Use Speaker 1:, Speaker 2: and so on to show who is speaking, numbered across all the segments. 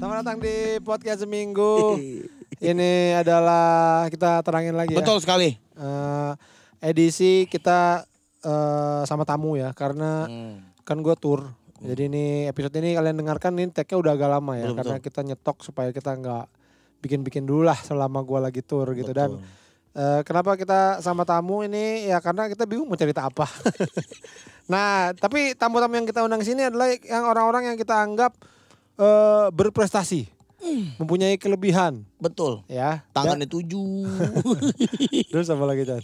Speaker 1: Selamat datang di podcast seminggu. Ini adalah kita terangin lagi ya.
Speaker 2: Betul sekali.
Speaker 1: Eh, edisi kita eh, sama tamu ya karena
Speaker 2: Ah,
Speaker 1: kan gue tour. Jadi ini episode ini kalian dengarkan ini tag-nya udah agak lama ya
Speaker 2: Betul,
Speaker 1: karena kita nyetok supaya kita nggak bikin-bikin dulu lah selama gue lagi tour gitu dan eh, kenapa kita sama tamu ini ya karena kita bingung mau cerita apa. nah tapi tamu-tamu yang kita undang sini adalah yang orang-orang yang kita anggap eh, berprestasi, mempunyai kelebihan
Speaker 2: Betul.
Speaker 1: ya. Dan-
Speaker 2: Tangannya tujuh.
Speaker 1: Terus apa lagi Chan?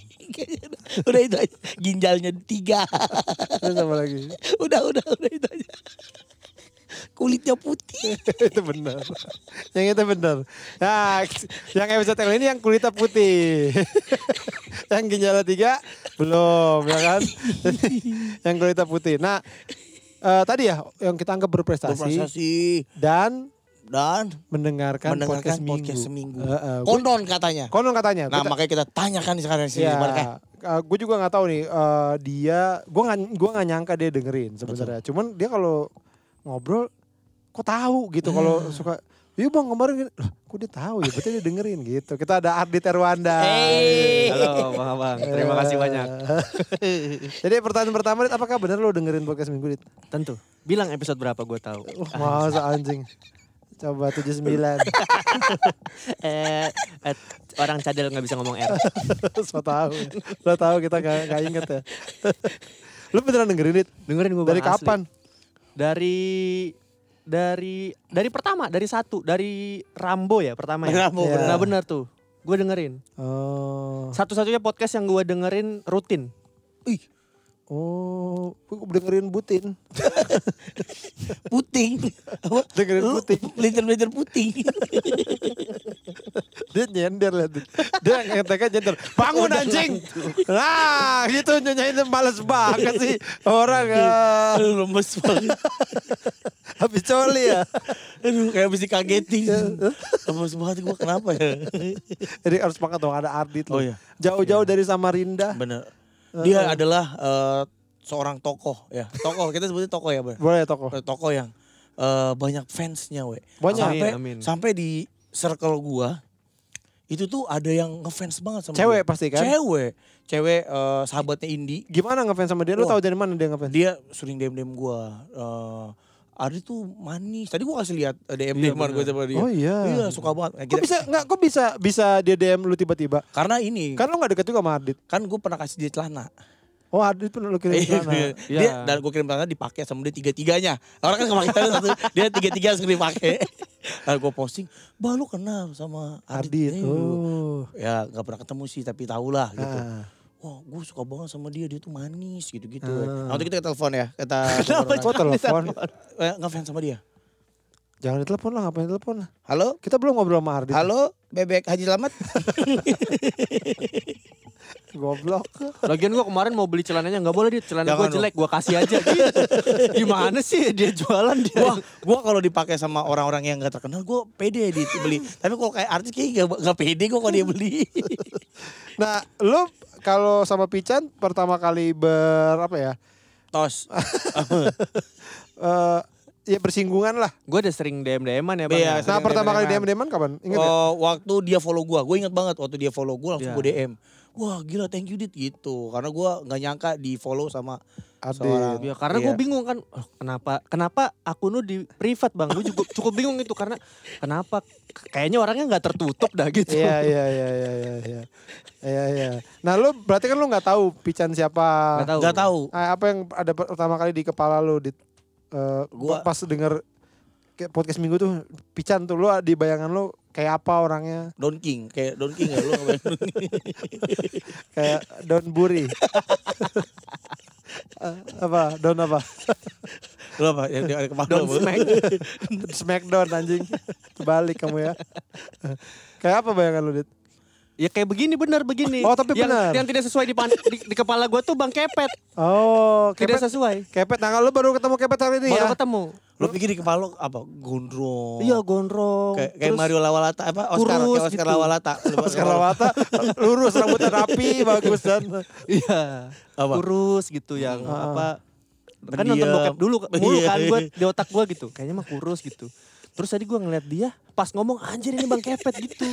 Speaker 2: udah itu aja. Ginjalnya tiga.
Speaker 1: Terus apa lagi?
Speaker 2: udah, udah, udah itu aja. Kulitnya putih.
Speaker 1: itu benar. Yang itu benar. Nah, yang episode kali ini yang kulitnya putih. yang ginjalnya tiga belum ya kan? yang kulitnya putih. Nah, eh, tadi ya yang kita anggap berprestasi,
Speaker 2: Berprestasi
Speaker 1: dan
Speaker 2: dan
Speaker 1: mendengarkan, Kan podcast
Speaker 2: mendengarkan
Speaker 1: seminggu.
Speaker 2: podcast seminggu.
Speaker 1: Eh, eh, gua-
Speaker 2: Konon katanya.
Speaker 1: konon katanya.
Speaker 2: Nah,
Speaker 1: Gua ta-
Speaker 2: makanya kita tanyakan sekarang sih.
Speaker 1: ya,
Speaker 2: Barkah.
Speaker 1: gue juga nggak tahu nih eh, dia gue nggak gua nggak nyangka dia dengerin sebenarnya cuman dia kalau ngobrol kok tahu gitu
Speaker 3: Ah.
Speaker 1: kalau suka Iya bang kemarin gini." Lah, kok dia tahu ya berarti dia dengerin gitu kita ada Ardit Erwanda
Speaker 2: Hey.
Speaker 3: Halo Bang Abang,
Speaker 1: Eh.
Speaker 3: terima kasih banyak.
Speaker 1: jadi pertanyaan pertama Dit apakah benar lo dengerin podcast minggu Dit
Speaker 3: Tentu. Bilang episode berapa gue tahu.
Speaker 1: Wah, masa anjing coba 79
Speaker 3: Eh, eh, orang cadel nggak bisa ngomong R.
Speaker 1: so tahu lo tahu kita gak, gak inget ya lo beneran dengerin Dit
Speaker 3: Dengerin gue
Speaker 1: dari kapan
Speaker 3: Dari dari dari pertama, dari satu, dari Rambo ya pertama ya.
Speaker 2: Rambo,
Speaker 1: Iya.
Speaker 3: Nah bener tuh, gue dengerin.
Speaker 1: oh
Speaker 3: Satu-satunya podcast yang gue dengerin rutin.
Speaker 2: Ih,
Speaker 1: Oh, gua dengerin Butin.
Speaker 2: puting. Apa?
Speaker 1: Dengerin
Speaker 2: Lu
Speaker 1: puting.
Speaker 2: Blincer-blincer puting.
Speaker 1: Dia nyender lihat. Dit. Dia ngeteknya nyender. Bangun anjing. Lah, gitu nyanyain males banget sih orang eh,
Speaker 2: Aduh, lemes banget.
Speaker 1: habis coli ya.
Speaker 2: Aduh, kayak mesti kagetin. Lemes banget gue kenapa ya.
Speaker 1: Jadi harus banget dong ada Ardit loh.
Speaker 2: Oh, iya.
Speaker 1: Jauh-jauh dari Samarinda.
Speaker 2: Bener.
Speaker 1: eh.
Speaker 2: Dia adalah eh, seorang tokoh ya. Tokoh kita sebutnya tokoh ya, Bang.
Speaker 1: Boleh ya tokoh.
Speaker 2: Tokoh yang eh, banyak fansnya, we.
Speaker 1: Banyak.
Speaker 2: Sampai
Speaker 3: Amin, amin.
Speaker 2: sampai di circle gua itu tuh ada yang ngefans banget sama
Speaker 1: Cewek
Speaker 2: gua.
Speaker 1: pasti kan?
Speaker 2: Cewek. Cewek eh, sahabatnya Indi.
Speaker 1: Gimana ngefans sama dia? Lu
Speaker 2: Wah.
Speaker 1: tahu dari mana dia ngefans?
Speaker 2: Dia sering DM-DM gua. Eh Ari tuh manis. Tadi gua kasih lihat eh, DM
Speaker 3: Iya,
Speaker 2: DM-an gua
Speaker 3: bener.
Speaker 2: sama dia.
Speaker 1: Oh, iya.
Speaker 2: Iya, suka banget. Nah,
Speaker 1: Kok
Speaker 2: kita-
Speaker 1: bisa nggak? Kok bisa bisa dia DM lu tiba-tiba?
Speaker 2: Karena ini kan,
Speaker 1: Kan lu nggak deket juga sama Ardit.
Speaker 2: gua pernah kasih dia celana.
Speaker 1: Oh Ardit pun lu kirim
Speaker 2: Iya,
Speaker 1: celana.
Speaker 2: bener.
Speaker 3: Iya.
Speaker 2: Dia dan gue kirim celana dipakai sama dia tiga tiganya. Orang kan kemarin satu, dia tiga tiga sering dipakai. Lalu gue posting, bah lu kenal sama Ardit.
Speaker 1: Ardit.
Speaker 2: Eh, lu-
Speaker 1: Oh.
Speaker 2: Ya nggak pernah ketemu sih tapi tau lah gitu.
Speaker 1: Ah.
Speaker 2: Wah gue suka banget sama dia, dia tuh manis gitu-gitu.
Speaker 1: Ah.
Speaker 2: Nanti kita ke telepon ya, kata
Speaker 1: Kenapa
Speaker 2: orang.
Speaker 1: kok telepon?
Speaker 2: Eh, ngefans sama dia.
Speaker 1: Jangan ditelepon lah, ngapain telepon lah.
Speaker 2: Halo,
Speaker 1: Kita belum ngobrol sama Ardit.
Speaker 2: halo bebek Haji Slamet.
Speaker 1: Goblok.
Speaker 3: Lagian gue kemarin mau beli celananya nggak boleh dia celana
Speaker 2: Jangan
Speaker 3: gue jelek, gue kasih aja. gitu. Gimana sih dia jualan dia?
Speaker 2: Wah, gue kalau dipakai sama orang-orang yang nggak terkenal, gue pede dibeli. tapi kalau kayak artis kayaknya nggak nggak pede gue kalau dia beli.
Speaker 1: Nah, lu kalau sama Pican pertama kali ber apa ya?
Speaker 2: Tos.
Speaker 1: Eh ya bersinggungan lah.
Speaker 3: Gue udah sering DM DM-an ya bang.
Speaker 2: Iya,
Speaker 3: ya.
Speaker 1: Nah,
Speaker 2: Sering
Speaker 1: pertama kali
Speaker 2: DM-an.
Speaker 1: DM-DM kapan? Ingat ya?
Speaker 2: Oh, waktu dia follow gua, gue ingat banget waktu dia follow gua langsung
Speaker 3: Iya.
Speaker 2: gue DM. Wah gila thank you Dit gitu. Karena gua nggak nyangka di follow sama
Speaker 1: Ardit.
Speaker 2: seorang.
Speaker 3: Ya, karena gue bingung kan, oh, kenapa kenapa akun lu di privat bang? Gue cukup cukup bingung itu karena kenapa? Kayaknya orangnya nggak tertutup dah gitu.
Speaker 1: Iya, iya, iya, iya, iya, iya. Iya, iya. Nah, lu berarti kan lu nggak tahu Pican siapa?
Speaker 3: Nggak tahu.
Speaker 2: Gak tahu.
Speaker 1: Ah, apa yang ada per- pertama kali di kepala lu di eh,
Speaker 2: Gua-
Speaker 1: pas denger kayak podcast minggu tuh Pican tuh lu di bayangan lu kayak apa orangnya?
Speaker 2: Don King kayak Don King ya lu ngapain?
Speaker 1: kayak Don Buri. Eh, apa Don apa
Speaker 2: lu apa? Yang ada kepala
Speaker 3: Don
Speaker 2: apa?
Speaker 3: Smack.
Speaker 1: Smackdown anjing terbalik kamu ya kayak apa bayangan lu dit
Speaker 3: Ya kayak begini benar begini.
Speaker 1: Oh, tapi
Speaker 3: yang,
Speaker 1: benar.
Speaker 3: Yang tidak sesuai di, pan- di, di kepala gue tuh bang kepet.
Speaker 1: oh
Speaker 3: Tidak
Speaker 1: kepet
Speaker 3: sesuai.
Speaker 1: kepet nah lu baru ketemu kepet hari ini
Speaker 3: Baru
Speaker 1: ya
Speaker 3: ketemu.
Speaker 2: Lu pikir di kepala lu apa? Gondrong.
Speaker 3: Iya
Speaker 2: Oh.
Speaker 3: gondrong.
Speaker 2: Kayak, kayak
Speaker 3: Terus
Speaker 2: Mario Lawalata apa Oscar kayak
Speaker 3: kurus
Speaker 2: Oscar
Speaker 3: gitu.
Speaker 2: Lawalata. Lu bakal-
Speaker 1: Oscar Lawata lurus rambutnya rapi bagus dan
Speaker 3: Iya.
Speaker 2: Apa?
Speaker 3: Kurus gitu yang
Speaker 1: Ah.
Speaker 3: apa? Kan nonton
Speaker 2: Pendiam.
Speaker 3: bokep dulu mulu kan
Speaker 2: Iya.
Speaker 3: gue di otak gue gitu. Kayaknya mah kurus gitu. Terus tadi gue ngeliat dia pas ngomong anjir ini Bang Kepet gitu.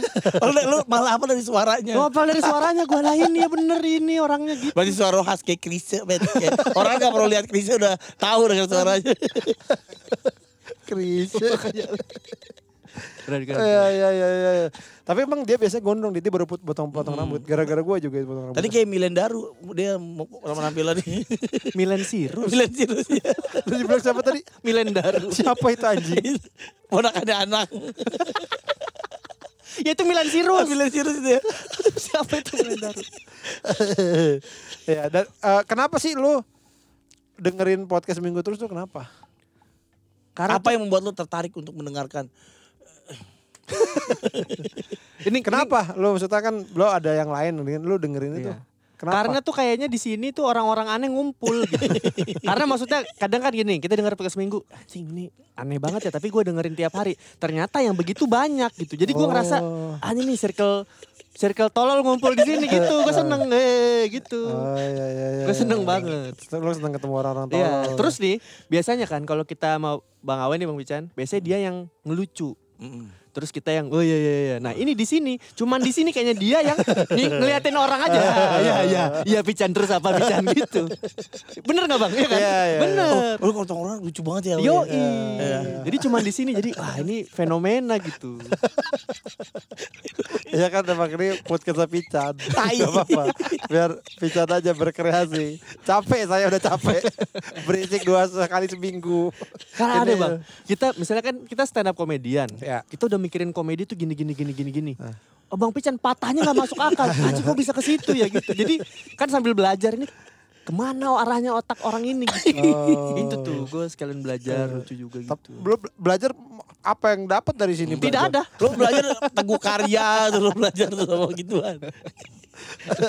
Speaker 2: Lu, lu malah apa dari suaranya?
Speaker 3: Ngapal dari suaranya gue lah ini ya bener ini orangnya gitu.
Speaker 2: Masih suara khas kayak klise, bet. Kayak- Orang gak perlu lihat klise udah tahu dengan suaranya.
Speaker 3: Keren, keren,
Speaker 1: Iya iya iya iya. iya. Tapi emang dia biasanya gondrong dia baru put- potong-potong rambut. Gara-gara gue juga potong rambut.
Speaker 2: Tadi kayak Milen Daru, dia mau penampilan nih.
Speaker 3: keren. Milen Sirus.
Speaker 2: Milen Sirus ya.
Speaker 1: Lu dibilang siapa tadi?
Speaker 3: Milen Daru.
Speaker 1: Siapa itu anjing?
Speaker 2: Ponakannya anak.
Speaker 3: ya itu Milan Sirus.
Speaker 2: Milen Sirus dia.
Speaker 3: Siapa itu Milen Daru?
Speaker 1: ya dan eh, kenapa sih lu dengerin podcast minggu terus tuh kenapa?
Speaker 3: Karena
Speaker 2: apa yang membuat lu tertarik untuk mendengarkan?
Speaker 1: Ini kenapa? Lu maksudnya kan lu ada yang lain lu dengerin itu.
Speaker 3: Iya.
Speaker 1: Kenapa?
Speaker 3: Karena tuh kayaknya di sini tuh orang-orang aneh ngumpul gitu. Karena maksudnya kadang kan gini, kita dengar podcast minggu, anjing ini aneh banget ya, tapi gue dengerin tiap hari. Ternyata yang begitu banyak gitu. Jadi gue ngerasa,
Speaker 1: Oh.
Speaker 3: anjing nih circle circle tolol ngumpul di sini gitu. Gue seneng eh gitu.
Speaker 1: Oh iya iya iya.
Speaker 3: Gue
Speaker 1: iya.
Speaker 3: seneng banget.
Speaker 1: Lu seneng ketemu orang-orang tolol.
Speaker 3: Iya, terus nih biasanya kan kalau kita mau Bang Awen nih Bang Bican, biasanya dia yang ngelucu.
Speaker 2: Mm-mm.
Speaker 3: Terus kita yang oh iya iya iya. Nah, ini di sini, cuman di sini kayaknya dia yang ng- ngeliatin orang aja. Iya iya. Iya Bican terus apa Bican gitu. Bener nggak Bang? Iya kan?
Speaker 1: Iya, iya. Oh,
Speaker 3: Bener.
Speaker 2: Oh, Lu kalau tongkrong orang lucu banget ya. Wen.
Speaker 3: Yo,
Speaker 2: Iya.
Speaker 3: jadi cuman di sini jadi wah ini fenomena gitu.
Speaker 1: Iya kan emang ini podcast pican.
Speaker 2: Tai.
Speaker 1: Gak apa-apa. Biar pican aja berkreasi. Capek saya udah capek. Berisik dua kali seminggu.
Speaker 3: Karena ada
Speaker 1: Ini-
Speaker 3: bang, kita misalnya kan kita stand up komedian,
Speaker 1: Ya.
Speaker 3: kita udah mikirin komedi tuh gini gini gini gini gini. Oh, Bang Pican patahnya nggak masuk akal, anjing kok bisa ke situ ya gitu. Jadi kan sambil belajar ini kemana arahnya otak orang ini gitu. Itu tuh gue sekalian belajar lucu juga
Speaker 1: Tep-
Speaker 3: gitu.
Speaker 1: Lu be- belajar apa yang dapat dari sini?
Speaker 3: Tidak
Speaker 1: belajar?
Speaker 3: ada,
Speaker 2: Lu belajar teguh karya, terus lu belajar terus sama gituan.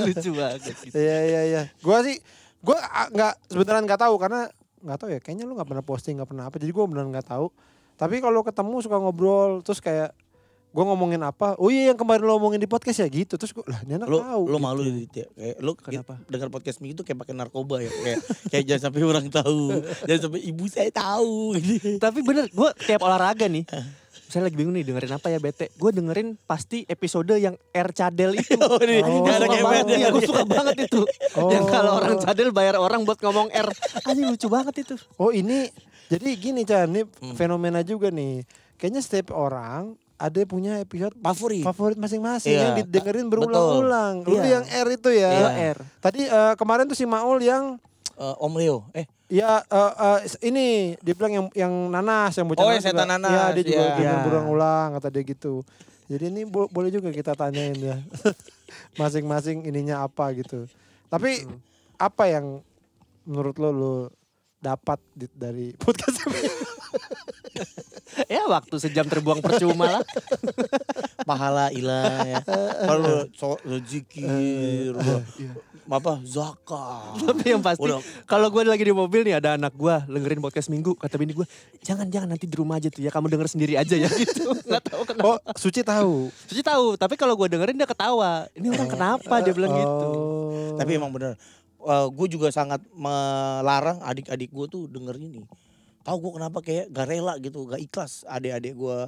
Speaker 3: lucu banget. Gitu.
Speaker 1: Iya iya iya. Gua sih gua ah, nggak sebenarnya nggak tahu karena nggak tahu ya kayaknya lu nggak pernah posting nggak pernah apa jadi gua beneran nggak tahu. Tapi kalau ketemu suka ngobrol terus kayak gua ngomongin apa? Oh iya yang kemarin lo omongin di podcast ya gitu. Terus gua lah ini anak
Speaker 2: Lu
Speaker 1: tahu.
Speaker 2: lu malu ya Dit, ya. Kayak lu
Speaker 3: gitu. Kenapa?
Speaker 2: dengar podcast minggu tuh kayak pakai narkoba ya kayak kayak jangan sampai orang tahu. Jangan sampai ibu saya tahu gitu.
Speaker 3: Tapi bener, gue tiap olahraga nih, misalnya lagi bingung nih dengerin apa ya bete. Gue dengerin pasti episode yang air cadel itu.
Speaker 2: Oh, ini
Speaker 1: Oh.
Speaker 2: nggak ada ya.
Speaker 1: Suka
Speaker 2: kayak
Speaker 1: banget,
Speaker 2: beda.
Speaker 1: iya,
Speaker 3: gue suka banget itu.
Speaker 1: Oh.
Speaker 3: Yang kalau orang cadel bayar orang buat ngomong R. Anjing lucu banget itu.
Speaker 1: Oh ini jadi gini Chan, ini
Speaker 2: Hmm.
Speaker 1: fenomena juga nih. Kayaknya setiap orang ada punya episode
Speaker 2: Favorit.
Speaker 1: favorit masing-masing
Speaker 2: Iya.
Speaker 1: yang didengerin berulang-ulang. Lu
Speaker 3: Iya.
Speaker 1: yang R itu ya.
Speaker 2: Iya.
Speaker 3: R.
Speaker 1: Tadi eh, kemarin tuh si Maul yang
Speaker 2: Eh, Om Leo, eh
Speaker 1: ya eh, eh, ini dia bilang yang yang nanas yang bocah
Speaker 2: Oh, yang
Speaker 1: nanas
Speaker 2: setan
Speaker 1: juga.
Speaker 2: nanas,
Speaker 1: Iya, dia juga
Speaker 2: iya.
Speaker 1: dengerin
Speaker 3: Iya.
Speaker 1: berulang-ulang kata dia gitu. Jadi ini bo- boleh juga kita tanyain ya. Masing-masing ininya apa gitu. Tapi
Speaker 2: Hmm.
Speaker 1: apa yang menurut lo lo dapat di- dari podcast ini?
Speaker 3: Ya waktu sejam terbuang percuma lah.
Speaker 2: pahala hilang ya. Kalau lu so- lu zikir, lu- apa zakat.
Speaker 3: Tapi yang pasti
Speaker 2: Udah.
Speaker 3: kalau gue lagi di mobil nih ada anak gue dengerin podcast minggu. Kata bini gue jangan jangan nanti di rumah aja tuh ya kamu denger sendiri aja ya gitu. Nggak tahu kenapa.
Speaker 1: Oh, Suci tahu.
Speaker 3: Suci tahu tapi kalau gue dengerin dia ketawa. Ini orang kenapa dia bilang gitu.
Speaker 1: Oh.
Speaker 2: Tapi emang bener. gue juga sangat melarang adik-adik gue tuh denger ini. Tahu gue kenapa kayak gak rela gitu, gak ikhlas adik-adik gue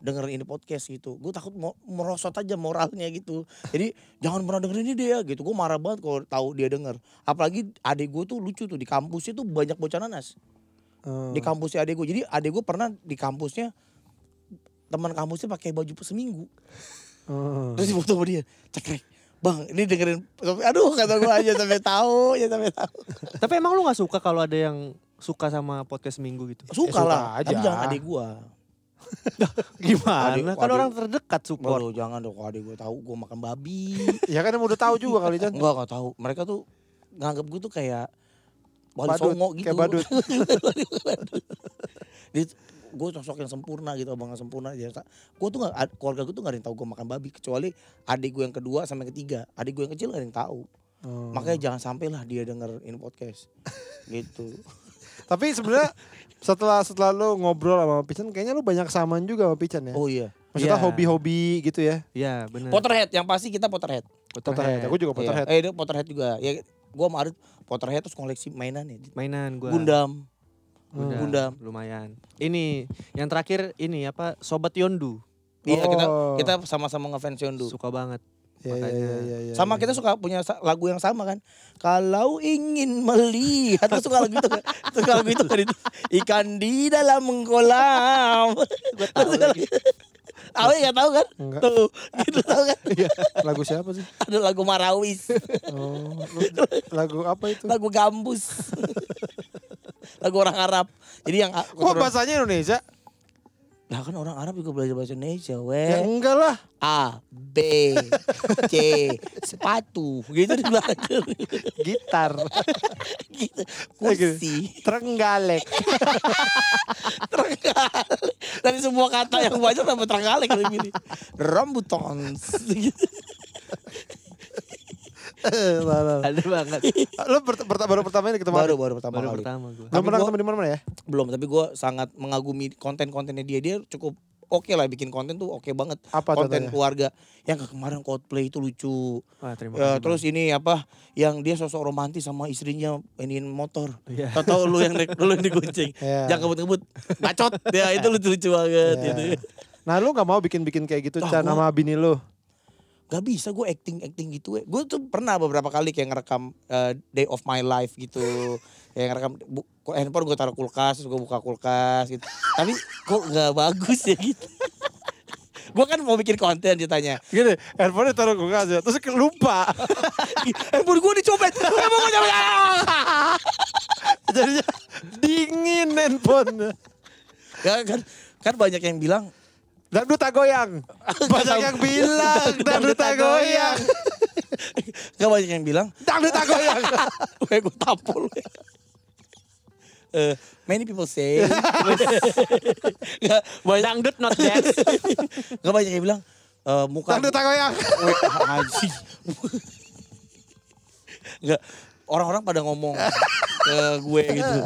Speaker 2: dengerin ini podcast gitu. Gue takut mo- merosot aja moralnya gitu. Jadi jangan pernah dengerin ini dia gitu. Gue marah banget kalau tahu dia denger. Apalagi adik gue tuh lucu tuh di kampusnya tuh banyak bocah nanas.
Speaker 1: Hmm.
Speaker 2: Di kampusnya adik gue. Jadi adik gue pernah di kampusnya teman kampusnya pakai baju seminggu.
Speaker 1: Hmm.
Speaker 2: Terus difoto sama dia, cekrek. Bang, ini dengerin. Aduh, kata gue aja sampai tahu, ya sampai tahu.
Speaker 3: Tapi emang lu gak suka kalau ada yang suka sama podcast minggu gitu?
Speaker 2: Eh,
Speaker 1: suka
Speaker 2: Suka lah, tapi
Speaker 1: aja.
Speaker 2: jangan adik gua.
Speaker 3: Gimana?
Speaker 2: Adik-
Speaker 3: Kan
Speaker 2: adik-
Speaker 3: orang terdekat support.
Speaker 2: Waduh, jangan dong kalau adik gua tahu gua makan babi.
Speaker 1: Ya kan emang udah tahu juga kali Chan.
Speaker 2: Enggak, enggak tahu. Mereka tuh nganggap gua tuh kayak wali
Speaker 1: Badut,
Speaker 2: songo gitu.
Speaker 1: kayak badut.
Speaker 2: Badut. Jadi, gua sosok yang sempurna gitu, abang yang sempurna. Jadi, sa- gua tuh gak, keluarga gua tuh gak ada yang tahu gua makan babi kecuali adik gua yang kedua sama yang ketiga. Adik gua yang kecil gak ada yang tahu.
Speaker 1: Hmm.
Speaker 2: Makanya jangan sampailah dia dengerin podcast. gitu.
Speaker 1: Tapi sebenarnya setelah setelah lu ngobrol sama Pican kayaknya lu banyak kesamaan juga sama Pican ya.
Speaker 2: Oh iya.
Speaker 1: Maksudnya
Speaker 3: iya.
Speaker 1: hobi-hobi gitu ya.
Speaker 3: Iya benar.
Speaker 2: Potterhead yang pasti kita Potterhead.
Speaker 1: Potterhead. Aku juga Potterhead.
Speaker 2: Iya. Eh, dia Potterhead juga. Ya, gua sama Arit Potterhead terus koleksi mainan ya.
Speaker 3: Mainan gue.
Speaker 2: Gundam,
Speaker 3: Gundam.
Speaker 2: Gundam.
Speaker 3: Lumayan. Ini yang terakhir ini apa Sobat Yondu.
Speaker 2: Iya kita
Speaker 1: Oh.
Speaker 2: kita sama-sama ngefans Yondu.
Speaker 3: Suka banget.
Speaker 1: Iya, iya,
Speaker 3: makanya.
Speaker 1: iya, iya, iya,
Speaker 2: sama
Speaker 1: iya.
Speaker 2: kita suka punya sa- lagu yang sama kan. Kalau ingin melihat Lu suka lagu itu kan. Suka lagu itu kan itu. Ikan di dalam kolam. Gue tahu. Awalnya gak tahu kan?
Speaker 1: Enggak. Iya.
Speaker 2: Tuh, gitu tahu kan?
Speaker 1: Lagu siapa sih?
Speaker 2: Ada lagu Marawis,
Speaker 1: Oh, lagu apa itu?
Speaker 2: lagu Gambus. lagu orang Arab. Jadi yang
Speaker 1: Kok
Speaker 2: keturunan-
Speaker 1: bahasanya Indonesia?
Speaker 2: Lah kan orang Arab juga belajar bahasa Indonesia, weh.
Speaker 1: Ya enggak lah.
Speaker 2: A, B, C, sepatu. Gitu dia belajar.
Speaker 1: Gitar.
Speaker 2: gitu. Kursi.
Speaker 1: Trenggalek.
Speaker 2: Terenggalek. Dari semua kata yang banyak sampai terenggalek kayak gini. Rambutan. Gitu.
Speaker 1: Lah, lah.
Speaker 3: Ada banget.
Speaker 1: Lo bert- bert- baru pertama ini ketemu.
Speaker 2: baru baru pertama
Speaker 3: Baru
Speaker 2: kali.
Speaker 3: pertama gue.
Speaker 1: Belum
Speaker 2: Tapi
Speaker 1: pernah
Speaker 2: gua-
Speaker 1: ketemu di mana-mana ya?
Speaker 2: Belum, tapi gue sangat mengagumi konten-kontennya dia. Dia cukup oke lah bikin konten tuh oke banget.
Speaker 1: Apa
Speaker 2: konten
Speaker 1: contohnya?
Speaker 2: keluarga. Yang kemarin Coldplay itu lucu.
Speaker 3: Wah, terima
Speaker 2: Ya,
Speaker 3: kasih.
Speaker 2: terus ini apa yang dia sosok romantis sama istrinya iniin motor.
Speaker 3: Bang. Iya.
Speaker 2: Tahu lu yang naik- lu yang digonceng.
Speaker 1: Iya.
Speaker 2: Jangan kebut-kebut. Bacot. Ya itu lucu-lucu banget
Speaker 1: Iya.
Speaker 2: gitu.
Speaker 1: Nah lu gak mau bikin-bikin kayak gitu
Speaker 2: Tah,
Speaker 1: Chan
Speaker 2: gua-
Speaker 1: sama bini lu?
Speaker 2: Gak bisa gue acting-acting gitu. Gue tuh pernah beberapa kali kayak ngerekam eh, Day of My Life gitu. kayak ngerekam bu- ko- handphone gue taruh kulkas, terus gue buka kulkas gitu. Tapi kok gak bagus ya gitu. gue kan mau bikin konten ditanya.
Speaker 1: Gini, handphone taruh kulkas ya, terus lupa.
Speaker 2: Handphone gue dicopet. Handphone gue dicopet. Ah!
Speaker 1: Jadinya dingin handphone.
Speaker 2: Ya kan, kan banyak yang bilang
Speaker 1: Dangduta goyang. Banyak yang bilang dangduta goyang.
Speaker 2: Gak banyak yang bilang
Speaker 1: Dangduta goyang.
Speaker 2: Gue gue tampol Eh, Many people say Gak banyak
Speaker 3: Dangdut not dance.
Speaker 2: Gak banyak yang bilang eh Muka
Speaker 1: Dangduta goyang.
Speaker 2: Weh, anjing. Gak Orang-orang pada ngomong Ke gue gitu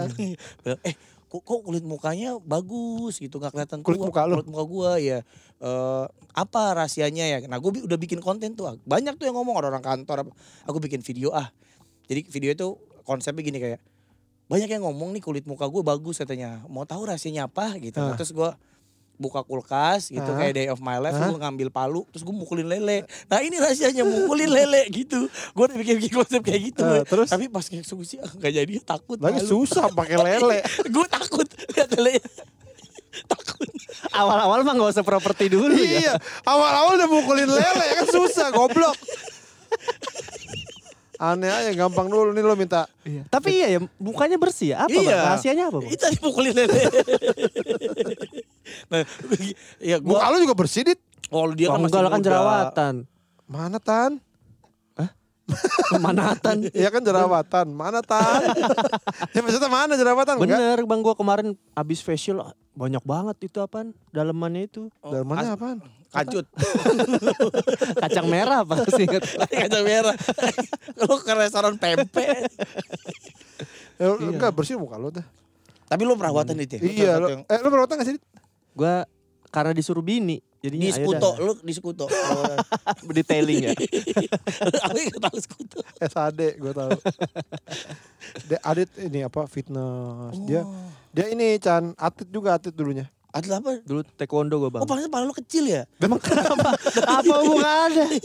Speaker 2: Bilang, Eh kok, kok kulit mukanya bagus gitu nggak kelihatan
Speaker 1: Kulit
Speaker 2: tua,
Speaker 1: muka lu.
Speaker 2: kulit muka gue ya Eh, apa rahasianya ya nah gue udah bikin konten tuh ah. banyak tuh yang ngomong orang-orang kantor apa. aku bikin video ah jadi video itu konsepnya gini kayak banyak yang ngomong nih kulit muka gue bagus katanya mau tahu rahasianya apa gitu
Speaker 1: Ah.
Speaker 2: terus gue buka kulkas gitu
Speaker 1: Ah.
Speaker 2: kayak day of my life
Speaker 1: Ah.
Speaker 2: gue ngambil palu terus gue mukulin lele nah ini rahasianya mukulin lele gitu gue udah bikin bikin konsep kayak gitu
Speaker 1: Ah,
Speaker 2: Boy.
Speaker 1: terus?
Speaker 2: tapi pas eksekusi ah, nggak jadi takut
Speaker 1: Lagi susah pakai lele.
Speaker 2: gue takut lihat lele takut
Speaker 3: Awal-awal mah gak usah properti dulu ya.
Speaker 1: Iya, awal-awal udah mukulin lele ya kan susah goblok. Aneh aja gampang dulu nih lo minta.
Speaker 3: Tapi iya ya, mukanya bersih ya. Apa
Speaker 2: Iya.
Speaker 3: Bang? Rahasianya apa Bang?
Speaker 2: itu tadi mukulin lele nah ya gue
Speaker 1: Muka lo juga bersih dit.
Speaker 2: kalau dia
Speaker 3: Wah,
Speaker 2: kan masih
Speaker 3: enggak lah kan
Speaker 2: muda.
Speaker 3: jerawatan.
Speaker 1: Mana Tan?
Speaker 3: Kemanatan.
Speaker 1: Iya kan jerawatan. Mana Tan? ya maksudnya mana jerawatan? Enggak.
Speaker 3: Bener Bang gua kemarin abis facial ah, banyak banget itu apaan dalemannya itu.
Speaker 2: Oh,
Speaker 1: Dari
Speaker 2: as-
Speaker 1: mana apaan?
Speaker 2: kancut
Speaker 3: Kacang merah apa sih?
Speaker 2: kacang merah lu ke restoran pempek
Speaker 1: Ya, Enggak bersih muka lo tuh.
Speaker 2: tapi lu perawatan itu ya? Lu
Speaker 1: Iya
Speaker 2: salah
Speaker 1: lo.
Speaker 2: satu yang-
Speaker 1: Eh lo perawatan gak sih? Dit?
Speaker 3: Gua karena disuruh bini
Speaker 2: di
Speaker 3: jadinya Iya, ayo
Speaker 2: skuto
Speaker 3: dah.
Speaker 2: lu di skuto
Speaker 3: detailing ya.
Speaker 2: aku nggak tahu skuto
Speaker 1: SAD gue Eh, tahu. dia adit ini apa fitness. Dia
Speaker 2: Oh.
Speaker 1: dia ini Chan atlet juga atlet dulunya.
Speaker 2: atlet apa
Speaker 3: Dulu taekwondo gua Bang.
Speaker 2: oh paling paling lu kecil ya
Speaker 1: Memang kenapa?
Speaker 3: apa hubungannya?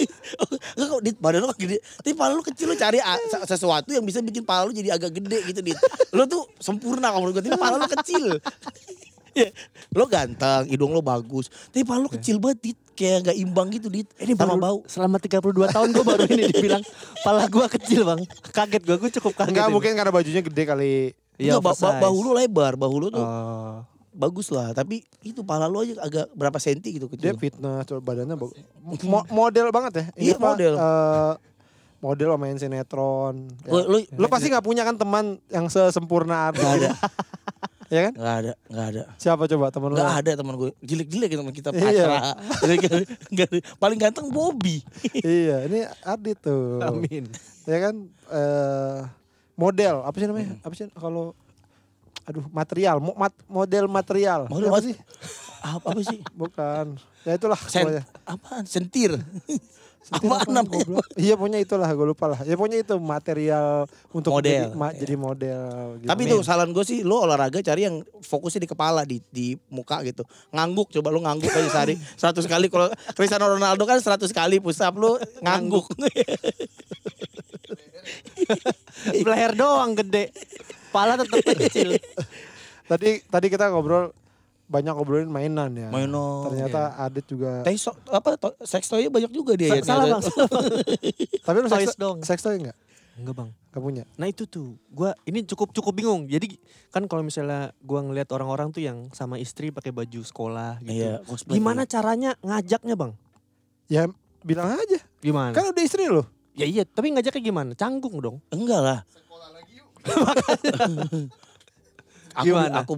Speaker 2: Enggak kok Dit, badan lu kan gede. Tapi pala lu kecil lu cari a- se- sesuatu yang bisa bikin pala lu jadi agak gede gitu Dit. Lu tuh sempurna kalau menurut gue, tapi pala lu kecil. Ya, lu ganteng, hidung lu bagus. Tapi pala lu kecil banget Dit, kayak gak imbang gitu Dit. Ini sama
Speaker 3: Ya. Eh, Baru-
Speaker 2: bau.
Speaker 3: Selama 32 tahun gua baru ini dibilang pala gua kecil Bang. Kaget gua, gua cukup kaget.
Speaker 2: gitu?
Speaker 1: Enggak
Speaker 3: ini.
Speaker 1: mungkin karena bajunya gede kali.
Speaker 3: Iya,
Speaker 2: Enggak, ba- ba-
Speaker 3: oversize.
Speaker 2: bahu lu lebar, bahu lu tuh
Speaker 3: Oh.
Speaker 2: bagus lah. Tapi itu pala lu aja agak berapa senti gitu
Speaker 1: Dia
Speaker 2: kecil.
Speaker 1: fitness, coba badannya bagus. Mo- model banget ya.
Speaker 2: Iya, model.
Speaker 1: eh, model sama main sinetron. Ya.
Speaker 2: Gua- lu
Speaker 1: Lo pasti nggak punya kan teman yang sesempurna Ardi.
Speaker 2: Gak ada,
Speaker 1: ya kan?
Speaker 2: gak ada, gak ada.
Speaker 1: Siapa coba teman lo?
Speaker 2: Gak ada teman gue, jelek-jelek ya teman kita
Speaker 1: Iya.
Speaker 2: Patra. Gak ada. Paling ganteng Bobby.
Speaker 1: iya, ini Ardi tuh.
Speaker 3: Amin.
Speaker 1: Ya kan? eh model, apa sih
Speaker 2: Hmm.
Speaker 1: namanya? Apa sih kalau aduh material, mo- mat- model material.
Speaker 2: Model
Speaker 1: apa
Speaker 2: mat-
Speaker 1: sih?
Speaker 2: Apa, apa sih?
Speaker 1: Bukan. Ya itulah
Speaker 2: Sen,
Speaker 1: pokoknya.
Speaker 2: apaan? Sentir.
Speaker 1: Sentil
Speaker 2: apaan
Speaker 1: apaan,
Speaker 2: namanya?
Speaker 1: goblok? Iya punya itulah gue lupa lah. Ya punya itu material untuk
Speaker 2: Model,
Speaker 1: jadi, ma-
Speaker 2: iya.
Speaker 1: jadi model. Gitu.
Speaker 2: Tapi tuh saran gue sih lo olahraga cari yang fokusnya di kepala di di muka gitu. Ngangguk coba lo ngangguk aja sehari 100 kali kalau Cristiano Ronaldo kan 100 kali push up lo ngangguk.
Speaker 3: Leher doang gede. Pala tetap kecil.
Speaker 1: Tadi tadi kita ngobrol banyak ngobrolin mainan ya.
Speaker 2: Mainan, iya.
Speaker 1: Ternyata Adit juga.
Speaker 2: Tapi so- apa to- sex toy-nya banyak juga dia ya.
Speaker 3: Salah
Speaker 2: ternyata.
Speaker 3: bang, salah bang.
Speaker 1: Tapi lu
Speaker 3: Toys
Speaker 1: seks,
Speaker 3: dong.
Speaker 1: seks toy enggak?
Speaker 3: Enggak bang.
Speaker 1: Gak punya.
Speaker 3: Nah itu tuh, gua ini cukup cukup bingung. Jadi kan kalau misalnya gua ngelihat orang-orang tuh yang sama istri pakai baju sekolah gitu.
Speaker 2: Iya, cosplay.
Speaker 3: Gimana caranya ngajaknya bang?
Speaker 1: Ya bilang aja.
Speaker 3: Gimana?
Speaker 1: Kan udah istri lo.
Speaker 3: ya iya, tapi ngajaknya gimana? Canggung dong.
Speaker 2: Enggak lah. aku,
Speaker 3: Gimana?
Speaker 2: aku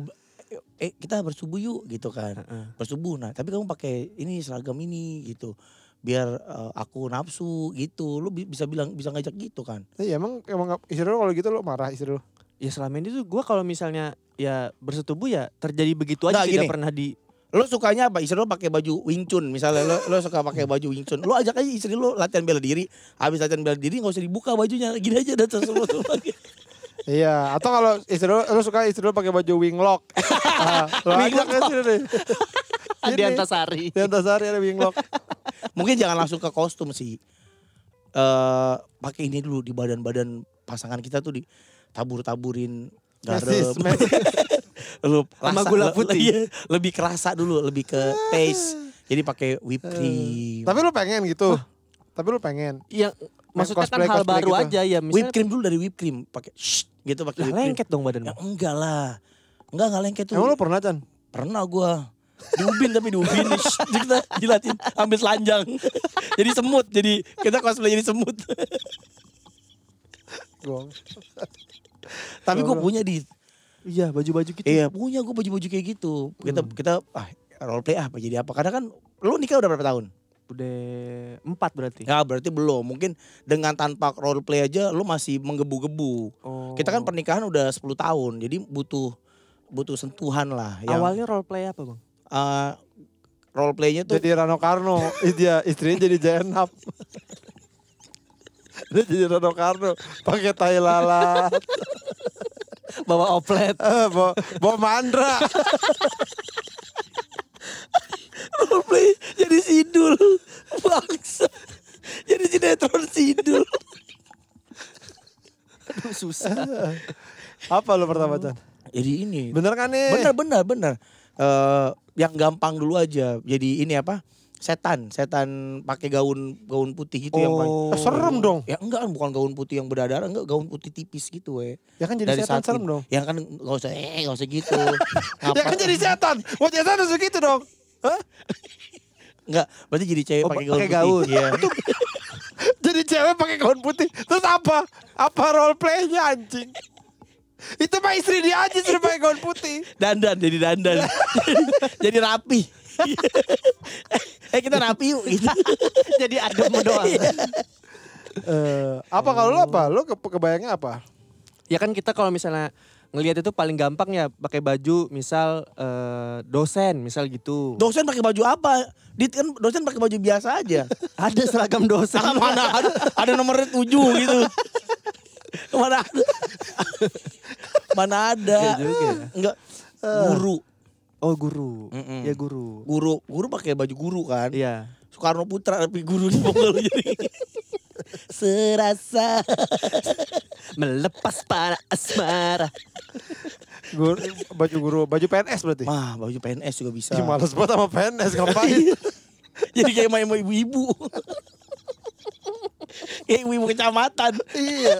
Speaker 2: eh kita bersubuh yuk gitu kan. Bersubuh nah, tapi kamu pakai ini seragam ini gitu. Biar eh, aku nafsu gitu. Lu bi- bisa bilang bisa ngajak gitu kan.
Speaker 1: Iya emang emang nggak- istri lo kalau gitu lo marah istri lo.
Speaker 3: Ya selama ini tuh gua kalau misalnya ya bersetubuh ya terjadi begitu aja
Speaker 2: Nggak,
Speaker 3: tidak
Speaker 2: gini.
Speaker 3: pernah di
Speaker 2: Lo sukanya apa? Istri lo pakai baju Wing Chun misalnya. Lo, lo suka pakai baju Wing Chun. Lo ajak aja istri lo latihan bela diri. Habis latihan bela diri nggak usah dibuka bajunya. Gini aja dan semua
Speaker 1: Iya, atau kalau istri lo, lo suka istri lo pakai baju winglock. Ah, lo ajak ke sini deh.
Speaker 3: di Antasari.
Speaker 1: Di Antasari ada winglock.
Speaker 2: Mungkin jangan langsung ke kostum sih. Eh pakai ini dulu di badan-badan pasangan kita tuh ditabur-taburin garam.
Speaker 1: Mesis, mesis.
Speaker 2: Lu
Speaker 3: Sama
Speaker 2: rasa-
Speaker 3: gula
Speaker 2: le-
Speaker 3: putih. Ah.
Speaker 2: iya, lebih kerasa dulu, lebih ke taste. Jadi pakai
Speaker 3: Eh,
Speaker 2: whipped cream.
Speaker 1: Tapi lu pengen gitu. Tapi lu pengen.
Speaker 3: Ya maksudnya kan
Speaker 1: cosplay-
Speaker 3: hal
Speaker 1: cosplay
Speaker 3: baru
Speaker 1: gitu.
Speaker 3: aja ya
Speaker 2: whipped
Speaker 3: misalnya.
Speaker 2: cream dulu dari whipped cream pakai shh, gitu pakai
Speaker 3: Lah,
Speaker 2: whipped cream.
Speaker 3: lengket dong badan
Speaker 2: Ya
Speaker 3: bang.
Speaker 2: enggak lah. Enggak enggak lengket tuh.
Speaker 1: Emang lu pernah Chan?
Speaker 2: Pernah gua di ubin tapi di ubin Shh, gitu, kita dilatih ambil telanjang jadi semut jadi kita cosplay jadi semut
Speaker 1: Gua.
Speaker 2: tapi gua punya di
Speaker 3: Iya Hmm. baju-baju gitu.
Speaker 2: Iya punya gue baju-baju kayak gitu. Kita kita ah role play apa jadi apa? Karena kan lu nikah udah berapa tahun?
Speaker 3: Udah empat berarti.
Speaker 2: Ya berarti belum. Mungkin dengan tanpa role play aja lu masih menggebu-gebu.
Speaker 3: Oh.
Speaker 2: Kita kan pernikahan udah 10 tahun. Jadi butuh butuh sentuhan lah yang
Speaker 3: awalnya role play apa bang?
Speaker 2: eh, role playnya tuh
Speaker 1: Jadi Rano Karno, Ih, dia istrinya jadi Jenap. dia jadi Rano Karno, pakai tai lalat,
Speaker 3: Bawa oplet.
Speaker 1: Eh, bawa, bawa mandra.
Speaker 2: role play jadi sidul. Bangsa. Jadi sinetron sidul.
Speaker 3: Aduh, susah.
Speaker 1: Apa lu pertama Chan?
Speaker 2: jadi ini.
Speaker 1: Bener kan nih?
Speaker 2: Bener bener bener. Eh, yang gampang dulu aja. Jadi ini apa? Setan, setan pakai gaun gaun putih gitu yang
Speaker 1: Oh,
Speaker 2: paling.
Speaker 1: serem dong.
Speaker 2: Ya enggak kan bukan gaun putih yang berdarah, enggak gaun putih tipis gitu we.
Speaker 1: Ya kan jadi
Speaker 2: Dari
Speaker 1: setan
Speaker 2: satin.
Speaker 1: serem dong.
Speaker 2: Ya kan enggak usah eh enggak usah gitu.
Speaker 1: Ya kan jadi setan. Mau jadi setan harus gitu dong. Hah?
Speaker 2: Enggak, berarti jadi cewek
Speaker 1: Oh,
Speaker 2: pakai gaun.
Speaker 1: pakai
Speaker 2: putih.
Speaker 1: gaun.
Speaker 2: Iya.
Speaker 1: Jadi cewek pakai gaun putih. Terus apa? Apa role play-nya anjing? Itu mah istri dia aja sudah pakai gaun putih.
Speaker 2: dandan jadi dandan. jadi rapi. eh kita rapi yuk gitu.
Speaker 3: Jadi adem doang.
Speaker 1: Eh, apa kalau lu apa? Lu ke- kebayangnya apa?
Speaker 3: ya kan kita kalau misalnya ngelihat itu paling gampang ya pakai baju misal eh, dosen misal gitu.
Speaker 2: Dosen pakai baju apa? Dit kan dosen pakai baju biasa aja.
Speaker 3: ada seragam dosen.
Speaker 2: Tangan mana ada, ada nomornya tujuh gitu. mana ada? mana ada? eh.
Speaker 3: Iya juga ya.
Speaker 2: Enggak. Guru,
Speaker 3: Oh guru.
Speaker 2: Mm-mm.
Speaker 3: Ya guru.
Speaker 2: guru, guru pakai baju guru kan.
Speaker 3: Iya.
Speaker 2: Soekarno Putra tapi guru di Bogor jadi. Serasa.
Speaker 3: Melepas para asmara.
Speaker 1: Guru, baju guru, baju PNS berarti.
Speaker 2: Mah baju PNS juga bisa.
Speaker 1: Ih, males banget sama PNS ngapain?
Speaker 2: jadi kayak main sama ibu-ibu. kayak ibu-ibu kecamatan.
Speaker 1: iya.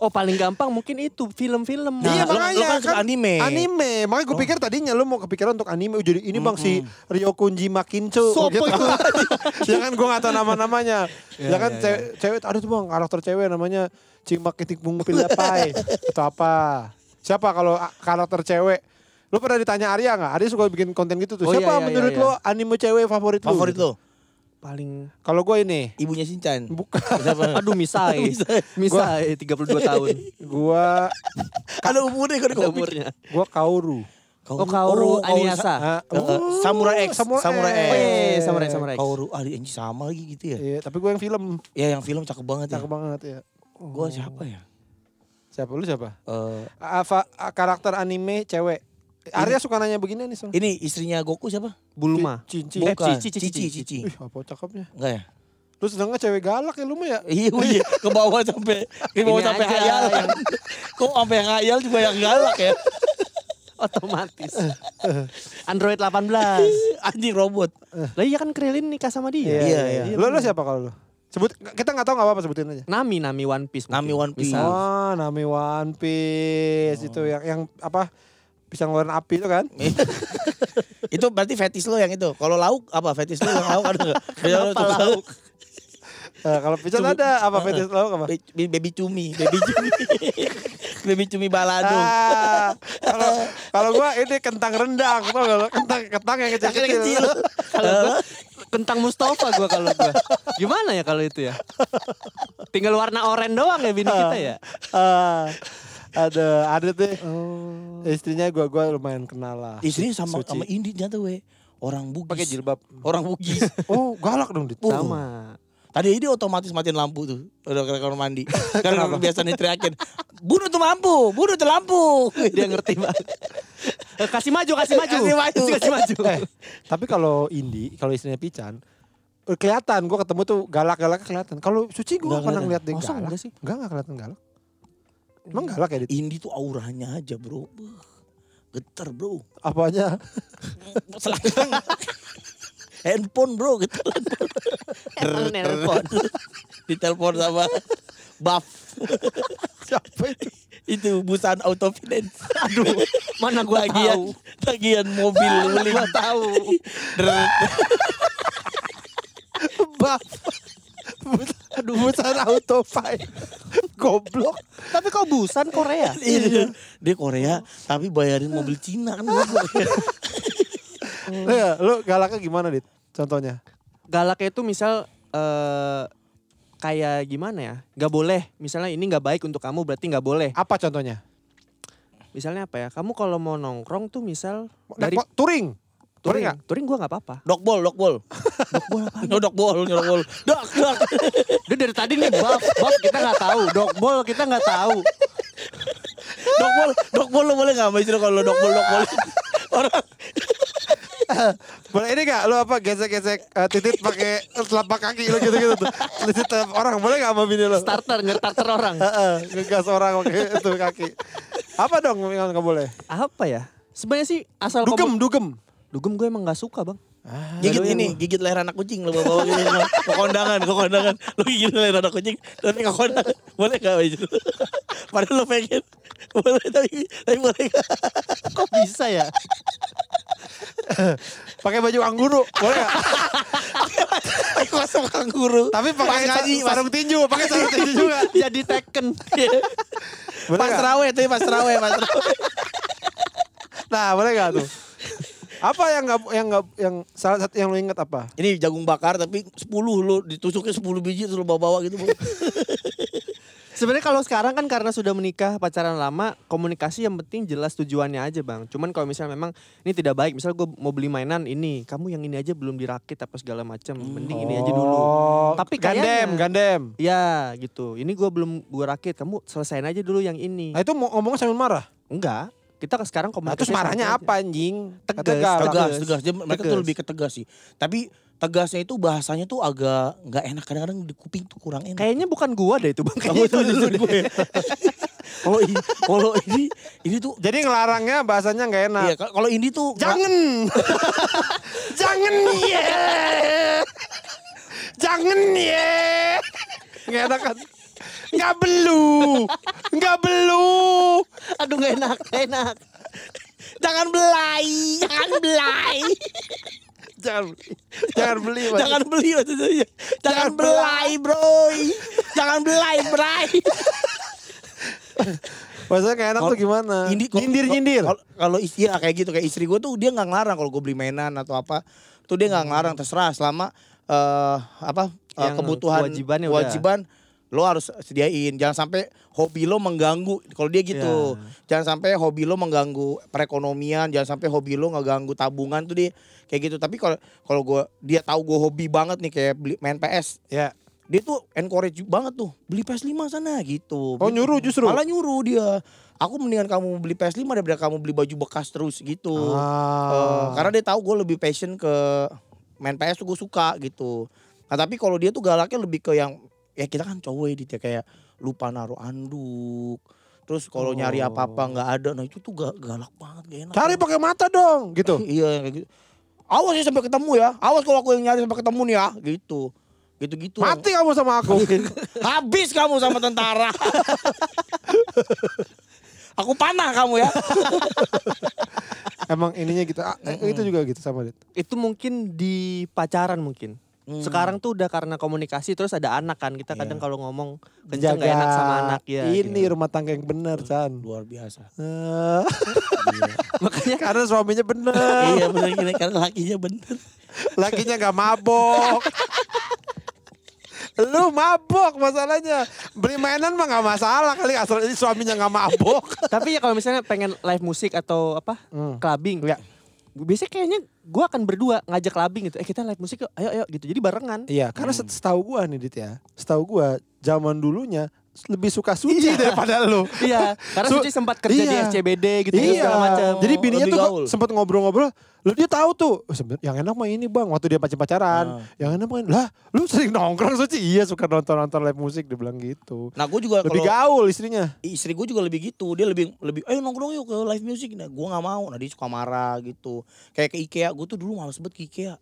Speaker 3: Oh paling gampang mungkin itu film-film.
Speaker 2: Nah,
Speaker 1: iya
Speaker 2: lo-
Speaker 1: makanya
Speaker 2: lo kan suka anime.
Speaker 1: Anime. Makanya gue pikir tadinya lu mau kepikiran untuk anime. Oh, Jadi ini bang si gitu. Ryo Kunji Makincho.
Speaker 3: Sopo itu?
Speaker 1: Jangan gue gak tau nama-namanya.
Speaker 3: Iya,
Speaker 1: ya kan
Speaker 3: iya,
Speaker 1: cewek, cewek, ada tuh bang karakter cewek namanya Cima Kitik Bung Pilapai. Atau apa. Siapa kalau a- karakter cewek. Lu pernah ditanya Arya gak? Arya suka bikin konten gitu tuh.
Speaker 3: Oh,
Speaker 1: Siapa
Speaker 3: iya, iya,
Speaker 1: menurut
Speaker 3: iya,
Speaker 1: lo anime cewek favorit,
Speaker 2: Favorit
Speaker 1: lu?
Speaker 2: lo?
Speaker 3: Paling
Speaker 1: Kalau gue ini.
Speaker 2: Ibunya Sinchan.
Speaker 1: Bukan.
Speaker 3: aduh misai. misai 32 tahun
Speaker 1: Gue
Speaker 2: Kalau umurnya kan
Speaker 3: umurnya.
Speaker 1: Gua Kaoru.
Speaker 3: Oh, Kaoru
Speaker 1: Ah,
Speaker 3: Aniyasa.
Speaker 2: Eh, eh,
Speaker 1: oh,
Speaker 2: Samurai X,
Speaker 1: Samurai X.
Speaker 2: Samurai X.
Speaker 3: Oh, iya, iya, iya, Samurai, Samurai X.
Speaker 2: Kaoru, ah ini sama lagi gitu ya.
Speaker 1: Iya, tapi gue yang film
Speaker 2: Ya yang film cakep banget ya.
Speaker 1: cakep banget ya.
Speaker 2: Gue siapa ya?
Speaker 1: Siapa lu siapa?
Speaker 2: Eh,
Speaker 1: Apa a- karakter anime cewek? Arya suka nanya begini nih, Song.
Speaker 2: Eh, ini istrinya Goku siapa?
Speaker 3: Bulma.
Speaker 1: Cici.
Speaker 3: Eh,
Speaker 2: Bukan.
Speaker 3: Cici,
Speaker 2: Cici,
Speaker 3: Cici,
Speaker 2: Cici,
Speaker 3: Cici.
Speaker 2: Cici.
Speaker 1: Ih, apa cakepnya?
Speaker 2: Enggak ya?
Speaker 1: Lu sedangnya cewek galak ya lu mah ya.
Speaker 2: Iya, iya. Ke bawah sampai ke bawah
Speaker 3: Ini
Speaker 2: sampai
Speaker 3: aja
Speaker 2: hayal.
Speaker 3: yang-
Speaker 2: Kok sampai yang hayal juga yang galak ya?
Speaker 3: Otomatis. Android 18.
Speaker 2: Anjing robot.
Speaker 3: Lah iya kan Krillin nikah sama dia.
Speaker 2: Iya, iya.
Speaker 1: Lu lu siapa kalau lu? Sebut kita nggak tahu nggak apa-apa sebutin aja.
Speaker 3: Nami, Nami One Piece.
Speaker 2: Nami One
Speaker 3: mungkin.
Speaker 2: Piece.
Speaker 3: Misal.
Speaker 1: Oh, Nami One Piece itu yang yang apa? Pisang warna api itu kan?
Speaker 2: itu berarti fetis lo yang itu. Kalau lauk apa fetis lo yang lauk ada enggak?
Speaker 3: Kenapa lauk?
Speaker 1: Eh, kalau pisan ada apa fetis lo apa?
Speaker 2: Be- Baby cumi, baby cumi. baby cumi balado.
Speaker 1: Ah, Kalau kalau gua ini kentang rendang, tau gak lo? Kentang kentang yang
Speaker 2: Yang
Speaker 1: kecil-kecil.
Speaker 2: kecil.
Speaker 3: Kalau gua kentang Mustafa gua kalau gua. Gimana ya kalau itu ya? Tinggal warna oranye doang ya bini kita ya.
Speaker 1: Ah, ada ada tuh. Istrinya gua gua lumayan kenal lah.
Speaker 2: Istrinya sama
Speaker 1: Suci.
Speaker 2: sama Indi ternyata we. Orang Bugis.
Speaker 1: pakai jilbab.
Speaker 2: Orang Bugis.
Speaker 1: Oh, galak dong dit.
Speaker 3: Sama.
Speaker 2: Tadi ini otomatis matiin lampu tuh. Udah ke kamar mandi. Karena kebiasaan diteriakin. Bunuh tuh lampu, bunuh tuh lampu.
Speaker 3: Dia ngerti banget. Eh, Kasih maju, kasih maju.
Speaker 2: Kasih maju.
Speaker 3: kasih maju.
Speaker 1: Eh, tapi kalau Indi, kalau istrinya Pican, eh, kelihatan gua ketemu tuh galak-galaknya kelihatan. Kalau Suci gua
Speaker 2: Nggak
Speaker 1: pernah
Speaker 2: kelihatan.
Speaker 1: ngeliat dia
Speaker 3: Masa
Speaker 1: galak.
Speaker 3: enggak sih?
Speaker 1: Enggak, enggak kelihatan galak. Emang galak ya dit?
Speaker 2: Indi tuh auranya aja bro. Beuh, Getar bro.
Speaker 1: Apanya?
Speaker 2: Selangkang. Handphone bro getar.
Speaker 3: Emang nelpon.
Speaker 2: Ditelepon sama Buff.
Speaker 1: Siapa itu?
Speaker 2: itu busan auto finance. Aduh,
Speaker 3: Mana gua
Speaker 2: tagihan,
Speaker 3: tahu.
Speaker 2: tagihan mobil beli.
Speaker 3: Gua tahu.
Speaker 1: Buff. Aduh, busan autofire. Goblok.
Speaker 3: Tapi kau busan Korea.
Speaker 2: Iya, dia Korea tapi bayarin mobil Cina kan goblok.
Speaker 1: Lu, ya, lu galaknya gimana, Dit? Contohnya.
Speaker 3: galaknya itu misal eh kayak gimana ya? Gak boleh. Misalnya ini gak baik untuk kamu berarti gak boleh.
Speaker 1: Apa contohnya?
Speaker 3: Misalnya apa ya? Kamu kalau mau nongkrong tuh misal dari
Speaker 1: Dari... Touring. Touring
Speaker 3: touring,
Speaker 1: nggak?
Speaker 3: touring gue nggak apa-apa.
Speaker 2: Dokbol, dokbol. Dokbol apa? Nyodokbol, nyodokbol. Dok, dok.
Speaker 3: Dia dari tadi nih buff, buff kita nggak tahu, dogbol kita nggak tahu.
Speaker 2: Dokbol, dokbol lo boleh gak sama istri kalau lo dokbol, dokbol. Orang
Speaker 1: Boleh ini gak lu apa gesek-gesek eh, titit pakai telapak kaki lu gitu-gitu tuh. Titit telapak orang boleh gak sama bini lu?
Speaker 3: Starter, nge-starter orang.
Speaker 1: Heeh, ngegas orang pakai itu kaki. Apa dong yang nggak boleh?
Speaker 3: Apa ya? Sebenarnya sih asal
Speaker 1: Dugem,
Speaker 3: kamu-
Speaker 1: dugem.
Speaker 3: dugem gue emang nggak suka bang. Ah.
Speaker 2: gigit ini, gigit leher anak kucing lo bawa gitu. Ke kondangan, ke kondangan. Lo gigit leher anak kucing tapi ke kondangan. Boleh gak sama istri? Padahal lo pengen. Boleh tapi tapi boleh gak?
Speaker 3: Kok bisa ya?
Speaker 1: Pakai baju angguru, boleh gak?
Speaker 2: Pakai kosong kanguru.
Speaker 1: Tapi pakai
Speaker 2: Pas ngaji,
Speaker 1: sa- sarung tinju, pakai sarung tinju juga.
Speaker 3: Jadi Tekken.
Speaker 1: Boleh
Speaker 2: pas
Speaker 1: nggak?
Speaker 2: rawe tapi pas rawe, pas rawe.
Speaker 1: Nah, boleh gak tuh? Apa yang nggak yang nggak yang salah satu yang lu inget apa?
Speaker 2: Ini jagung bakar tapi 10 lo ditusuknya 10 biji terus lo bawa-bawa gitu.
Speaker 3: Sebenarnya kalau sekarang kan karena sudah menikah pacaran lama komunikasi yang penting jelas tujuannya aja bang. Cuman kalau misalnya memang ini tidak baik, misal gue mau beli mainan ini, kamu yang ini aja belum dirakit apa segala macam, mending ini aja dulu.
Speaker 1: Oh,
Speaker 3: Tapi
Speaker 1: gandem,
Speaker 3: kayaknya-
Speaker 1: gandem.
Speaker 3: Ya gitu, ini gue belum gue rakit, kamu selesain aja dulu yang ini.
Speaker 1: Nah itu mau ngomong sambil marah.
Speaker 3: Enggak, kita ke sekarang
Speaker 1: Nah,
Speaker 3: komunikasi.
Speaker 1: terus marahnya
Speaker 3: santai aja.
Speaker 1: apa anjing?
Speaker 3: Tegas,
Speaker 1: Tegas.
Speaker 2: tegas,
Speaker 3: tegas.
Speaker 2: tegas. Dia- mereka tuh
Speaker 3: Tegas.
Speaker 2: lebih ke tegas sih. Tapi tegasnya itu bahasanya tuh agak nggak enak kadang-kadang di kuping tuh kurang enak.
Speaker 3: Kayaknya bukan gua deh itu bang.
Speaker 1: Oh,
Speaker 2: kamu
Speaker 3: Kayaknya
Speaker 2: tuh
Speaker 3: itu
Speaker 2: dulu
Speaker 3: dulu
Speaker 2: gue.
Speaker 3: deh.
Speaker 1: ya?
Speaker 2: Kalau ini, kalau ini, ini tuh
Speaker 1: Jadi ngelarangnya bahasanya nggak enak.
Speaker 2: Iya, kalau ini tuh
Speaker 1: Nah, Jangan. Jangan ya. Jangan ya. Nggak enak kan? Nggak belu. Nggak belu.
Speaker 3: Aduh gak enak, gak enak.
Speaker 2: jangan belai, jangan belai.
Speaker 1: Jangan beli. Jangan beli. Mas.
Speaker 2: jangan beli maksudnya. Jangan, belai, bro. Jangan belai, bray.
Speaker 1: Bahasanya nggak enak
Speaker 2: Kalau-
Speaker 1: tuh gimana?
Speaker 2: Ini kok-
Speaker 1: nyindir nyindir.
Speaker 2: kalau- Kalau istri ya kayak gitu kayak istri gue tuh dia nggak ngelarang kalau gue beli mainan atau apa, tuh dia nggak ngelarang terserah selama eh apa eh,
Speaker 3: Yang
Speaker 2: kebutuhan
Speaker 3: kewajibannya udah.
Speaker 2: kewajiban lo harus sediain jangan sampai hobi lo mengganggu kalau dia gitu
Speaker 1: Iya.
Speaker 2: jangan sampai hobi lo mengganggu perekonomian jangan sampai hobi lo ngeganggu tabungan tuh dia kayak gitu tapi kalau kalau gue dia tahu gue hobi banget nih kayak beli, main PS
Speaker 1: Ya.
Speaker 2: dia tuh encourage banget tuh beli PS5 sana gitu.
Speaker 1: Oh, nyuruh justru?
Speaker 2: Malah nyuruh dia. Aku mendingan kamu beli PS5 daripada kamu beli baju bekas terus gitu. Eh,
Speaker 1: Ah.
Speaker 2: karena dia tahu gue lebih passion ke main PS tuh gue suka gitu. Nah tapi kalau dia tuh galaknya lebih ke yang ya kita kan cowok ya Dit, ya kayak lupa naruh anduk. Terus kalau nyari
Speaker 3: Oh.
Speaker 2: apa-apa nggak ada. Nah itu tuh ga- galak banget gak enak.
Speaker 1: cari pakai mata dong gitu.
Speaker 2: Iya yang kayak gitu. Awas ya sampai ketemu ya. Awas kalau aku yang nyari sampai ketemu nih ya gitu. Gitu-gitu.
Speaker 1: Mati kamu sama aku.
Speaker 2: Habis kamu sama tentara. Aku panah kamu ya.
Speaker 1: Emang ininya gitu. Ah, eh, itu juga gitu sama Dit.
Speaker 3: Itu mungkin di pacaran mungkin.
Speaker 2: Hmm.
Speaker 3: Sekarang tuh udah karena komunikasi terus ada anak kan. Kita kadang kalau ngomong
Speaker 1: Iya.
Speaker 3: kenceng
Speaker 1: Jaga
Speaker 3: gak enak sama anak
Speaker 2: iya,
Speaker 3: ya.
Speaker 1: Ini
Speaker 3: gitu.
Speaker 1: rumah tangga yang benar, San.
Speaker 2: Luar biasa.
Speaker 1: Eh,
Speaker 3: Makanya
Speaker 1: karena suaminya benar,
Speaker 2: iya bener gini karena lakinya bener.
Speaker 1: lakinya nggak mabok. Lu mabok masalahnya. Beli mainan mah nggak masalah kali asal ini suaminya nggak mabok.
Speaker 3: Tapi ya kalau misalnya pengen live musik atau apa
Speaker 1: Hmm.
Speaker 3: clubbing,
Speaker 1: Iya.
Speaker 3: biasanya kayaknya gue akan berdua ngajak clubbing gitu. Eh kita live musik yuk, ayo ayo gitu. Jadi barengan.
Speaker 1: Iya, karena set- setahu gua nih Dit ya. Setahu gua zaman dulunya lebih suka suci daripada lu.
Speaker 3: iya, karena
Speaker 1: Su-
Speaker 3: Suci sempat kerja di
Speaker 1: iya.
Speaker 3: SCBD gitu
Speaker 1: iya.
Speaker 3: segala macam.
Speaker 1: Jadi bininya tuh
Speaker 2: lebih gaul.
Speaker 1: sempat ngobrol-ngobrol, lu dia tahu tuh, "Eh, sebenernya yang enak mah ini bang, waktu dia pacar pacaran, yang enak mah ini." lah, lu sering nongkrong suci, iya suka nonton-nonton live musik, dia bilang gitu.
Speaker 2: Nah gue juga
Speaker 1: Lebih
Speaker 2: kalau
Speaker 1: gaul istrinya.
Speaker 2: istri gue juga lebih gitu. Dia lebih lebih ayo nongkrong yuk ke live music. Nah gue gak mau. Nah dia suka marah gitu. Kayak ke Ikea. Gue tuh dulu males banget ke Ikea.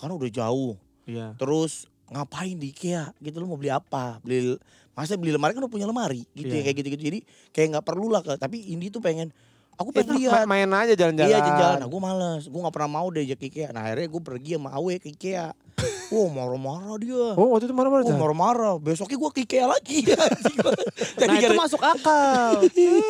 Speaker 2: Karena udah jauh.
Speaker 3: Iya.
Speaker 2: Terus ngapain di IKEA gitu lu mau beli apa beli masa beli lemari kan lu punya lemari gitu ya
Speaker 3: Iya.
Speaker 2: kayak gitu gitu jadi kayak nggak perlu lah ke- tapi Indi tuh pengen aku
Speaker 1: Iya,
Speaker 2: pengen lihat
Speaker 1: ma- main aja jalan-jalan.
Speaker 2: Iya jalan-jalan. Nah, gue males. Gue gak pernah mau diajak ke IKEA. Nah akhirnya gue pergi sama Awe ke IKEA. Wah marah-marah dia.
Speaker 1: Oh waktu itu marah-marah
Speaker 2: Wah
Speaker 1: Jan?
Speaker 2: marah-marah. Besoknya gue ke IKEA lagi. Jadi
Speaker 3: nah itu
Speaker 2: gara-
Speaker 3: masuk akal.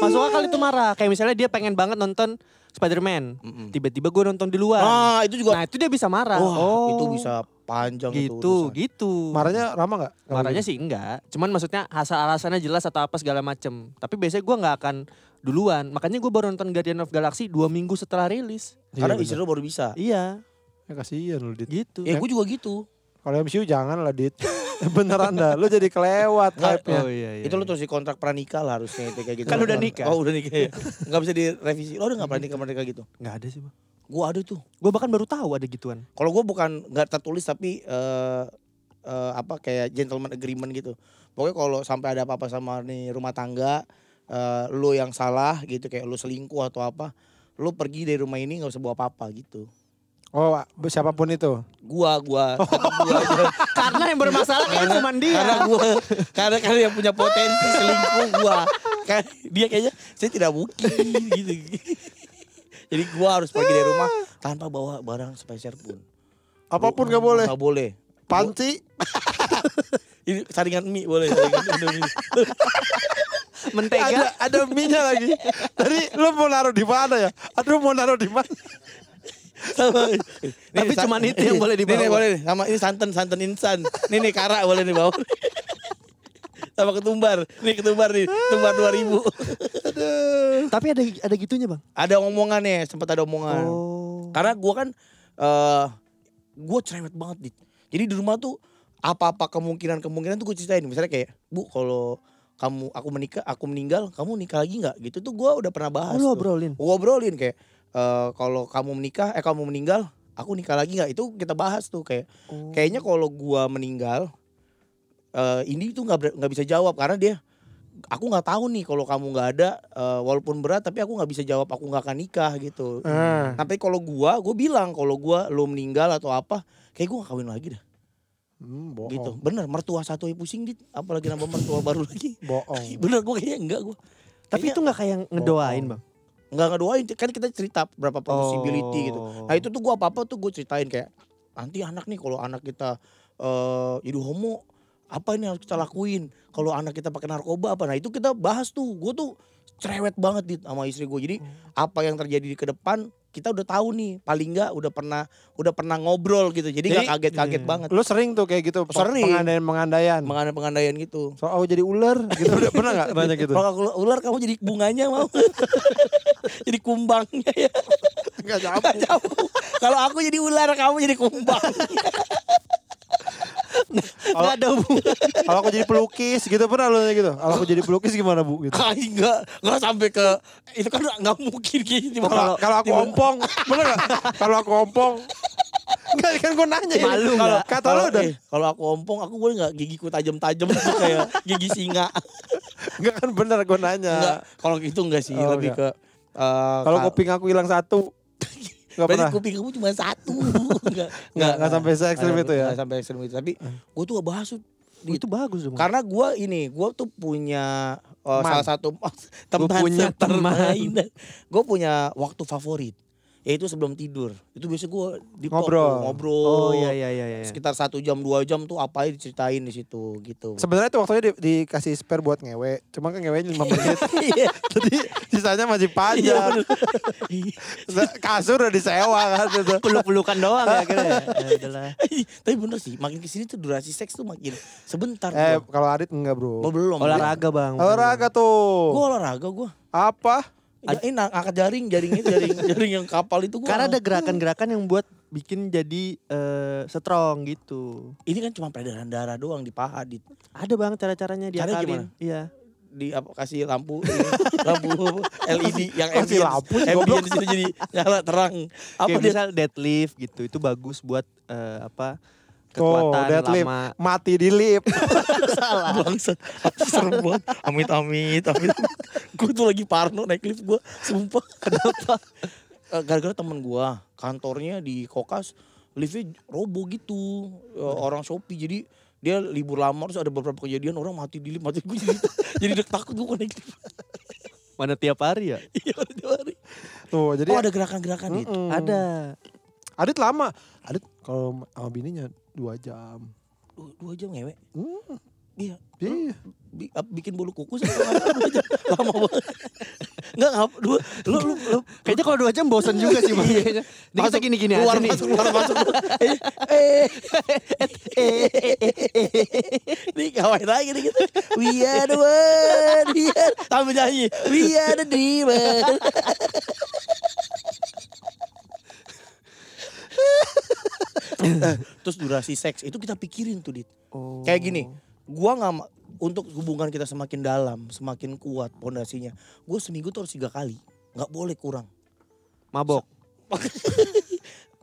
Speaker 3: masuk akal itu marah. Kayak misalnya dia pengen banget nonton Spider-Man.
Speaker 2: Mm-mm.
Speaker 3: Tiba-tiba gue nonton di luar.
Speaker 2: Nah itu juga.
Speaker 3: Nah itu dia bisa marah.
Speaker 2: Wah,
Speaker 3: oh,
Speaker 2: itu bisa panjang itu.
Speaker 3: gitu
Speaker 2: urusan.
Speaker 3: gitu.
Speaker 1: Marahnya lama gak?
Speaker 3: Marahnya sih enggak. Cuman maksudnya asal alasannya jelas atau apa segala macem. Tapi biasanya gue nggak akan duluan. Makanya gue baru nonton Guardian of Galaxy dua minggu setelah rilis.
Speaker 2: Karena
Speaker 1: Iya,
Speaker 2: istri lu baru bisa.
Speaker 3: Iya,
Speaker 1: Ya kasihan lu Dit.
Speaker 3: gitu.
Speaker 2: Ya gue juga gitu.
Speaker 1: Kalau MCU jangan lah Dit. Beneran dah, lu jadi kelewat
Speaker 2: Nggak,
Speaker 1: hype-nya.
Speaker 3: iya,
Speaker 2: Itu lu terus di kontrak pranikah lah harusnya itu kayak gitu.
Speaker 3: Kan udah nikah.
Speaker 2: Oh udah nikah ya. Gak bisa direvisi. Lo udah gak pranikah pranikah gitu.
Speaker 3: nggak ada sih, bang.
Speaker 2: Gue ada tuh.
Speaker 3: Gue bahkan baru tahu ada gituan.
Speaker 2: Kalau gue bukan nggak tertulis tapi eh eh, apa kayak gentleman agreement gitu. Pokoknya kalau sampai ada apa-apa sama nih rumah tangga, eh lu yang salah gitu kayak lu selingkuh atau apa, lu pergi dari rumah ini nggak usah bawa apa-apa gitu.
Speaker 1: Oh siapapun itu.
Speaker 2: Gua gua gua aja.
Speaker 3: Karena yang bermasalah kan cuma
Speaker 2: karena
Speaker 3: dia.
Speaker 2: gua karena karena yang punya potensi selingkuh gua. Kan dia kayaknya saya tidak mungkin gitu. Jadi gua harus pergi dari rumah tanpa bawa barang sepeser pun.
Speaker 1: Apapun gak boleh.
Speaker 2: Gak boleh.
Speaker 1: Panci.
Speaker 2: Ini saringan mie boleh. Saringan Indomie.
Speaker 1: ada
Speaker 3: Mentega.
Speaker 1: ada minyak lagi. Tadi lu mau naruh di mana ya? Aduh mau naruh di mana?
Speaker 2: Sama-
Speaker 3: Tapi
Speaker 2: sa- Iya.
Speaker 3: cuman itu yang boleh dibawa.
Speaker 2: Ini nih, boleh nih. Sama ini santan santan insan. Ini nih kara boleh dibawa. Sama ketumbar. Nih ketumbar nih, ketumbar 2000.
Speaker 3: Tapi ada ada gitunya, Bang.
Speaker 2: ada omongannya, sempat ada omongan.
Speaker 3: Oh.
Speaker 2: Karena gua kan eh gua cerewet banget, Dit. Jadi di rumah tuh apa-apa kemungkinan-kemungkinan tuh gue ceritain. Misalnya kayak, "Bu, kalau kamu aku menikah, aku meninggal, kamu nikah lagi nggak?" Gitu tuh gua udah pernah bahas.
Speaker 3: Oh, lu
Speaker 2: tuh.
Speaker 3: obrolin.
Speaker 2: Gua obrolin kayak eh kalau kamu menikah eh kamu meninggal aku nikah lagi nggak itu kita bahas tuh kayak
Speaker 3: Oh.
Speaker 2: kayaknya kalau gua meninggal eh ini tuh nggak ber- nggak bisa jawab karena dia aku nggak tahu nih kalau kamu nggak ada eh, walaupun berat tapi aku nggak bisa jawab aku nggak akan nikah gitu
Speaker 1: Ah.
Speaker 2: tapi kalau gua gua bilang kalau gua lo meninggal atau apa kayak gua gak kawin lagi dah
Speaker 1: Hmm, bohong.
Speaker 3: Oh.
Speaker 2: gitu bener mertua satu aja pusing dit apalagi nambah mertua baru lagi
Speaker 1: Bohong.
Speaker 2: bener gua kayaknya enggak gua
Speaker 3: Oh. Tapi itu nggak
Speaker 2: Oh,
Speaker 3: kayak ngedoain, Bang.
Speaker 2: nggak ngedoain kan kita cerita berapa possibility
Speaker 3: Oh.
Speaker 2: gitu Nah itu tuh gue apa-apa tuh gue ceritain kayak nanti anak nih kalau anak kita eh jadi homo apa ini harus kita lakuin kalau anak kita pakai narkoba apa nah itu kita bahas tuh gue tuh cerewet banget dit sama istri gue jadi apa yang terjadi di ke depan kita udah tahu nih paling nggak udah pernah udah pernah ngobrol gitu jadi nggak
Speaker 1: Jadi,
Speaker 2: kaget-kaget banget
Speaker 1: Lu sering tuh kayak gitu
Speaker 2: Sering.
Speaker 1: pengandaian-pengandaian.
Speaker 2: mengandai pengandaian gitu
Speaker 1: So, oh jadi ular gitu. Udah pernah gak banyak gitu?
Speaker 2: kalau aku ular kamu jadi bunganya mau jadi kumbangnya ya
Speaker 1: Enggak
Speaker 2: Nggak jauh. kalau aku jadi ular kamu jadi kumbang
Speaker 3: Nggak ada hubungan.
Speaker 1: Kalau aku jadi pelukis gitu pernah lu nanya gitu. Kalau aku jadi pelukis gimana Bu gitu.
Speaker 2: Ay, nggak nggak sampai ke itu kan nggak mungkin gitu
Speaker 1: Kalau kalau aku ompong, bener gak? Kalau aku ompong. Enggak kan gue nanya.
Speaker 3: Malu
Speaker 1: Kalau
Speaker 3: nggak?
Speaker 1: kata lu udah
Speaker 2: eh, kalau aku ompong aku boleh nggak gigiku tajam-tajam gitu kayak gigi singa
Speaker 1: enggak kan bener gue nanya.
Speaker 2: Enggak, kalau itu enggak sih,
Speaker 1: Oh,
Speaker 2: lebih ke eh,
Speaker 1: Kalau kuping aku hilang satu. Enggak
Speaker 2: berarti
Speaker 1: pernah.
Speaker 2: kuping kamu cuma satu. enggak,
Speaker 1: Enggak enggak sampai se ekstrim
Speaker 2: nggak
Speaker 1: itu ya.
Speaker 2: nggak sampai ekstrim itu, tapi gue tuh gak bahas tuh.
Speaker 3: Wih, Oh, itu bagus dong.
Speaker 2: Karena gue ini, gue tuh punya uh,
Speaker 1: Man.
Speaker 2: salah satu teman
Speaker 3: punya teman.
Speaker 2: Gue punya waktu favorit, yaitu sebelum tidur. Itu biasanya gue di
Speaker 1: Ngobrol.
Speaker 2: ngobrol.
Speaker 3: Oh iya iya iya. iya.
Speaker 2: Sekitar satu jam dua jam tuh apa diceritain di situ gitu.
Speaker 1: Sebenarnya tuh waktunya di- dikasih spare buat ngewe. Cuma kan ngewenya 5 menit.
Speaker 2: Iya.
Speaker 1: Jadi sisanya masih panjang. Iya. Kasur udah disewa kan itu.
Speaker 3: Peluk-pelukan doang ya akhirnya. Ya, udahlah.
Speaker 2: Eh, Tapi bener sih, makin kesini tuh durasi seks tuh makin sebentar.
Speaker 1: Eh
Speaker 2: gua.
Speaker 1: kalau Adit enggak bro.
Speaker 2: Oh, belum.
Speaker 3: Olahraga bang.
Speaker 1: Olahraga
Speaker 2: Gue
Speaker 1: tuh.
Speaker 2: olahraga gue.
Speaker 1: Apa?
Speaker 2: Ya, ini ang- angkat jaring, jaring itu jaring, jaring yang kapal itu gua.
Speaker 3: Karena ada gerakan-gerakan yang buat bikin jadi eh, strong gitu.
Speaker 2: ini kan cuma peredaran darah doang di paha di,
Speaker 3: Ada bang cara-caranya
Speaker 2: Caranya
Speaker 3: diakalin. Iya.
Speaker 2: di apa kasih lampu ini, lampu LED yang
Speaker 1: Kasih
Speaker 2: ambient,
Speaker 1: lampu,
Speaker 2: ambient di situ jadi nyala terang. Apa
Speaker 3: Kayak
Speaker 2: dia?
Speaker 3: misal deadlift gitu itu bagus buat eh, apa
Speaker 2: Oh,
Speaker 1: Tuh
Speaker 3: kekuatan
Speaker 1: Oh, deadlift.
Speaker 3: lama.
Speaker 1: Mati di lip.
Speaker 3: Salah.
Speaker 2: Bangsat, Apa serem banget. Amit amit amit. gue tuh lagi parno naik lift gue, sumpah. Kenapa? Eh, Gara-gara temen gue, kantornya di Kokas, liftnya robo gitu, Eh, orang Shopee jadi dia libur lama terus ada beberapa kejadian orang mati di lift mati gue jadi jadi deg takut gue naik lift
Speaker 3: Mana tiap hari ya?
Speaker 2: Iya, orang Jawa hari.
Speaker 1: Tuh jadi ya?
Speaker 2: Oh ada gerakan-gerakan itu.
Speaker 1: Mm-mm.
Speaker 3: Ada.
Speaker 1: Adit lama. Adit kalau sama bininya dua jam.
Speaker 2: Dua, Oh, dua jam ngewe.
Speaker 1: Hmm.
Speaker 2: Iya.
Speaker 1: Iya.
Speaker 2: Bi- ap- bikin bulu kuku sama dua jam. Lama banget. Enggak ngap dua. Lu lu, lu
Speaker 3: Kayaknya kalau dua jam bosan juga sih bang. Kayaknya. Ini kita
Speaker 2: Masuk,
Speaker 3: Iya. gini-gini
Speaker 2: keluar
Speaker 3: aja nih.
Speaker 2: masuk keluar masuk. Eh, eh, eh, eh, eh, eh. Nih ngapain lagi nih gitu. We are the one. We are sambil nyanyi. We are the demon. Eh, Terus durasi seks itu kita pikirin tuh dit.
Speaker 3: Oh.
Speaker 2: Kayak gini, gua nggak ma- untuk hubungan kita semakin dalam, semakin kuat pondasinya. Gue seminggu tuh harus tiga kali, nggak boleh kurang.
Speaker 3: Mabok.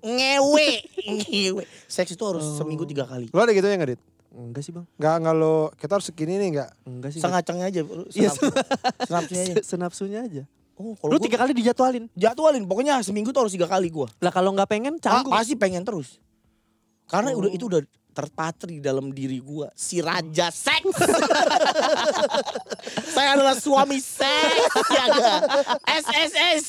Speaker 2: Ngewe, ngewe. Seks itu harus seminggu tiga kali.
Speaker 1: Lo ada gitu ya nggak Adit?
Speaker 3: Enggak sih bang.
Speaker 1: Nggak nggak lo kita harus segini nih nggak?
Speaker 3: Enggak sih.
Speaker 2: Sengacengnya aja, lu
Speaker 3: Iya,
Speaker 2: senap, senapnya aja.
Speaker 3: Se- Senapsunya aja.
Speaker 2: Oh, kalau
Speaker 3: Lu
Speaker 2: gua
Speaker 3: tiga kali dijadwalin.
Speaker 2: jadwalin, pokoknya seminggu tuh harus tiga kali gua.
Speaker 3: Lah kalau nggak pengen
Speaker 2: Ah,
Speaker 3: canggung.
Speaker 2: pasti pengen terus. Karena
Speaker 3: Oh.
Speaker 2: udah itu udah terpatri dalam diri gua si raja seks. Saya adalah suami seks, ya ga? SSS,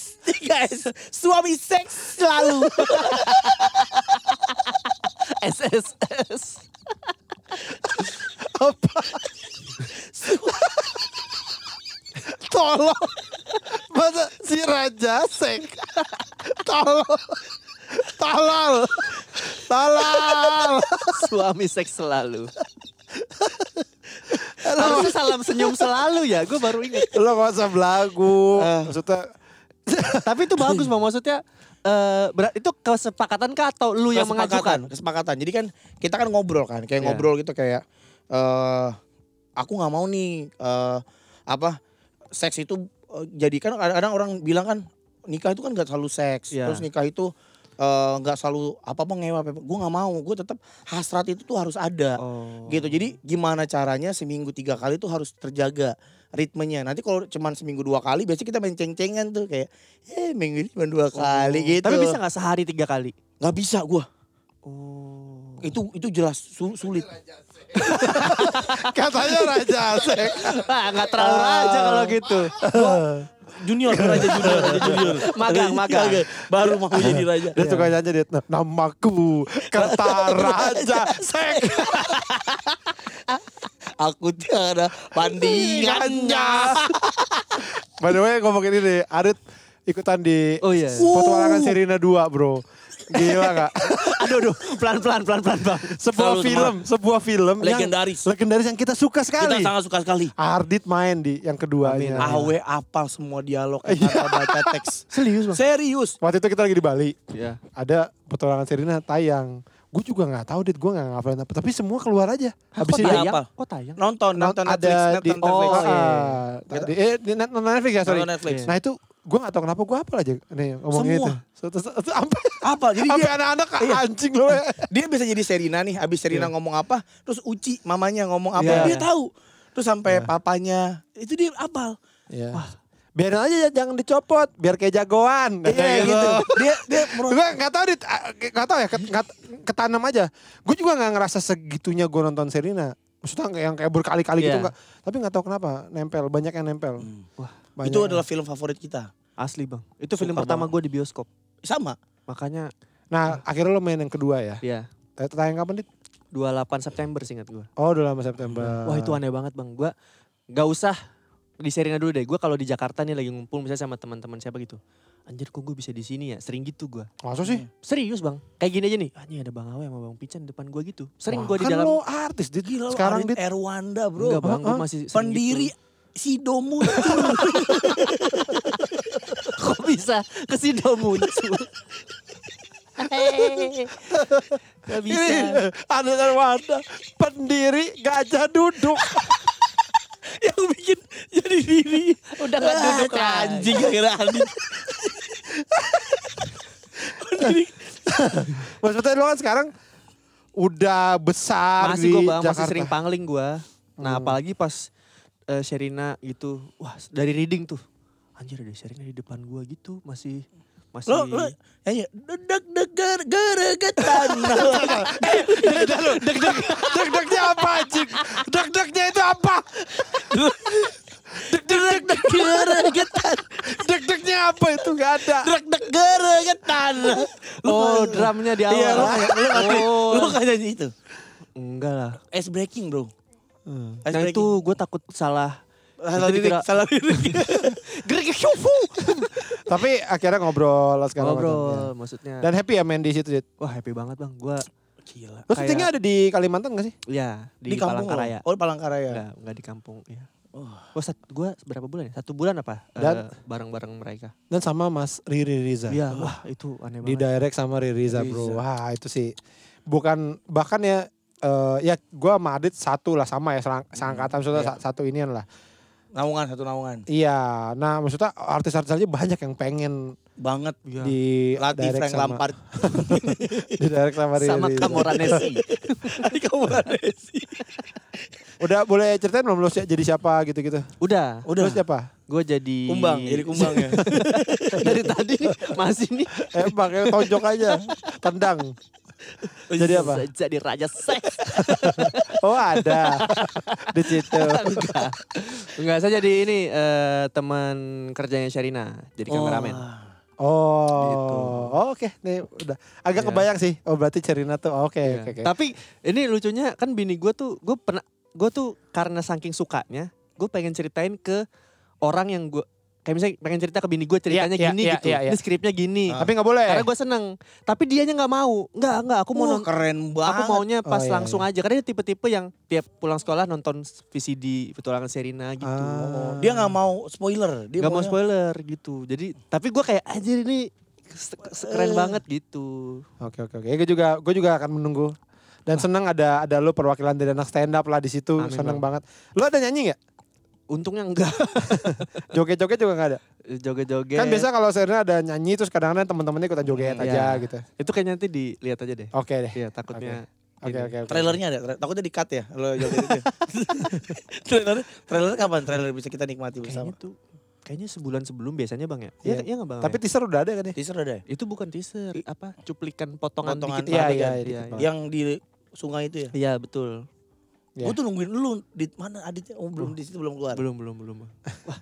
Speaker 2: guys, suami seks selalu.
Speaker 3: SSS.
Speaker 1: Tolong. Masa si Raja Sek. Tolong. Tolol. Tolol.
Speaker 3: Suami seks selalu. Harusnya salam senyum selalu ya. Gue baru inget.
Speaker 1: Lo gak usah belagu. Eh. Maksudnya
Speaker 3: Tapi itu bagus bang. Maksudnya eh berat, itu kesepakatan kah atau lu yang
Speaker 2: Kesepakatan,
Speaker 3: mengajukan?
Speaker 2: kesepakatan. Jadi kan kita kan ngobrol kan, kayak
Speaker 3: Iya.
Speaker 2: ngobrol gitu kayak eh aku nggak mau nih eh apa seks itu eh, jadi kan kadang-kadang orang bilang kan nikah itu kan nggak selalu seks.
Speaker 3: Iya.
Speaker 2: Terus nikah itu eh, nggak selalu apa apa ngewe apa gue nggak mau gue tetap hasrat itu tuh harus ada
Speaker 3: Oh.
Speaker 2: gitu jadi gimana caranya seminggu tiga kali tuh harus terjaga ritmenya nanti kalau cuman seminggu dua kali biasanya kita main ceng-cengan tuh kayak eh minggu ini cuma dua kali gitu
Speaker 3: Oh. Tapi bisa nggak sehari tiga kali?
Speaker 2: nggak bisa gue
Speaker 3: Oh.
Speaker 2: itu itu jelas su- sulit
Speaker 1: katanya Raja Sek.
Speaker 3: Nah, nggak terlalu aja kalau gitu.
Speaker 2: junior raja junior raja junior
Speaker 3: Magang, magang. Iya.
Speaker 2: baru mau jadi raja
Speaker 1: Dia suka nyanyi dia namaku Kerta Raja Sek.
Speaker 2: aku tiada bandingannya
Speaker 1: By the way ngomongin ini Adit ikutan di
Speaker 3: Oh, iya.
Speaker 1: petualangan Sirina 2 bro. Gila gak?
Speaker 3: Aduh, aduh, pelan pelan pelan pelan bang.
Speaker 1: Sebuah
Speaker 2: Selalu
Speaker 1: film, sebuah film yang-
Speaker 2: Legendaris.
Speaker 1: legendaris yang kita suka
Speaker 2: Kita
Speaker 1: sekali. Iya.
Speaker 2: sangat suka sekali.
Speaker 1: Ardit main di yang keduanya.
Speaker 2: Awe apal semua dialog kata baca teks.
Speaker 3: Serius bang?
Speaker 2: Serius.
Speaker 1: Waktu itu kita lagi di Bali,
Speaker 3: Iya.
Speaker 1: ada petualangan Sirina tayang. Gue juga nggak tahu dit, gue nggak ngafalin apa. Tapi semua keluar aja. Habis
Speaker 3: Kok
Speaker 1: itu
Speaker 2: dia-
Speaker 3: tayang?
Speaker 2: apa?
Speaker 3: Kok Oh, tayang?
Speaker 2: Nonton,
Speaker 1: not-
Speaker 2: nonton Netflix,
Speaker 1: ada di
Speaker 2: nonton Netflix.
Speaker 1: oh,
Speaker 3: Netflix.
Speaker 1: iya.
Speaker 2: Kita-
Speaker 1: Tadi- eh, di net- nonton Netflix ya sorry.
Speaker 2: Nonton Netflix.
Speaker 1: Nah itu gue gak tau kenapa gue apa aja nih ngomongnya
Speaker 2: Semua.
Speaker 1: itu. So- so- so- Sampai
Speaker 2: Apa? Jadi
Speaker 1: sampai
Speaker 2: dia, Iya.
Speaker 1: anak-anak anjing lu. ya.
Speaker 2: dia bisa jadi Serina nih. Abis Serina ngomong apa, terus Uci mamanya ngomong apa,
Speaker 1: Iya.
Speaker 2: dia tahu. Terus sampai papanya, itu dia apal.
Speaker 1: Iya. Biarin aja ya, jangan dicopot, biar kayak jagoan.
Speaker 2: Iya gitu. Dia dia merasa-
Speaker 1: Gue gak tau, dit, ah, gak tau ya, ket- nggak- ketanam aja. Gue juga gak ngerasa segitunya gue nonton Serina. Maksudnya nggak yang kayak berkali-kali gitu
Speaker 3: Iya.
Speaker 1: enggak. Tapi gak tau kenapa, nempel, banyak yang nempel.
Speaker 3: Wah,
Speaker 1: Banyak
Speaker 2: itu
Speaker 1: yang-
Speaker 2: adalah film favorit kita.
Speaker 3: asli bang. Itu film
Speaker 2: Suka
Speaker 3: pertama gue di bioskop.
Speaker 2: Sama.
Speaker 3: Makanya
Speaker 1: Nah akhirnya lo main yang kedua ya.
Speaker 2: Iya.
Speaker 3: ya
Speaker 1: Eh, tayang kapan dit?
Speaker 3: 28 September singkat gue.
Speaker 1: Oh udah lama September.
Speaker 3: Wah itu aneh banget bang. Gue gak usah di Serena dulu deh. Gue kalau di Jakarta nih lagi ngumpul misalnya sama teman-teman siapa gitu. Anjir kok gue bisa di sini ya? Sering gitu gue.
Speaker 1: Masa sih?
Speaker 3: Serius bang. Kayak gini aja nih. Ah ini ada Bang Awe sama Bang Pican depan gue gitu. Sering
Speaker 1: Wah,
Speaker 3: gue di
Speaker 1: kan
Speaker 3: dalam.
Speaker 1: lo artis dit.
Speaker 2: Gila lu
Speaker 1: Sekarang
Speaker 2: Arin
Speaker 1: dit.
Speaker 2: Erwanda bro.
Speaker 3: Enggak bang, gue
Speaker 1: Heeh.
Speaker 3: masih sering
Speaker 2: Pendiri
Speaker 3: gitu.
Speaker 2: Sido
Speaker 3: Kok bisa ke Sido muncul? Gak bisa.
Speaker 1: Ada Erwanda, pendiri gajah duduk.
Speaker 3: Yang bikin jadi diri. Udah gak duduk lagi.
Speaker 2: Anjing gara-gara Adit.
Speaker 1: Maksudnya lo kan sekarang udah besar
Speaker 3: masih
Speaker 1: di
Speaker 3: gue bang
Speaker 1: Jakarta. Hmm.
Speaker 3: masih sering pangling gue nah apalagi pas eh, Sherina gitu wah dari reading tuh anjir ada Sherina di depan gue gitu masih masih
Speaker 2: Lo lo ya, nyanyi deg deg ger geregetan.
Speaker 1: Deg-deg, deg-degnya apa anjing? Deg-degnya itu apa? Deg-deg, deg-deg,
Speaker 2: Geregetan.
Speaker 1: deg-degnya apa itu? Gak ada.
Speaker 2: Deg deg geregetan.
Speaker 3: oh drumnya di awal
Speaker 2: Iya lo kayak lo kayak
Speaker 3: oh
Speaker 2: lo kayak nyanyi itu.
Speaker 3: enggak lah
Speaker 2: Ice breaking bro. Ice
Speaker 3: nah
Speaker 2: breaking.
Speaker 3: itu gue takut salah
Speaker 2: salah
Speaker 3: itu
Speaker 2: lirik,
Speaker 3: dikira-
Speaker 2: salah lirik.
Speaker 3: gerik shufu
Speaker 1: Tapi akhirnya ngobrol lah sekarang.
Speaker 3: ngobrol maksudnya
Speaker 1: Dan happy ya main di situ. Dit?
Speaker 3: wah happy banget bang gue
Speaker 2: Gila.
Speaker 1: Lo
Speaker 3: Kayak-
Speaker 1: syutingnya ada di Kalimantan gak sih?
Speaker 3: ya di,
Speaker 2: Di, kampung lo?
Speaker 3: Palangkaraya
Speaker 2: Oh Palangkaraya.
Speaker 3: Enggak, enggak di kampung ya
Speaker 2: Oh.
Speaker 3: Wah, gue berapa bulan ya? Satu bulan apa? eh,
Speaker 1: Dan-
Speaker 3: bareng-bareng mereka.
Speaker 1: Dan sama Mas Riri Riza.
Speaker 3: Iya, wah itu aneh
Speaker 1: di
Speaker 3: banget.
Speaker 1: direct sama Ririza bro.
Speaker 3: Riza.
Speaker 1: Wah itu sih bukan bahkan ya eh, ya gue sama Adit satu lah sama ya selang- seangkatan maksudnya
Speaker 2: iya.
Speaker 1: sa- satu inian lah.
Speaker 2: Naungan satu naungan.
Speaker 1: Iya, nah maksudnya artis-artis aja banyak yang pengen
Speaker 2: Banget.
Speaker 3: Iya.
Speaker 1: di
Speaker 2: Latih
Speaker 1: direct
Speaker 2: Frank
Speaker 1: sama,
Speaker 2: Lampard.
Speaker 1: di direct sama Riri.
Speaker 3: sama
Speaker 1: Riza.
Speaker 3: Kamoranesi.
Speaker 2: Tadi kamu ada sih.
Speaker 1: Udah boleh ceritain belum lu si- jadi siapa gitu-gitu?
Speaker 3: Udah,
Speaker 1: Lu siapa?
Speaker 3: gue jadi
Speaker 2: Kumbang, jadi kumbang ya.
Speaker 3: Dari tadi nih, masih nih.
Speaker 1: Eh pakai tonjok aja, tendang.
Speaker 3: Oh,
Speaker 1: Jadi
Speaker 3: iya,
Speaker 1: apa?
Speaker 3: Jadi raja seks.
Speaker 1: Oh ada di situ.
Speaker 3: Enggak. Enggak, saya jadi ini eh, teman kerjanya Sherina, jadi kameramen. Gitu.
Speaker 1: Oh, oh, oke nih udah agak
Speaker 3: Iya.
Speaker 1: kebayang sih. Oh berarti Cerina tuh oke
Speaker 3: Iya.
Speaker 1: oke oke.
Speaker 3: Tapi ini lucunya kan bini gue tuh, gue pernah, gue tuh karena saking sukanya, gue pengen ceritain ke orang yang gue, kayak misalnya pengen cerita ke bini gue ceritanya
Speaker 1: Iya, iya,
Speaker 3: gini
Speaker 1: iya,
Speaker 3: gitu,
Speaker 1: iya, iya.
Speaker 3: ini skripnya gini.
Speaker 1: Tapi nggak boleh.
Speaker 3: Karena gue seneng, tapi dianya nggak mau, nggak nggak, aku mau
Speaker 2: Wah,
Speaker 3: nonton
Speaker 2: keren banget.
Speaker 3: Aku maunya
Speaker 1: Oh,
Speaker 3: pas
Speaker 1: iya,
Speaker 3: langsung aja karena dia tipe-tipe yang tiap pulang sekolah nonton VCD petualangan Serina gitu.
Speaker 1: Ah.
Speaker 2: Dia nggak mau spoiler. Dia
Speaker 3: Gak mau
Speaker 2: maunya-
Speaker 3: spoiler gitu. Jadi tapi gua kayak anjir ini se- se- keren
Speaker 2: Eh.
Speaker 3: banget gitu.
Speaker 1: Oke oke oke. Gue juga gue juga akan menunggu. Dan senang ada ada lu perwakilan dari anak stand up lah di situ.
Speaker 3: Ah. Amin,
Speaker 1: Senang banget. Lu ada nyanyi nggak?
Speaker 3: Untungnya enggak
Speaker 1: Joget-joget juga nggak ada.
Speaker 3: joget-joget.
Speaker 1: Kan biasa kalau Serena ada nyanyi terus kadang-kadang teman-temannya ikutan joget
Speaker 3: Hmm,
Speaker 1: aja
Speaker 3: iya.
Speaker 1: gitu.
Speaker 3: itu kayaknya nanti dilihat aja deh.
Speaker 1: Oke deh.
Speaker 3: Iya, takutnya
Speaker 1: Oke
Speaker 3: Ini.
Speaker 1: oke oke.
Speaker 2: Trailernya ada, tra- takutnya di cut ya. Lo joget itu. trailer, trailer kapan trailer bisa kita nikmati
Speaker 3: kayaknya
Speaker 2: bersama?
Speaker 3: tuh kayaknya sebulan sebelum biasanya Bang ya.
Speaker 1: Iya.
Speaker 3: Iya, iya enggak Bang?
Speaker 1: Tapi
Speaker 3: ya?
Speaker 1: teaser udah ada kan ya?
Speaker 2: Teaser ada ya?
Speaker 3: itu bukan teaser, apa? Cuplikan potongan,
Speaker 2: Potongan,
Speaker 3: dikit
Speaker 1: iya,
Speaker 3: adegan.
Speaker 1: iya,
Speaker 3: iya,
Speaker 1: dikit
Speaker 3: iya.
Speaker 2: Yang di sungai itu ya?
Speaker 3: Iya, betul.
Speaker 1: Iya.
Speaker 2: Gue tuh nungguin lu di mana Aditnya? Oh, belum di situ belum keluar.
Speaker 3: Belum, belum, belum. Bang. Wah.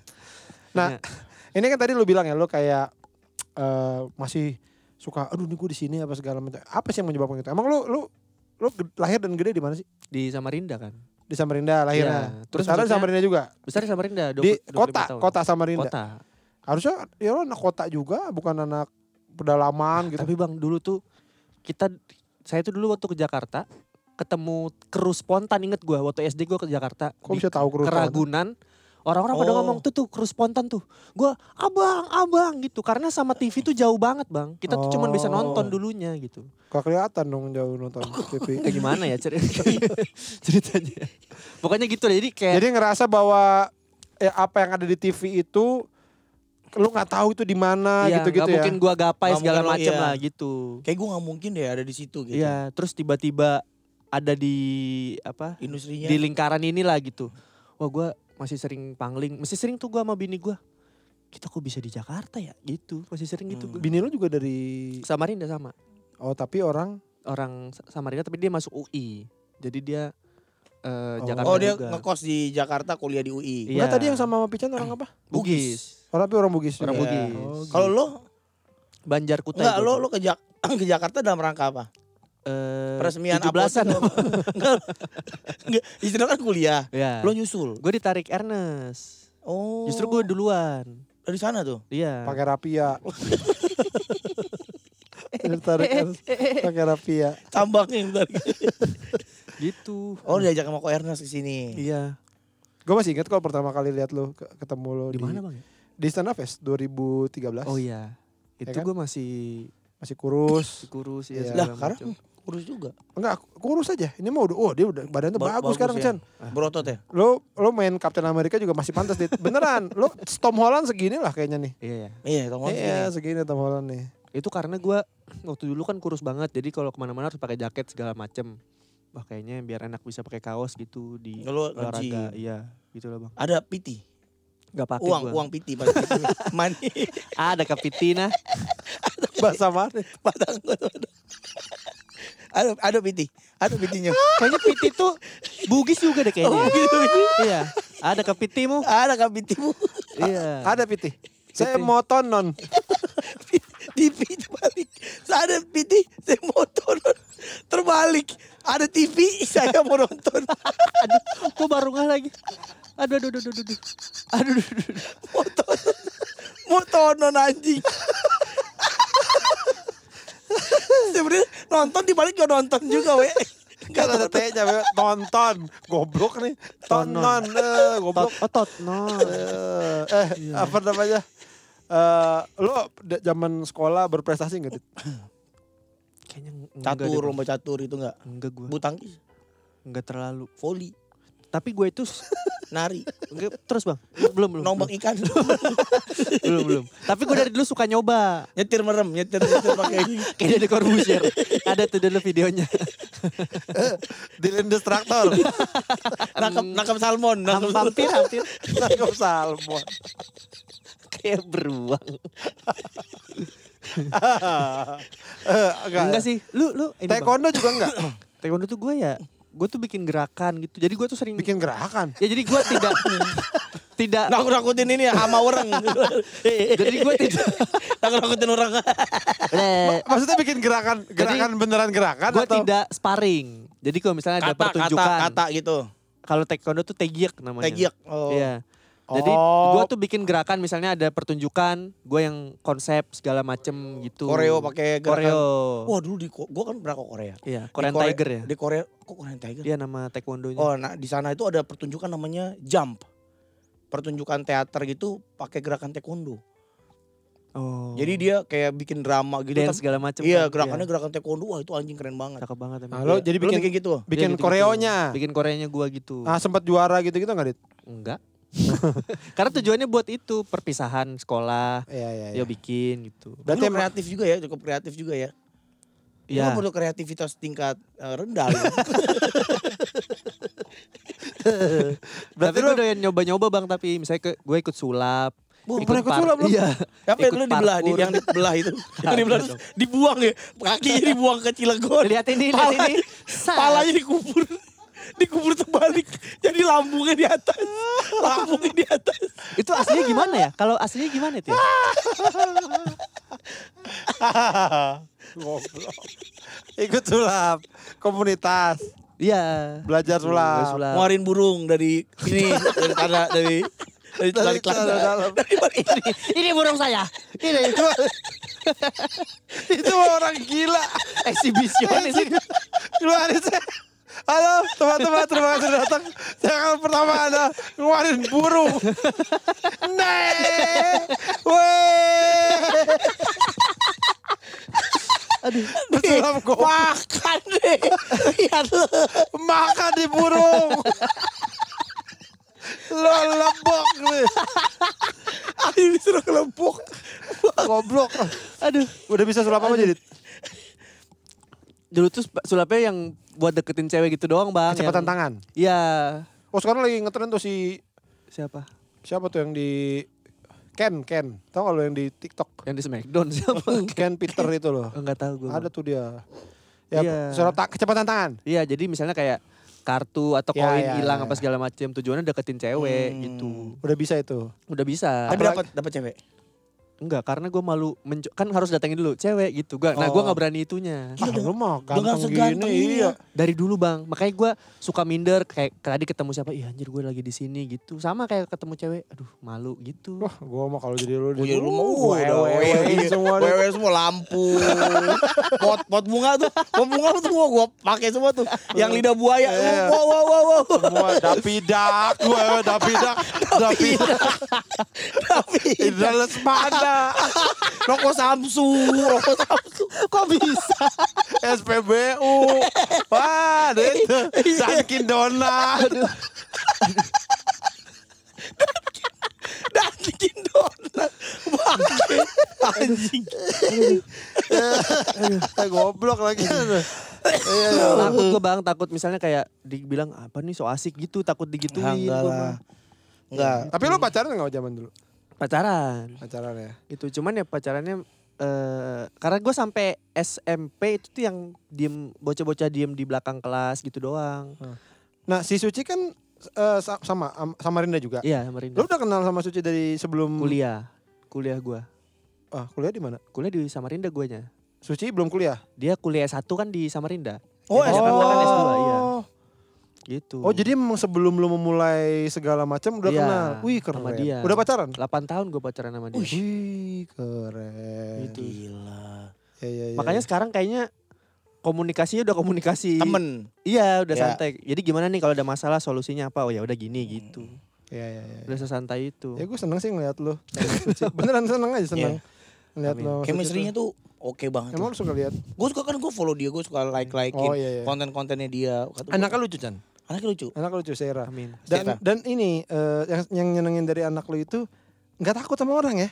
Speaker 1: Nah,
Speaker 3: Kayaknya-
Speaker 1: Ini kan tadi lu bilang ya lu kayak eh, masih suka aduh nih gue di sini apa segala macam. Apa sih yang menyebabkan itu? Emang lu lu lu ged- lahir dan gede di mana sih?
Speaker 3: di Samarinda kan.
Speaker 1: Di Samarinda lahirnya. Terus
Speaker 3: Iya,
Speaker 1: sekarang
Speaker 3: terus
Speaker 1: di
Speaker 3: maksudnya-
Speaker 1: Samarinda juga.
Speaker 3: Besar di Samarinda.
Speaker 1: Di
Speaker 3: 20 25
Speaker 1: kota,
Speaker 3: tahun.
Speaker 1: kota Samarinda.
Speaker 3: Kota.
Speaker 1: Harusnya ya lo anak kota juga, bukan anak pedalaman gitu.
Speaker 3: Tapi bang dulu tuh kita saya tuh dulu waktu ke Jakarta ketemu kru spontan inget gua waktu SD gua ke Jakarta
Speaker 1: Kok bisa tahu kru spontan?
Speaker 3: keragunan orang-orang pada
Speaker 2: Oh.
Speaker 3: ngomong tuh tuh kru spontan tuh gua abang abang gitu karena sama TV tuh jauh banget bang kita tuh cuman
Speaker 1: Oh.
Speaker 3: bisa nonton dulunya gitu
Speaker 1: Gak kelihatan dong jauh nonton TV.
Speaker 3: Eh, gimana ya cer- ceritanya pokoknya gitu deh jadi kayak
Speaker 1: Jadi ngerasa bahwa eh, apa yang ada di TV itu lu nggak tahu itu di mana
Speaker 3: iya,
Speaker 1: gitu-gitu
Speaker 3: nggak
Speaker 1: ya.
Speaker 3: mungkin gua gapai
Speaker 2: Nggak
Speaker 3: segala
Speaker 2: mungkin lo-
Speaker 3: macem
Speaker 2: iya.
Speaker 3: lah gitu
Speaker 2: Kayak gue nggak mungkin deh ada di situ gitu.
Speaker 3: Iya, terus tiba-tiba ada di apa?
Speaker 2: Industrinya.
Speaker 3: Di lingkaran inilah gitu. Wah, gua masih sering pangling, masih sering tuh gua sama bini gua. Kita kok bisa di Jakarta ya? Gitu, masih sering gitu
Speaker 2: Hmm.
Speaker 3: gua.
Speaker 1: Bini lu juga dari
Speaker 3: Samarinda sama.
Speaker 1: oh tapi orang
Speaker 3: Orang Sa- Samarinda tapi dia masuk UI. Jadi dia eh,
Speaker 1: Oh.
Speaker 3: Jakarta
Speaker 2: Oh dia
Speaker 3: juga.
Speaker 2: ngekos di Jakarta kuliah di UI.
Speaker 3: Iya.
Speaker 1: Enggak tadi yang sama sama Pican orang apa?
Speaker 3: Bugis.
Speaker 1: Orang tapi orang Bugis.
Speaker 3: Orang
Speaker 1: juga.
Speaker 2: Iya.
Speaker 3: Bugis.
Speaker 1: Oh, gitu.
Speaker 2: Kalau lo
Speaker 3: Banjar Kutai.
Speaker 2: enggak
Speaker 3: gua
Speaker 2: lo
Speaker 3: tuh.
Speaker 2: lo ke, Jak- ke Jakarta dalam rangka apa?
Speaker 3: Eh,
Speaker 2: Peresmian
Speaker 3: 17-an.
Speaker 2: apotek lo- Enggak. Enggak, istilah kan kuliah.
Speaker 3: Iya.
Speaker 2: Lo nyusul.
Speaker 3: Gue ditarik Ernest.
Speaker 2: Oh.
Speaker 3: Justru gue duluan.
Speaker 2: dari sana tuh.
Speaker 3: Iya.
Speaker 1: pakai rapia. Ditarik harus kan. pakai rapia.
Speaker 2: Tambaknya yang dari.
Speaker 3: Gitu.
Speaker 2: Oh diajak sama Ko Ernest ke sini.
Speaker 3: Iya.
Speaker 1: Gue masih ingat kalau pertama kali lihat lu ke- ketemu lu
Speaker 3: Di mana, Bang?
Speaker 1: Di Stand Up Fest 2013.
Speaker 3: Oh iya.
Speaker 1: Ya kan?
Speaker 3: Itu gue masih
Speaker 1: Masih kurus.
Speaker 3: kurus
Speaker 1: Iya.
Speaker 2: Lah,
Speaker 3: ya segala
Speaker 2: sekarang?
Speaker 3: macam.
Speaker 2: Kurus juga.
Speaker 1: Enggak, kurus aja. Ini mah udah oh dia udah badan tuh
Speaker 2: Ba-
Speaker 1: bagus, sekarang,
Speaker 2: ya.
Speaker 1: Chan.
Speaker 2: Berotot ya.
Speaker 1: Lo lo main Captain America juga masih pantas, Dit. Beneran. Lo Tom Holland segini lah kayaknya nih.
Speaker 3: Iya ya.
Speaker 2: Iya, Tom Holland
Speaker 1: Iya, segini Tom Holland nih.
Speaker 3: Itu karena gue waktu dulu kan kurus banget. Jadi kalau kemana-mana harus pakai jaket segala macem. Wah kayaknya biar enak bisa pakai kaos gitu di
Speaker 2: gini. Lo
Speaker 3: olahraga.
Speaker 2: nge-gym.
Speaker 3: Iya gitu loh bang.
Speaker 2: Ada piti.
Speaker 3: Gak pakai
Speaker 2: Uang,
Speaker 3: gua.
Speaker 2: uang piti pas piti. Mani.
Speaker 3: Ah, Ada kapitina.
Speaker 1: Bahasa mana?
Speaker 2: Padang gua tuh ada. Ada ada piti. Ada pitinya.
Speaker 3: kayaknya piti tuh bugis juga deh kayaknya.
Speaker 2: Oh, gitu,
Speaker 3: iya. Ada kepitimu.
Speaker 2: Ada kan pitimu.
Speaker 3: Iya.
Speaker 1: Ada Piti. Saya
Speaker 3: Piti.
Speaker 1: mau tonon.
Speaker 2: di piti balik. Ada piti, saya mau turun. Terbalik. Ada TV, saya mau nonton.
Speaker 3: aduh, gue baru nggak lagi. Aduh, aduh, aduh, aduh, aduh, aduh, aduh, aduh, aduh.
Speaker 2: Mau tonton. Mau tonton anjing. Sebenarnya nonton di balik juga nonton juga, we.
Speaker 1: Enggak ada T-nya, Beb. tonton. Goblok nih. Tonon. Eh, goblok.
Speaker 3: Tot, otot, no.
Speaker 1: Eh, eh, apa namanya? Eh, lo d- zaman sekolah berprestasi enggak? Dit?
Speaker 3: Kayaknya enggak
Speaker 2: Catur,
Speaker 3: deh, Bang.
Speaker 2: lomba catur itu enggak.
Speaker 3: Enggak gue,
Speaker 2: Butangkis,
Speaker 3: enggak terlalu.
Speaker 2: voli,
Speaker 3: Tapi gue itu s-
Speaker 2: nari,
Speaker 3: enggak, terus bang, belum belum.
Speaker 2: nombak ikan,
Speaker 3: belum, belum belum. Tapi gue dari dulu suka nyoba.
Speaker 2: nyetir merem, nyetir nyetir pakai
Speaker 3: Kayak dari Corbusier. Ada tuh dulu videonya.
Speaker 1: Dilin distraktor.
Speaker 2: nangkap nangkap salmon, nangkap
Speaker 3: Ham- hampir hampir
Speaker 1: Nangkap salmon.
Speaker 3: kayak beruang.
Speaker 1: Eh,
Speaker 3: Enggak sih, lu lu ini, Bang.
Speaker 1: Taekwondo juga enggak?
Speaker 3: Taekwondo tuh gue ya, gue tuh bikin gerakan gitu. Jadi gue tuh sering
Speaker 1: Bikin gerakan.
Speaker 3: Ya jadi gue tidak tidak.
Speaker 2: Nak nakutin ini ya sama orang.
Speaker 3: Jadi gue tidak.
Speaker 2: Nak nakutin orang.
Speaker 3: Eh,
Speaker 1: Maksudnya bikin gerakan, gerakan beneran gerakan
Speaker 3: gue
Speaker 1: atau
Speaker 3: tidak sparring. Jadi kalau misalnya ada
Speaker 2: Kata kata
Speaker 3: pertunjukan,
Speaker 2: kata gitu.
Speaker 3: kalau taekwondo tuh tegiak namanya.
Speaker 2: Tegiak. Oh.
Speaker 3: Iya. Jadi
Speaker 1: Oh.
Speaker 3: gue tuh bikin gerakan misalnya ada pertunjukan, gue yang konsep segala macem gitu.
Speaker 2: Koreo pakai gerakan.
Speaker 3: Koreo.
Speaker 2: Wah dulu di Ko- gua kan pernah ke Korea. Di
Speaker 3: Iya, Korean
Speaker 2: Kore-
Speaker 3: Tiger ya.
Speaker 2: Di Korea kok Korean Tiger?
Speaker 3: Iya nama taekwondonya.
Speaker 2: Oh, nah di sana itu ada pertunjukan namanya Jump. Pertunjukan teater gitu pakai gerakan taekwondo.
Speaker 3: Oh.
Speaker 2: Jadi dia kayak bikin drama gitu.
Speaker 3: dance
Speaker 2: tapi-
Speaker 3: segala macem.
Speaker 2: iya,
Speaker 3: kan?
Speaker 2: gerakannya gerakan taekwondo. Wah, itu anjing keren banget.
Speaker 3: Cakep banget emang.
Speaker 1: Nah, lo
Speaker 2: Iya.
Speaker 1: jadi
Speaker 2: Lu
Speaker 1: bikin-
Speaker 2: gitu.
Speaker 3: Iya,
Speaker 1: bikin
Speaker 3: gitu-gitu.
Speaker 1: koreonya.
Speaker 3: Bikin koreanya gue gitu.
Speaker 1: Nah, sempat juara gitu-gitu enggak, Dit?
Speaker 3: Enggak. Karena tujuannya buat itu perpisahan sekolah.
Speaker 1: Iya, iya,
Speaker 3: Dia bikin gitu.
Speaker 1: Berarti
Speaker 2: Berarti
Speaker 1: emang-
Speaker 2: kreatif juga ya, cukup kreatif juga ya. Ya.
Speaker 3: Iya.
Speaker 2: Lu kan perlu kreativitas tingkat eh, rendah. lu.
Speaker 1: Berarti
Speaker 3: tapi
Speaker 1: lu
Speaker 3: gue udah nyoba-nyoba bang tapi misalnya ke, gue ikut sulap.
Speaker 1: Wah, pernah ikut sulap lu?
Speaker 3: Iya.
Speaker 2: Apa yang
Speaker 3: Ikut
Speaker 2: lu dibelah, di,
Speaker 3: parkour.
Speaker 2: yang dibelah itu. yang
Speaker 3: Kagak
Speaker 2: dibelah terus dibuang ya. Kakinya dibuang ke Cilegon.
Speaker 3: Lihat ini, lihat ini. Sat.
Speaker 2: Palanya dikubur. dikubur terbalik. Jadi lambungnya di atas. Lambungnya di atas.
Speaker 3: Itu aslinya gimana ya? Kalau aslinya gimana itu ya?
Speaker 1: Goblok. Ikut sulap komunitas,
Speaker 3: Iya.
Speaker 1: belajar sulap.
Speaker 3: Sulap.
Speaker 2: Nguarin burung dari ini dari tanah dari Dari balik
Speaker 1: celana
Speaker 2: celana.
Speaker 1: dalam.
Speaker 2: Dari balik
Speaker 3: ini, ini burung saya. Ini
Speaker 1: itu orang gila
Speaker 3: eksibisionis.
Speaker 1: Keluarin saya. Halo teman-teman terima kasih sudah datang. Saya akan pertama ada keluarin burung. Nih, weh, Bersulam
Speaker 2: Ih, Makan deh. Lihat lu.
Speaker 1: makan di burung. Lo lembok nih,
Speaker 2: Ayo disuruh kelompok.
Speaker 1: goblok.
Speaker 3: Aduh.
Speaker 1: Udah bisa sulap apa jadi?
Speaker 3: Dulu tuh sulapnya yang buat deketin cewek gitu doang bang.
Speaker 1: Kecepatan
Speaker 3: yang-
Speaker 1: tangan.
Speaker 3: Iya.
Speaker 1: Oh sekarang lagi ngetren tuh si
Speaker 3: Siapa?
Speaker 1: siapa tuh yang di Ken Ken, tau gak lo yang di TikTok?
Speaker 3: Yang di Smackdown siapa?
Speaker 1: Ken Peter itu loh.
Speaker 3: Enggak tahu gue.
Speaker 1: Ada tuh dia. Ya,
Speaker 3: Iya.
Speaker 1: sulap ta- kecepatan tangan.
Speaker 3: Iya jadi misalnya kayak kartu atau
Speaker 1: Ya,
Speaker 3: koin
Speaker 1: ya,
Speaker 3: hilang
Speaker 1: ya.
Speaker 3: apa segala macam tujuannya deketin cewek
Speaker 2: Iya, Hmm.
Speaker 3: gitu.
Speaker 1: Udah bisa itu.
Speaker 3: Udah bisa.
Speaker 2: Tapi
Speaker 1: Apalagi-
Speaker 2: dapat dapat cewek.
Speaker 3: Enggak, karena gue malu menco- kan harus datengin dulu cewek gitu. Gua, Nah,
Speaker 2: Oh.
Speaker 3: gue nggak berani itunya.
Speaker 1: Ah, lu
Speaker 2: Gila,
Speaker 1: mah
Speaker 2: dengan
Speaker 1: ganteng
Speaker 2: seganteng ini ya.
Speaker 1: gini, iya.
Speaker 3: Dari dulu bang, makanya gue suka minder kayak tadi ketemu siapa, iya anjir gue lagi di sini gitu. Sama kayak ketemu cewek, aduh malu gitu.
Speaker 1: Wah, gua mah kalau jadi lu
Speaker 2: Oh,
Speaker 1: di
Speaker 2: jadi rumah
Speaker 1: Uh,
Speaker 2: gua udah iya.
Speaker 1: ewe, ewe semua deh.
Speaker 2: wewe semua lampu, pot pot bunga tuh, pot bunga tuh semua gua pakai semua tuh. Yang lidah buaya, uh,
Speaker 1: Iya.
Speaker 2: wow wow wow wow.
Speaker 1: Semua dapidak, gue dapidak, dapidak,
Speaker 2: Tapi
Speaker 1: dapidak Lesmana,
Speaker 2: rokok Samsu, rokok Samsu.
Speaker 3: Kok bisa?
Speaker 1: SPBU, wah ada itu, Dunkin Donat,
Speaker 2: Dan bikin donat. Bangke. Anjing.
Speaker 1: Eh, goblok lagi.
Speaker 3: takut gue bang, takut misalnya kayak dibilang apa nih so asik gitu, takut digituin.
Speaker 2: Ah, Enggak
Speaker 3: gua,
Speaker 2: lah.
Speaker 3: Bang.
Speaker 2: Enggak.
Speaker 1: Tapi lu pacaran nggak zaman dulu?
Speaker 3: Pacaran.
Speaker 1: Pacaran ya?
Speaker 3: itu cuman ya pacarannya eh karena gue sampai SMP itu tuh yang diem bocah-bocah diem di belakang kelas gitu doang
Speaker 1: Nah, si Suci kan eh, sa- sama am- Samarinda juga.
Speaker 3: iya sama Rinda
Speaker 1: Lu udah kenal sama Suci dari sebelum
Speaker 3: kuliah kuliah gua
Speaker 1: Ah, kuliah di mana?
Speaker 3: kuliah di Samarinda guanya
Speaker 1: Suci belum kuliah.
Speaker 3: dia kuliah S1 kan di Samarinda
Speaker 2: Oh,
Speaker 3: Eh,
Speaker 2: S2 kan S2.
Speaker 3: iya. gitu
Speaker 1: Oh jadi emang sebelum lu memulai segala macam udah
Speaker 3: Iya,
Speaker 1: kenal. Wih keren.
Speaker 3: sama dia.
Speaker 1: Udah pacaran?
Speaker 3: 8 tahun gue pacaran sama dia
Speaker 1: Oh, iya. Wih keren.
Speaker 3: Gitu.
Speaker 2: Gila.
Speaker 1: Ya, ya, ya.
Speaker 3: makanya sekarang kayaknya komunikasinya udah komunikasi
Speaker 2: Temen.
Speaker 3: iya udah
Speaker 2: Ya.
Speaker 3: santai jadi gimana nih kalau ada masalah solusinya apa oh ya udah gini gitu
Speaker 1: ya, ya, ya.
Speaker 3: udah sesantai itu
Speaker 1: ya gue seneng sih ngeliat lu. sama Suci. Beneran seneng aja seneng. Ngeliat lu.
Speaker 3: Iya. Amin.
Speaker 1: sama Suci
Speaker 2: Chemistry-nya tuh
Speaker 1: tuh.
Speaker 2: oke banget.
Speaker 1: Oh, Emang lu suka lihat?
Speaker 2: Gue suka kan gue follow dia, gue suka like-likein
Speaker 1: Oh iya. iya.
Speaker 2: konten-kontennya dia. Kata gua,
Speaker 1: Anaknya lucu Chan.
Speaker 2: anaknya lucu.
Speaker 1: Anaknya lucu Sera.
Speaker 3: amin
Speaker 1: Dan
Speaker 2: Sera.
Speaker 1: dan ini eh, yang yang nyenengin dari anak lu itu nggak takut sama orang ya.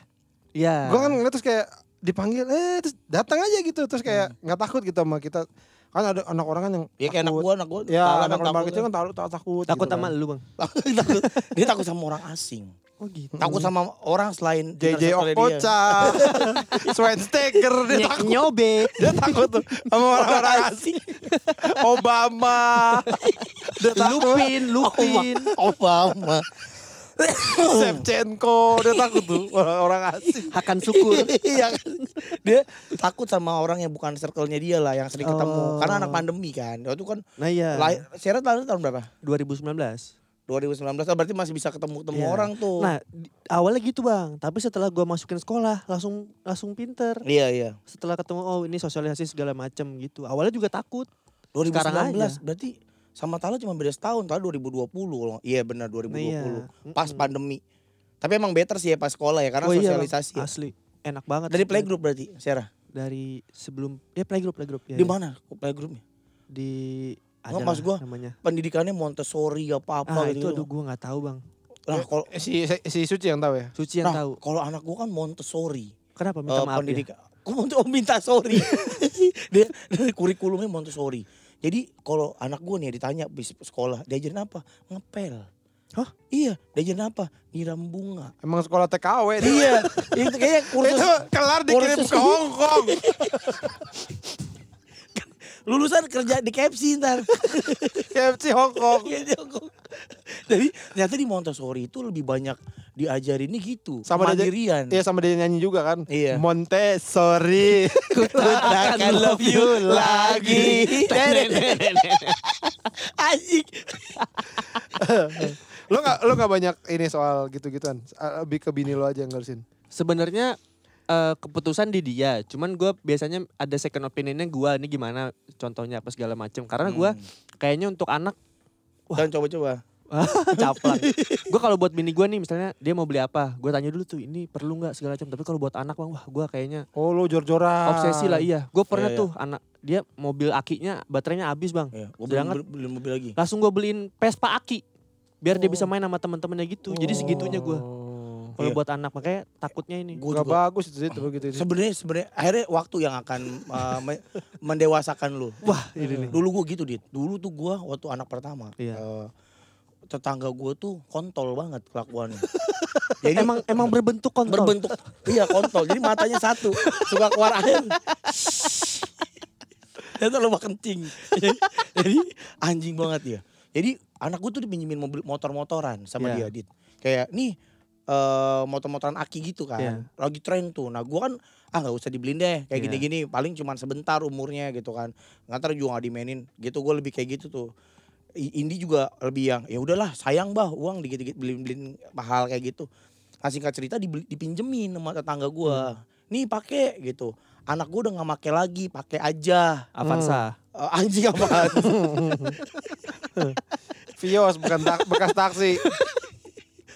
Speaker 3: iya
Speaker 1: Gue kan ngeliat terus kayak dipanggil eh terus datang aja gitu terus kayak nggak takut gitu sama kita. Kan ada anak orang kan yang
Speaker 2: Dia kayak anak
Speaker 1: takut.
Speaker 2: gue, anak gue.
Speaker 1: Ya anak lembang kecil kan takut takut.
Speaker 3: takut
Speaker 1: gitu
Speaker 3: sama
Speaker 1: kan.
Speaker 3: lu bang
Speaker 2: takut. Dia takut sama orang asing.
Speaker 3: Oh gitu.
Speaker 2: Takut sama orang selain
Speaker 1: JJ
Speaker 2: intersektornya dia.
Speaker 1: Okocha, Schweinsteiger dia
Speaker 3: Nyek-
Speaker 1: takut.
Speaker 3: nyobek.
Speaker 1: Dia takut tuh sama orang-orang asing. Obama. Dia takut.
Speaker 3: Lupin,
Speaker 2: Oh,
Speaker 3: Lupin.
Speaker 2: Obama.
Speaker 1: Shevchenko. Dia takut tuh orang-orang asing.
Speaker 3: Hakan syukur.
Speaker 2: Iya kan? Dia takut sama orang yang bukan circle-nya dia lah yang sering ketemu.
Speaker 3: Oh.
Speaker 2: Karena anak pandemi kan. Waktu itu kan
Speaker 3: Nah iya.
Speaker 2: lahir, Syarat lahir tahun berapa?
Speaker 3: 2019.
Speaker 2: 2019 Ah, berarti masih bisa ketemu ketemu
Speaker 3: Iya.
Speaker 2: orang tuh.
Speaker 3: Nah di- awalnya gitu bang, tapi setelah gua masukin sekolah langsung langsung pinter.
Speaker 2: iya iya.
Speaker 3: Setelah ketemu oh ini sosialisasi segala macam gitu. Awalnya juga takut. Sekarang
Speaker 2: 2019 berarti sama Tala cuma beda setahun, Tala 2020 loh. Iya benar 2020. Pas
Speaker 3: Nah, Mm-mm.
Speaker 2: pandemi. Tapi emang better sih ya pas sekolah ya karena
Speaker 3: Iya. Hmm. Oh, iya, Bang.
Speaker 2: sosialisasi. ya.
Speaker 3: Asli enak banget.
Speaker 2: Dari playgroup berarti, Sarah.
Speaker 3: Dari sebelum ya playgroup playgroup ya.
Speaker 2: Di
Speaker 3: ya.
Speaker 2: mana playgroupnya?
Speaker 3: Di
Speaker 2: Nggak,
Speaker 3: ada
Speaker 2: maksud gua,
Speaker 3: namanya.
Speaker 2: Pendidikannya Montessori apa apa
Speaker 3: Ah itu
Speaker 2: gitu.
Speaker 3: aduh gua nggak tahu bang.
Speaker 2: Nah, kalau
Speaker 1: Eh, Si, si Suci yang tahu ya?
Speaker 3: Suci yang
Speaker 2: nah,
Speaker 3: tahu.
Speaker 2: kalau anak gua kan Montessori.
Speaker 3: Kenapa minta
Speaker 2: Eh,
Speaker 3: maaf ya. dia?
Speaker 2: pendidikan. Gua mau- oh, minta sorry. dia dari kurikulumnya Montessori. Jadi kalau anak gua nih ditanya bis sekolah, diajarin apa? Ngepel.
Speaker 3: Hah?
Speaker 2: Iya, diajarin apa? Nyiram bunga.
Speaker 1: Emang sekolah TKW. dia.
Speaker 2: iya, itu kayaknya kursus
Speaker 1: Itu kelar dikirim
Speaker 2: kursus-
Speaker 1: ke Hong Kong.
Speaker 2: lulusan kerja di KFC ntar.
Speaker 1: KFC Hong Kong.
Speaker 2: Iya, Joko. Jadi ternyata di Montessori itu lebih banyak diajarinnya gitu.
Speaker 1: Sama diajak-
Speaker 2: mandirian.
Speaker 1: Iya sama dia nyanyi juga kan.
Speaker 2: Iya.
Speaker 1: Montessori.
Speaker 2: Ku takkan love you lagi. Asik.
Speaker 1: Lo gak, lo gak banyak ini soal gitu-gituan. Eh, Lebih ke bini lo aja yang ngurusin.
Speaker 3: Sebenarnya eh, keputusan di dia, cuman gue biasanya ada second opinionnya gue ini gimana contohnya apa segala macem. Karena gue
Speaker 2: Hmm.
Speaker 3: kayaknya untuk anak
Speaker 2: Dan coba-coba.
Speaker 3: caplang. gue kalau buat bini gue nih misalnya dia mau beli apa, gue tanya dulu tuh ini perlu nggak segala macam. Tapi kalau buat anak bang, wah gue kayaknya
Speaker 1: Oh lo jor-joran.
Speaker 3: obsesi lah iya. Gue
Speaker 2: Ah.
Speaker 3: pernah
Speaker 2: Iya, iya.
Speaker 3: tuh anak dia mobil akinya baterainya habis bang.
Speaker 2: Ya, gue
Speaker 3: Sedangkan-
Speaker 2: beli, beli mobil lagi.
Speaker 3: Langsung gue beliin Vespa aki biar dia bisa main sama teman-temannya gitu. Jadi segitunya gue. Kalau
Speaker 2: Oh. Iya.
Speaker 3: buat anak makanya takutnya ini.
Speaker 2: Gue
Speaker 1: Gak
Speaker 2: juga.
Speaker 1: Oh. bagus itu itu begitu itu.
Speaker 2: Sebenarnya sebenarnya akhirnya waktu yang akan eh, me- mendewasakan lu.
Speaker 3: Wah ini nih.
Speaker 2: Dulu gue gitu dit. Dulu tuh gue waktu anak pertama.
Speaker 3: Iya.
Speaker 2: eh, tetangga gue tuh kontol banget kelakuannya. Jadi
Speaker 3: emang emang Eh, berbentuk kontol.
Speaker 2: Eh, berbentuk iya kontol. Jadi matanya satu suka keluar air. Itu lu kencing. Jadi, jadi anjing banget ya. Jadi anak gue tuh dipinjemin mobil motor-motoran sama
Speaker 3: Iya.
Speaker 2: dia dit. Kayak nih eh motor-motoran aki gitu kan.
Speaker 3: Iya.
Speaker 2: Lagi tren tuh. Nah, gua kan ah nggak usah dibeliin deh kayak
Speaker 3: Iya.
Speaker 2: gini-gini paling cuman sebentar umurnya gitu kan. Ngantar juga gak dimainin. Gitu gue lebih kayak gitu tuh. I- Indi juga lebih yang ya udahlah sayang bah uang dikit-dikit beliin-beliin mahal kayak gitu. Nah singkat cerita dibeli, dipinjemin sama tetangga gua Nih pakai gitu. Anak gua udah nggak pakai lagi, pakai aja.
Speaker 3: Avanza.
Speaker 2: Eh, anjing apaan?
Speaker 1: Vios bukan tak- bekas taksi.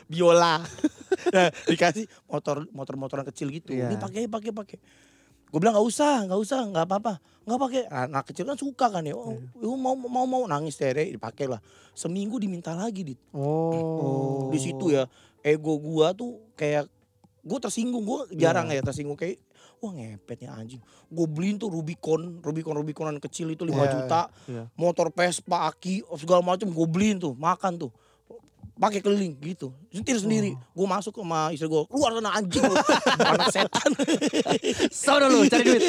Speaker 2: biola Nah, dikasih motor motor motoran kecil gitu
Speaker 1: Iya.
Speaker 2: ini pakai pakai pakai gue bilang nggak usah nggak usah nggak apa apa nggak pakai Nah, anak kecil kan suka kan ya oh, oh, mau mau mau nangis tere dipakai lah seminggu diminta lagi dit
Speaker 1: Oh.
Speaker 2: di situ ya ego gua tuh kayak gue tersinggung gua jarang
Speaker 3: Iya.
Speaker 2: ya tersinggung kayak wah ngepetnya anjing gue beliin tuh Rubicon Rubicon Rubiconan kecil itu 5
Speaker 1: Iya,
Speaker 2: juta
Speaker 3: iya.
Speaker 2: motor Vespa aki segala macem gue beliin tuh makan tuh pakai keliling gitu setir sendiri
Speaker 3: Oh.
Speaker 2: gue masuk sama istri gue keluar sana anjing lu. anak setan
Speaker 3: Sono lu Hmm. cari duit.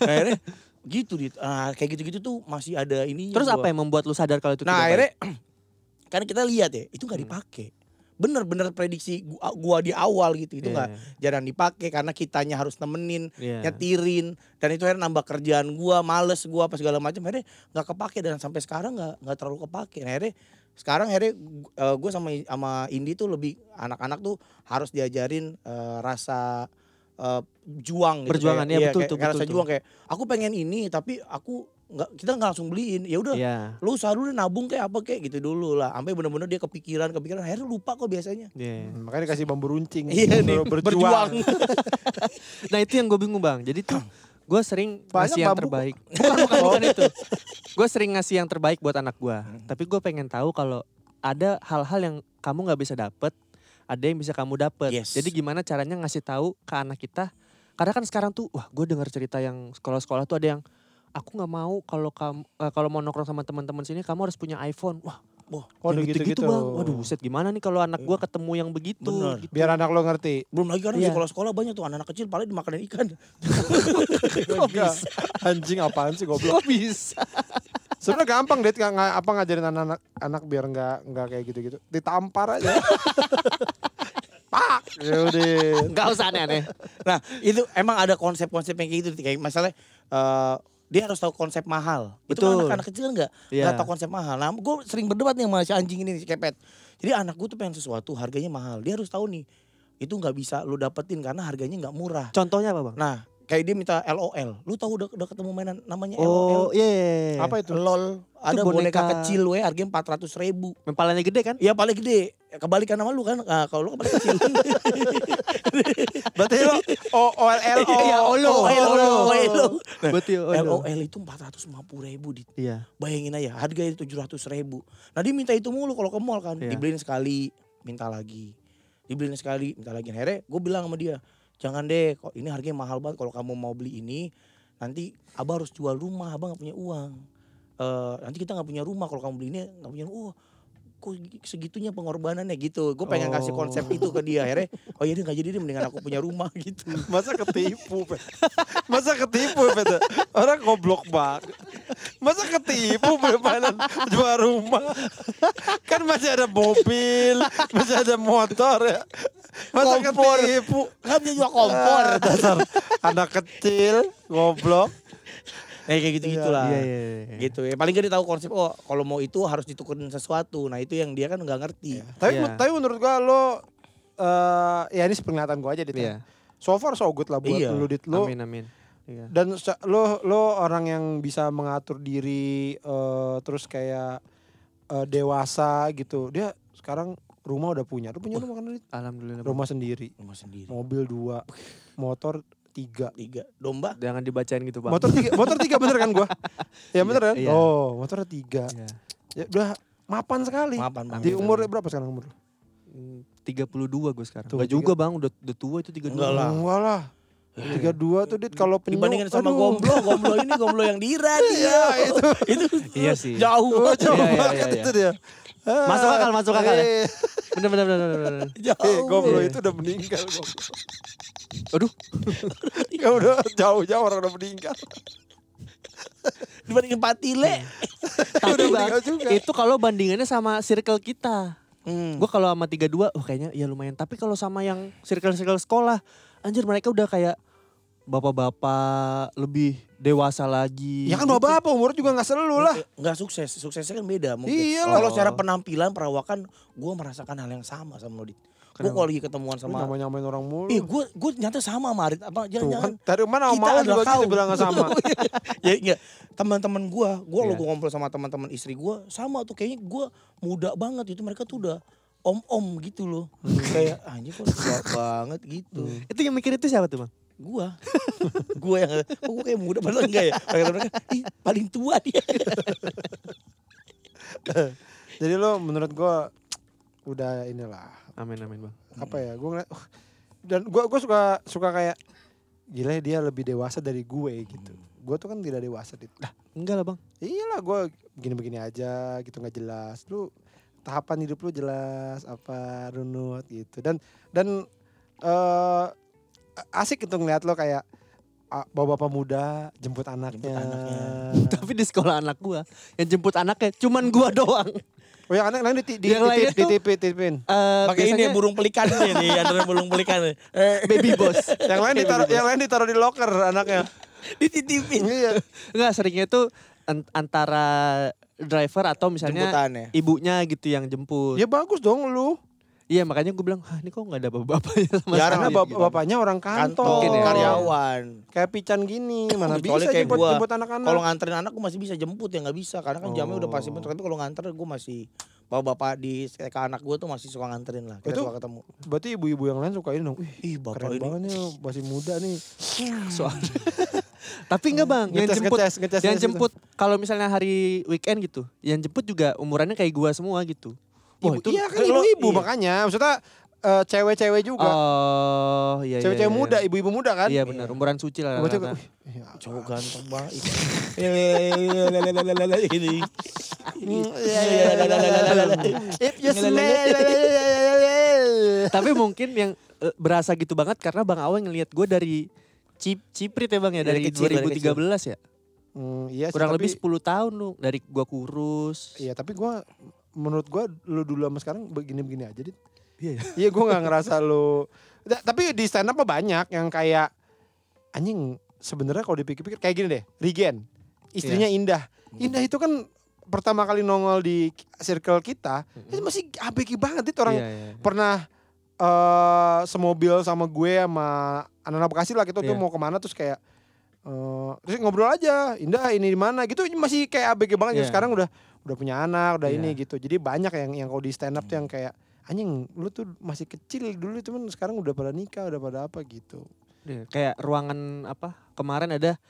Speaker 2: akhirnya gitu dit Ah, kayak gitu-gitu tuh masih ada ini
Speaker 3: Terus apa yang membuat lu sadar kalau itu Hmm.
Speaker 2: nah
Speaker 3: tidak baik?
Speaker 2: akhirnya karena kita lihat ya itu nggak dipakai bener-bener prediksi gua, gua di awal gitu itu
Speaker 3: Iya,
Speaker 2: nggak jarang dipakai karena kitanya harus nemenin
Speaker 3: iya.
Speaker 2: nyetirin dan itu akhirnya nambah kerjaan gua males gua apa segala macam akhirnya nggak kepake dan sampai sekarang nggak nggak terlalu kepake nah, akhirnya sekarang akhirnya eh, gua sama sama Indi tuh lebih anak-anak tuh harus diajarin eh, rasa eh, juang gitu.
Speaker 3: Perjuangan,
Speaker 2: Kayak-
Speaker 3: iya,
Speaker 2: iya,
Speaker 3: betul
Speaker 2: kayak-
Speaker 3: tuh,
Speaker 2: kayak
Speaker 3: betul
Speaker 2: rasa
Speaker 3: tuh.
Speaker 2: juang kayak aku pengen ini tapi aku nggak kita nggak langsung beliin ya udah
Speaker 3: Iya.
Speaker 2: lu selalu nabung kayak apa kayak gitu dulu lah sampai bener-bener dia kepikiran kepikiran akhirnya lupa kok biasanya
Speaker 3: Iya.
Speaker 1: Hmm, Makanya dikasih bambu runcing.
Speaker 3: Hmm,
Speaker 2: Iya,
Speaker 1: Baru
Speaker 2: nih, berjuang.
Speaker 3: Nah itu yang gue bingung bang. Jadi tuh gue sering
Speaker 1: Banyak
Speaker 3: ngasih yang
Speaker 1: bambu.
Speaker 3: terbaik. Bukan, bukan, bukan itu. Gue sering ngasih yang terbaik buat anak gue. Tapi gue pengen tahu kalau ada hal-hal yang kamu nggak bisa dapet, ada yang bisa kamu dapet.
Speaker 2: Yes.
Speaker 3: Jadi gimana caranya ngasih tahu ke anak kita? Karena kan sekarang tuh, wah gue dengar cerita yang sekolah-sekolah tuh ada yang aku nggak mau kalau kamu eh, kalau mau nongkrong sama teman-teman sini kamu harus punya iPhone. Wah,
Speaker 2: Wah,
Speaker 1: Oh, udah
Speaker 3: yang
Speaker 1: gitu-gitu.
Speaker 3: gitu-gitu bang. Waduh, buset gimana nih kalau anak gue ketemu yang begitu?
Speaker 2: Bener.
Speaker 3: gitu.
Speaker 1: Biar anak lo ngerti.
Speaker 2: belum lagi kan di
Speaker 3: Iya.
Speaker 2: sekolah-sekolah banyak tuh anak-anak kecil paling dimakanin ikan
Speaker 1: Enggak. Anjing apaan sih goblok.
Speaker 3: Kok bisa?
Speaker 1: Sebenarnya gampang deh nggak nggak- apa ngajarin anak-anak anak biar nggak nggak kayak gitu-gitu. Ditampar aja. Pak.
Speaker 3: Ya
Speaker 1: Yaudah.
Speaker 3: Gak usah aneh-aneh.
Speaker 2: nah itu emang ada konsep-konsep yang kayak gitu kayak masalah eh, dia harus tahu konsep mahal itu kan
Speaker 3: Betul.
Speaker 2: anak-anak kecil kan nggak
Speaker 3: Iya.
Speaker 2: nggak tahu konsep mahal nah gue sering berdebat nih sama si anjing ini si kepet jadi anak gue tuh pengen sesuatu harganya mahal dia harus tahu nih itu nggak bisa lu dapetin karena harganya nggak murah
Speaker 3: Contohnya apa bang?
Speaker 2: nah kayak dia minta LOL lu tahu udah udah ketemu mainan namanya LOL
Speaker 3: Oh iya. iya, iya.
Speaker 1: Apa itu?
Speaker 2: lol ada boneka,
Speaker 3: boneka.
Speaker 2: kecil we harganya empat ratus ribu
Speaker 3: Mempalanya gede kan?
Speaker 2: ya paling gede kebalikan sama lu kan ah, kalau lu kebalik kecil
Speaker 1: Berarti lo O O L L O.
Speaker 3: Iya, olo,
Speaker 2: oh, iya. olo, olo.
Speaker 3: Berarti olo.
Speaker 2: LOL itu empat ratus lima puluh ribu dit
Speaker 3: Oh, Iya.
Speaker 2: bayangin aja harganya tujuh ratus ribu nah dia minta itu mulu kalau ke mall kan
Speaker 3: Iya.
Speaker 2: dibeliin sekali minta lagi dibeliin sekali minta lagi akhirnya gue bilang sama dia jangan deh kok ini harganya mahal banget kalau kamu mau beli ini nanti abah harus jual rumah abah nggak punya uang Eh, nanti kita nggak punya rumah kalau kamu beli ini nggak punya rumah oh, kok segitunya pengorbanannya gitu gue pengen kasih konsep itu ke dia akhirnya oh iya dia nggak jadi deh mendingan aku punya rumah gitu
Speaker 1: Masa ketipu, Pet? Masa ketipu, Pet? Orang goblok banget. Masa ketipu permanen jual rumah? Kan masih ada mobil, masih ada motor ya. Masa
Speaker 2: Kompor.
Speaker 1: ketipu?
Speaker 2: nggak bisa jual kompor
Speaker 1: Ah, dasar anak kecil, goblok.
Speaker 2: Ya, kayak gitu gitulah.
Speaker 3: Iya, iya, iya.
Speaker 2: Gitu ya. Paling gak dia tahu konsep oh kalau mau itu harus ditukerin sesuatu. Nah, itu yang dia kan nggak ngerti.
Speaker 1: Tapi
Speaker 3: Iya.
Speaker 1: men- tapi menurut gua lo eh ya ini penglihatan gua aja di
Speaker 3: Iya.
Speaker 1: So far so good lah buat
Speaker 2: Iya.
Speaker 1: lu dit lu.
Speaker 3: Amin amin. Iya.
Speaker 1: Dan se- lo lo orang yang bisa mengatur diri eh, terus kayak eh, dewasa gitu. Dia sekarang rumah udah punya. Lu punya rumah kan Dit?
Speaker 3: Alhamdulillah.
Speaker 1: Rumah
Speaker 3: Iya.
Speaker 1: sendiri,
Speaker 2: Rumah sendiri.
Speaker 1: mobil dua, motor tiga.
Speaker 2: Tiga. Domba.
Speaker 3: Jangan dibacain gitu bang.
Speaker 1: Motor tiga, motor tiga bener kan gua? Ya bener kan?
Speaker 3: Iya.
Speaker 1: Oh, motor tiga.
Speaker 3: Iya.
Speaker 1: Ya, udah mapan sekali.
Speaker 2: Mapan, Bang.
Speaker 1: Di
Speaker 3: gitu.
Speaker 1: umur berapa sekarang umur? lu?
Speaker 3: Hmm, 32 gue sekarang.
Speaker 1: Tuh,
Speaker 3: Gak juga bang, udah, udah tua itu 32.
Speaker 2: Enggak lah.
Speaker 1: Enggak lah. Tiga dua tuh dit kalau penyu.
Speaker 2: Dibandingin sama
Speaker 1: aduh.
Speaker 2: gomblo, gomblo ini gomblo yang diirat Iya, itu. itu
Speaker 3: Iya sih.
Speaker 2: jauh.
Speaker 1: Oh, jauh
Speaker 3: Iya, iya,
Speaker 1: banget
Speaker 3: iya, iya.
Speaker 1: itu dia. Ah.
Speaker 3: Masuk akal, masuk akal ya.
Speaker 1: Eh,
Speaker 3: Bener bener bener bener. bener.
Speaker 2: Jauh.
Speaker 1: eh, gomblo
Speaker 3: Iya.
Speaker 1: itu udah meninggal. goblok.
Speaker 3: Aduh.
Speaker 1: ya udah jauh-jauh orang udah meninggal.
Speaker 2: Dibandingin
Speaker 3: Iya.
Speaker 2: patile.
Speaker 3: Tapi
Speaker 1: Udah
Speaker 3: bang,
Speaker 1: meninggal juga.
Speaker 3: itu kalau bandingannya sama circle kita.
Speaker 2: Hmm.
Speaker 3: Gue kalau sama 32, wah kayaknya ya lumayan. Tapi kalau sama yang circle-circle sekolah, anjir mereka udah kayak bapak-bapak lebih dewasa lagi.
Speaker 1: Ya kan bapak apa umur juga nggak selalu lah.
Speaker 2: Nggak sukses, suksesnya kan beda mungkin.
Speaker 3: Iya
Speaker 1: Iyalah.
Speaker 2: Kalau secara penampilan, perawakan, gue merasakan hal yang sama sama Nodit. Gue
Speaker 3: Kenapa?
Speaker 2: kalau lagi ketemuan sama...
Speaker 1: Sama nyamain orang mulu.
Speaker 2: Eh gue gue nyata sama Marit
Speaker 1: Tuh
Speaker 2: apa
Speaker 1: kan
Speaker 2: jangan-jangan
Speaker 1: tadi mana
Speaker 2: kita
Speaker 1: mau juga
Speaker 2: adalah
Speaker 1: gitu
Speaker 2: kaum.
Speaker 1: bilang nggak sama.
Speaker 2: ya enggak teman-teman gue gue lo
Speaker 3: Iya.
Speaker 2: gue ngobrol sama teman-teman istri gue sama tuh kayaknya gue muda banget itu mereka tuh udah om-om gitu loh kayak anjir kok tua banget gitu
Speaker 3: Itu yang mikir itu siapa tuh bang?
Speaker 2: gua gua yang oh, gua kayak muda padahal enggak ya mereka mereka ih paling tua dia
Speaker 1: Jadi lo menurut gua udah inilah
Speaker 3: Amin amin bang.
Speaker 1: apa ya gue ngeliat uh, dan gue gue suka suka kayak gila ya dia lebih dewasa dari gue gitu gue tuh kan tidak dewasa dit
Speaker 3: Enggak lah bang.
Speaker 1: iyalah gue begini-begini aja gitu nggak jelas lu tahapan hidup lu jelas apa runut gitu dan dan eh asik itu ngeliat lo kayak ah, bapak-bapak muda jemput anaknya,
Speaker 2: anaknya.
Speaker 3: Tapi di sekolah anak gua yang jemput anaknya cuman gua doang.
Speaker 1: oh yang anak anak di di,
Speaker 3: Yang lainnya
Speaker 1: ditip-
Speaker 3: tuh-
Speaker 1: ditipin ditipin
Speaker 3: Eh,
Speaker 2: pakai ini
Speaker 3: biasanya
Speaker 2: ya, burung pelikan nih nih, antara burung pelikan eh,
Speaker 3: baby boss.
Speaker 1: yang lain ditaruh yang lain ditaruh di locker anaknya
Speaker 2: dititipin
Speaker 1: iya
Speaker 3: Enggak seringnya itu an- antara driver atau misalnya
Speaker 2: jemputannya
Speaker 3: ibunya gitu yang jemput.
Speaker 1: ya bagus dong lu
Speaker 3: Iya makanya gue bilang, hah ini kok nggak ada bapak-bapaknya sama
Speaker 1: karena
Speaker 2: Jarang
Speaker 3: sekali. Gitu.
Speaker 1: bap- bapaknya orang kantor,
Speaker 2: kantor
Speaker 3: Mungkin ya.
Speaker 2: karyawan
Speaker 1: kayak pican gini mana bisa
Speaker 2: Kecuali kayak
Speaker 1: jemput,
Speaker 2: gua.
Speaker 1: jemput anak-anak
Speaker 2: kalau nganterin anak gue masih bisa jemput ya nggak bisa karena kan jamnya udah pasti
Speaker 3: Oh.
Speaker 2: bentar tapi kalau nganter gue masih bapak bapak di TK anak gue tuh masih suka nganterin lah kita
Speaker 1: Itu-
Speaker 2: suka ketemu
Speaker 1: berarti ibu-ibu yang lain suka ini dong Wih,
Speaker 2: ih bapak
Speaker 1: keren
Speaker 2: ini
Speaker 1: banget nih masih muda nih
Speaker 3: soalnya. Tapi enggak bang, yang
Speaker 1: Ngetes,
Speaker 3: jemput,
Speaker 1: ngetes, ngetes,
Speaker 3: yang
Speaker 1: ngetes.
Speaker 3: jemput kalau misalnya hari weekend gitu, yang jemput juga umurannya kayak gua semua gitu. Wah
Speaker 1: Ibu-
Speaker 3: itu,
Speaker 1: iya kan
Speaker 2: eh, lo-
Speaker 1: ibu-ibu
Speaker 2: iya.
Speaker 1: makanya maksudnya eh, cewek-cewek juga
Speaker 3: oh iya iya.
Speaker 1: cewek-cewek
Speaker 3: iya,
Speaker 1: muda
Speaker 3: iya.
Speaker 1: ibu-ibu muda kan
Speaker 3: Iya benar, umuran suci lah.
Speaker 1: Gua juga,
Speaker 3: rata-rata.
Speaker 1: "Wih, iya,
Speaker 2: cowok ganteng banget Ini.
Speaker 1: If you smell-
Speaker 3: Tapi mungkin yang eh, berasa gitu banget karena Bang Awang ngelihat gua dari cip ciprit ya Bang ya
Speaker 2: Dari
Speaker 3: dari,
Speaker 2: kecil, dari
Speaker 3: 2013 ya.
Speaker 1: Hmm, iya sih,
Speaker 3: Kurang
Speaker 1: tapi-
Speaker 3: lebih 10 tahun lu dari gua kurus.
Speaker 1: iya tapi gua menurut gua lu dulu sama sekarang begini-begini aja dit
Speaker 3: Iya. ya.
Speaker 1: Iya gue gak ngerasa lu Da- Tapi di stand up mah banyak yang kayak Anjing sebenarnya kalau dipikir-pikir kayak gini deh Regen Istrinya
Speaker 3: Iya.
Speaker 1: Indah Indah itu kan pertama kali nongol di circle kita Itu masih abeki banget itu orang
Speaker 3: Iya, iya, iya.
Speaker 1: Pernah eh semobil sama gue sama anak-anak Bekasi lah gitu tuh
Speaker 3: Iya.
Speaker 1: mau kemana terus kayak eh terus ngobrol aja Indah ini di mana gitu masih kayak abg banget gitu.
Speaker 3: Iya.
Speaker 1: sekarang udah udah punya anak udah
Speaker 3: Iya. Hmm.
Speaker 1: ini gitu jadi banyak yang yang kalau di stand up tuh yang kayak anjing lu tuh masih kecil dulu cuman sekarang udah pada nikah udah pada apa gitu
Speaker 3: Iya, Kayak ruangan apa? Kemarin ada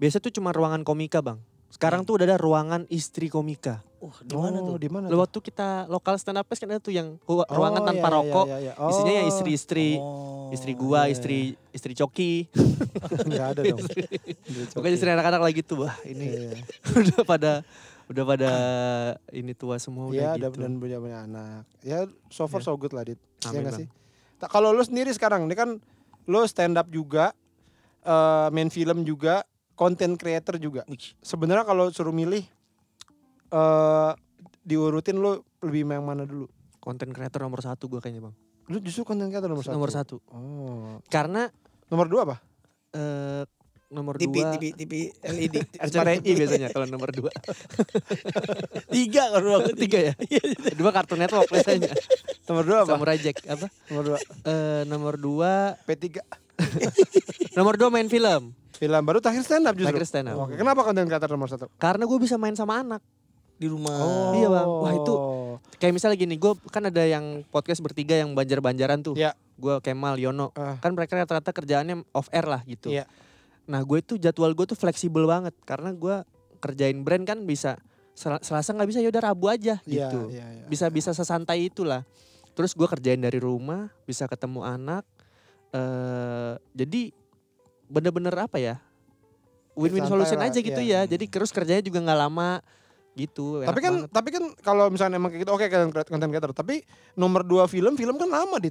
Speaker 3: biasa tuh cuma ruangan komika, Bang.
Speaker 1: Iya.
Speaker 3: Sekarang tuh udah ada ruangan istri komika.
Speaker 2: Uh, di mana
Speaker 1: Oh,
Speaker 2: tuh?
Speaker 1: di mana
Speaker 3: Lo waktu kita lokal stand up fest kan ada tuh yang ru-
Speaker 1: tuh?
Speaker 3: ruangan
Speaker 1: Oh,
Speaker 3: tanpa
Speaker 1: iya, iya,
Speaker 3: rokok.
Speaker 1: iya, iya. Oh,
Speaker 3: Isinya ya istri-istri,
Speaker 2: Oh,
Speaker 3: istri gua,
Speaker 1: iya,
Speaker 3: istri istri coki.
Speaker 1: nggak ada dong Iya,
Speaker 3: Pokoknya istri anak-anak lagi tuh. Wah, ini udah pada udah pada ini tua semua
Speaker 1: ya
Speaker 3: udah gitu.
Speaker 1: dan punya punya anak ya so far so good lah dit ya
Speaker 3: Amin,
Speaker 1: nggak
Speaker 3: Bang.
Speaker 1: sih Ta- kalau lu sendiri sekarang ini kan lu stand up juga eh main film juga content creator juga
Speaker 2: Wih,
Speaker 1: sebenarnya kalau suruh milih eh diurutin lu lebih yang mana dulu
Speaker 3: Konten kreator nomor satu gua kayaknya bang.
Speaker 1: lu justru content creator nomor satu
Speaker 3: Nomor satu.
Speaker 1: Oh.
Speaker 3: Karena
Speaker 1: nomor dua apa
Speaker 3: eh, nomor
Speaker 2: TV,
Speaker 3: dua.
Speaker 2: TV, TV LED.
Speaker 3: RCTI biasanya kalau nomor dua.
Speaker 2: Tiga kan? kalau aku tiga.
Speaker 3: Tiga ya? dua kartu network biasanya.
Speaker 1: Nomor dua apa?
Speaker 3: Samurai Jack apa?
Speaker 1: Nomor dua.
Speaker 3: Eh, nomor dua.
Speaker 1: P3.
Speaker 3: Nomor dua main film.
Speaker 1: Film baru terakhir stand up justru. Oh,
Speaker 3: Tiger stand up.
Speaker 1: Oke, kenapa konten kreator nomor satu?
Speaker 3: Karena gue bisa main sama anak.
Speaker 2: Di rumah.
Speaker 3: iya, Bang. Wah, itu-
Speaker 1: Oh.
Speaker 3: Kayak misalnya gini, gue kan ada yang podcast bertiga yang banjar-banjaran tuh.
Speaker 1: Iya.
Speaker 3: Gue Kemal, Yono.
Speaker 1: Ah.
Speaker 3: Kan mereka rata-rata kerjaannya off air lah gitu.
Speaker 1: Iya.
Speaker 3: Nah gue tuh jadwal gue tuh fleksibel banget. Karena gue kerjain brand kan bisa. Sel- Selasa nggak bisa yaudah Rabu aja
Speaker 1: Iya,
Speaker 3: gitu.
Speaker 1: iya, iya.
Speaker 3: Bisa-bisa sesantai itulah. Terus gue kerjain dari rumah, bisa ketemu anak. eh jadi bener-bener apa ya? Win-win
Speaker 1: Santai
Speaker 3: solution
Speaker 1: lah,
Speaker 3: aja gitu
Speaker 1: iya.
Speaker 3: ya. Jadi terus kerjanya juga nggak lama gitu.
Speaker 1: Tapi
Speaker 3: enak
Speaker 1: kan,
Speaker 3: banget.
Speaker 1: tapi kan kalau misalnya emang kayak gitu, oke konten kreator- konten kreator. Tapi nomor dua film, film kan lama dit.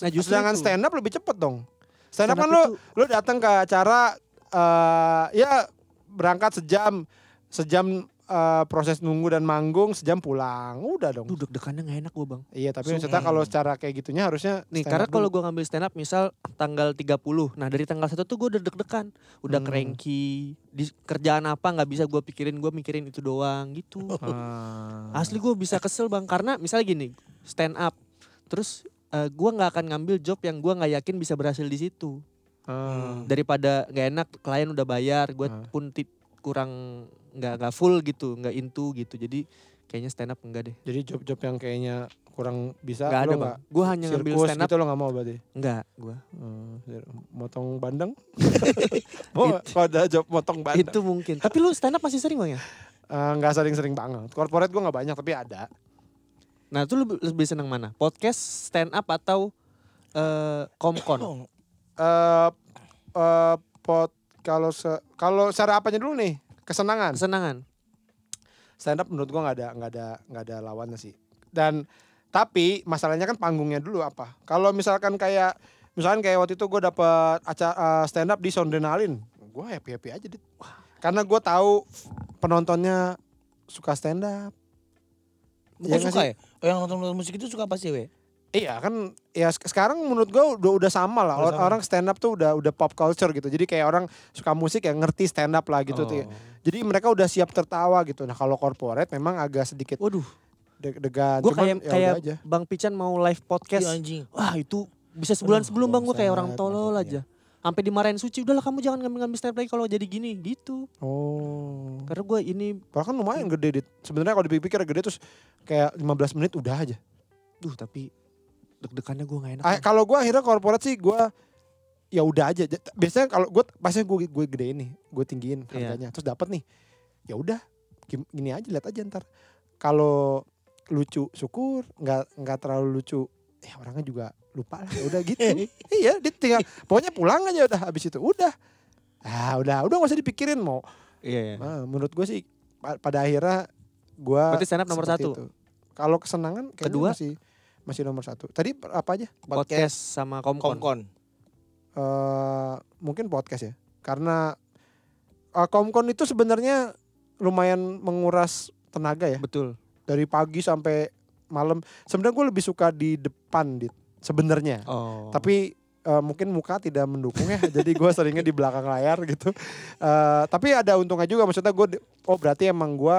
Speaker 3: nah justru
Speaker 1: Sedangkan
Speaker 3: itu.
Speaker 1: stand up lebih cepet dong. Stand up
Speaker 3: Stand
Speaker 1: kan
Speaker 3: up
Speaker 1: lo,
Speaker 3: itu-
Speaker 1: lo datang ke acara, eh ya berangkat sejam, sejam eh, proses nunggu dan manggung, sejam pulang, udah dong.
Speaker 3: Duh deg-degannya gak enak gue bang.
Speaker 1: Iya, tapi
Speaker 2: Sungguh.
Speaker 1: maksudnya kalau secara kayak gitunya harusnya
Speaker 3: Nih
Speaker 1: stand
Speaker 3: karena
Speaker 1: up
Speaker 3: kalau
Speaker 1: dulu.
Speaker 3: gue ngambil stand up misal tanggal 30. Nah dari tanggal 1 tuh gue udah deg-degan. Udah
Speaker 1: Hmm.
Speaker 3: cranky. Di kerjaan apa gak bisa gue pikirin. Gue mikirin itu doang gitu.
Speaker 1: Ah.
Speaker 3: Asli gue bisa kesel bang. Karena misalnya gini stand up. Terus eh, gue gak akan ngambil job yang gue gak yakin bisa berhasil di situ.
Speaker 1: Ah.
Speaker 3: Daripada gak enak klien udah bayar. Gue
Speaker 1: Ah.
Speaker 3: pun ti- kurang gak, nggak full gitu. Gak into gitu. Jadi kayaknya stand up enggak deh.
Speaker 1: Jadi job-job yang kayaknya kurang bisa,
Speaker 3: Gak ada
Speaker 1: lo
Speaker 3: bang.
Speaker 1: nggak-
Speaker 3: Gue hanya ngambil
Speaker 1: sirkus
Speaker 3: stand up.
Speaker 1: gitu lo nggak mau berarti?
Speaker 3: Enggak gue.
Speaker 1: Hmm, motong bandeng? mau
Speaker 3: It-
Speaker 1: kalau ada job motong bandeng?
Speaker 3: Itu mungkin. Tapi lu stand up masih sering bang ya?
Speaker 1: Eh, nggak sering-sering banget. Corporate gue nggak banyak tapi ada.
Speaker 3: Nah itu lebih, lebih seneng mana? Podcast, stand up atau eh, komkon?
Speaker 2: Oh,
Speaker 1: eh eh, pot kalau se- kalau secara apanya dulu nih kesenangan
Speaker 3: Kesenangan.
Speaker 1: stand up menurut gue nggak ada nggak ada nggak ada lawannya sih dan tapi masalahnya kan panggungnya dulu apa kalau misalkan kayak misalkan kayak waktu itu gue dapet acara eh, stand up di Soundrenalin gue happy happy aja dit karena gue tahu penontonnya suka stand up
Speaker 2: bukan
Speaker 1: Iya nggak
Speaker 2: suka ya? Oh, yang nonton nonton musik itu suka pasti we.
Speaker 1: Iya kan ya se- sekarang menurut gue udah udah sama lah
Speaker 2: Udah
Speaker 1: Or-
Speaker 2: sama.
Speaker 1: orang stand up tuh udah udah pop culture gitu jadi kayak orang suka musik yang ngerti stand up lah gitu
Speaker 3: ya. Oh.
Speaker 1: tuh jadi mereka udah siap tertawa gitu nah kalau corporate memang agak sedikit
Speaker 3: Waduh,
Speaker 1: deg-degan
Speaker 3: gue
Speaker 1: Cuman
Speaker 3: kayak
Speaker 1: ya
Speaker 3: kayak
Speaker 1: udah aja
Speaker 3: Bang Pican mau live
Speaker 2: Iya
Speaker 3: podcast.
Speaker 2: anjing.
Speaker 3: Wah itu bisa sebulan
Speaker 2: Aduh,
Speaker 3: sebelum bang gue kayak orang
Speaker 1: bangsat,
Speaker 3: tolol
Speaker 1: maksudnya.
Speaker 3: aja. Sampai dimarahin suci, udahlah kamu jangan ngambil-ngambil stand up lagi kalau jadi gini gitu.
Speaker 1: oh
Speaker 3: Karena gue ini,
Speaker 1: Padahal kan lumayan gede dit sebenarnya kalau dipikir gede terus kayak 15 menit udah aja
Speaker 3: duh tapi deg-degannya gue gak enak. ya.
Speaker 1: Ah,
Speaker 3: Bang.
Speaker 1: kalau gue akhirnya corporate sih gue ya udah aja Ja- biasanya kalau gue pasti gue gue gede nih gue tinggiin
Speaker 3: Iya.
Speaker 1: harganya terus dapat nih ya udah gim- gini aja lihat aja ntar kalau lucu syukur nggak nggak terlalu lucu ya orangnya juga lupa lah ya udah gitu iya dia tinggal pokoknya pulang aja udah habis itu udah ah udah udah gak usah dipikirin mau
Speaker 3: Iya, iya.
Speaker 1: Ah, menurut gue sih pa- pada akhirnya gue
Speaker 3: Berarti stand up nomor satu?
Speaker 1: kalau kesenangan kayaknya
Speaker 3: Kedua?
Speaker 1: masih masih nomor satu tadi apa aja
Speaker 3: Podcast sama komkon.
Speaker 2: Komkon.
Speaker 1: eh mungkin podcast ya karena eh, komkon itu sebenarnya lumayan menguras tenaga ya
Speaker 3: Betul.
Speaker 1: dari pagi sampai malam sebenarnya gue lebih suka di depan dit sebenarnya
Speaker 3: Oh.
Speaker 1: tapi eh, mungkin muka tidak mendukung ya jadi gue seringnya di belakang layar gitu Eh, tapi ada untungnya juga maksudnya gue di- oh berarti emang gue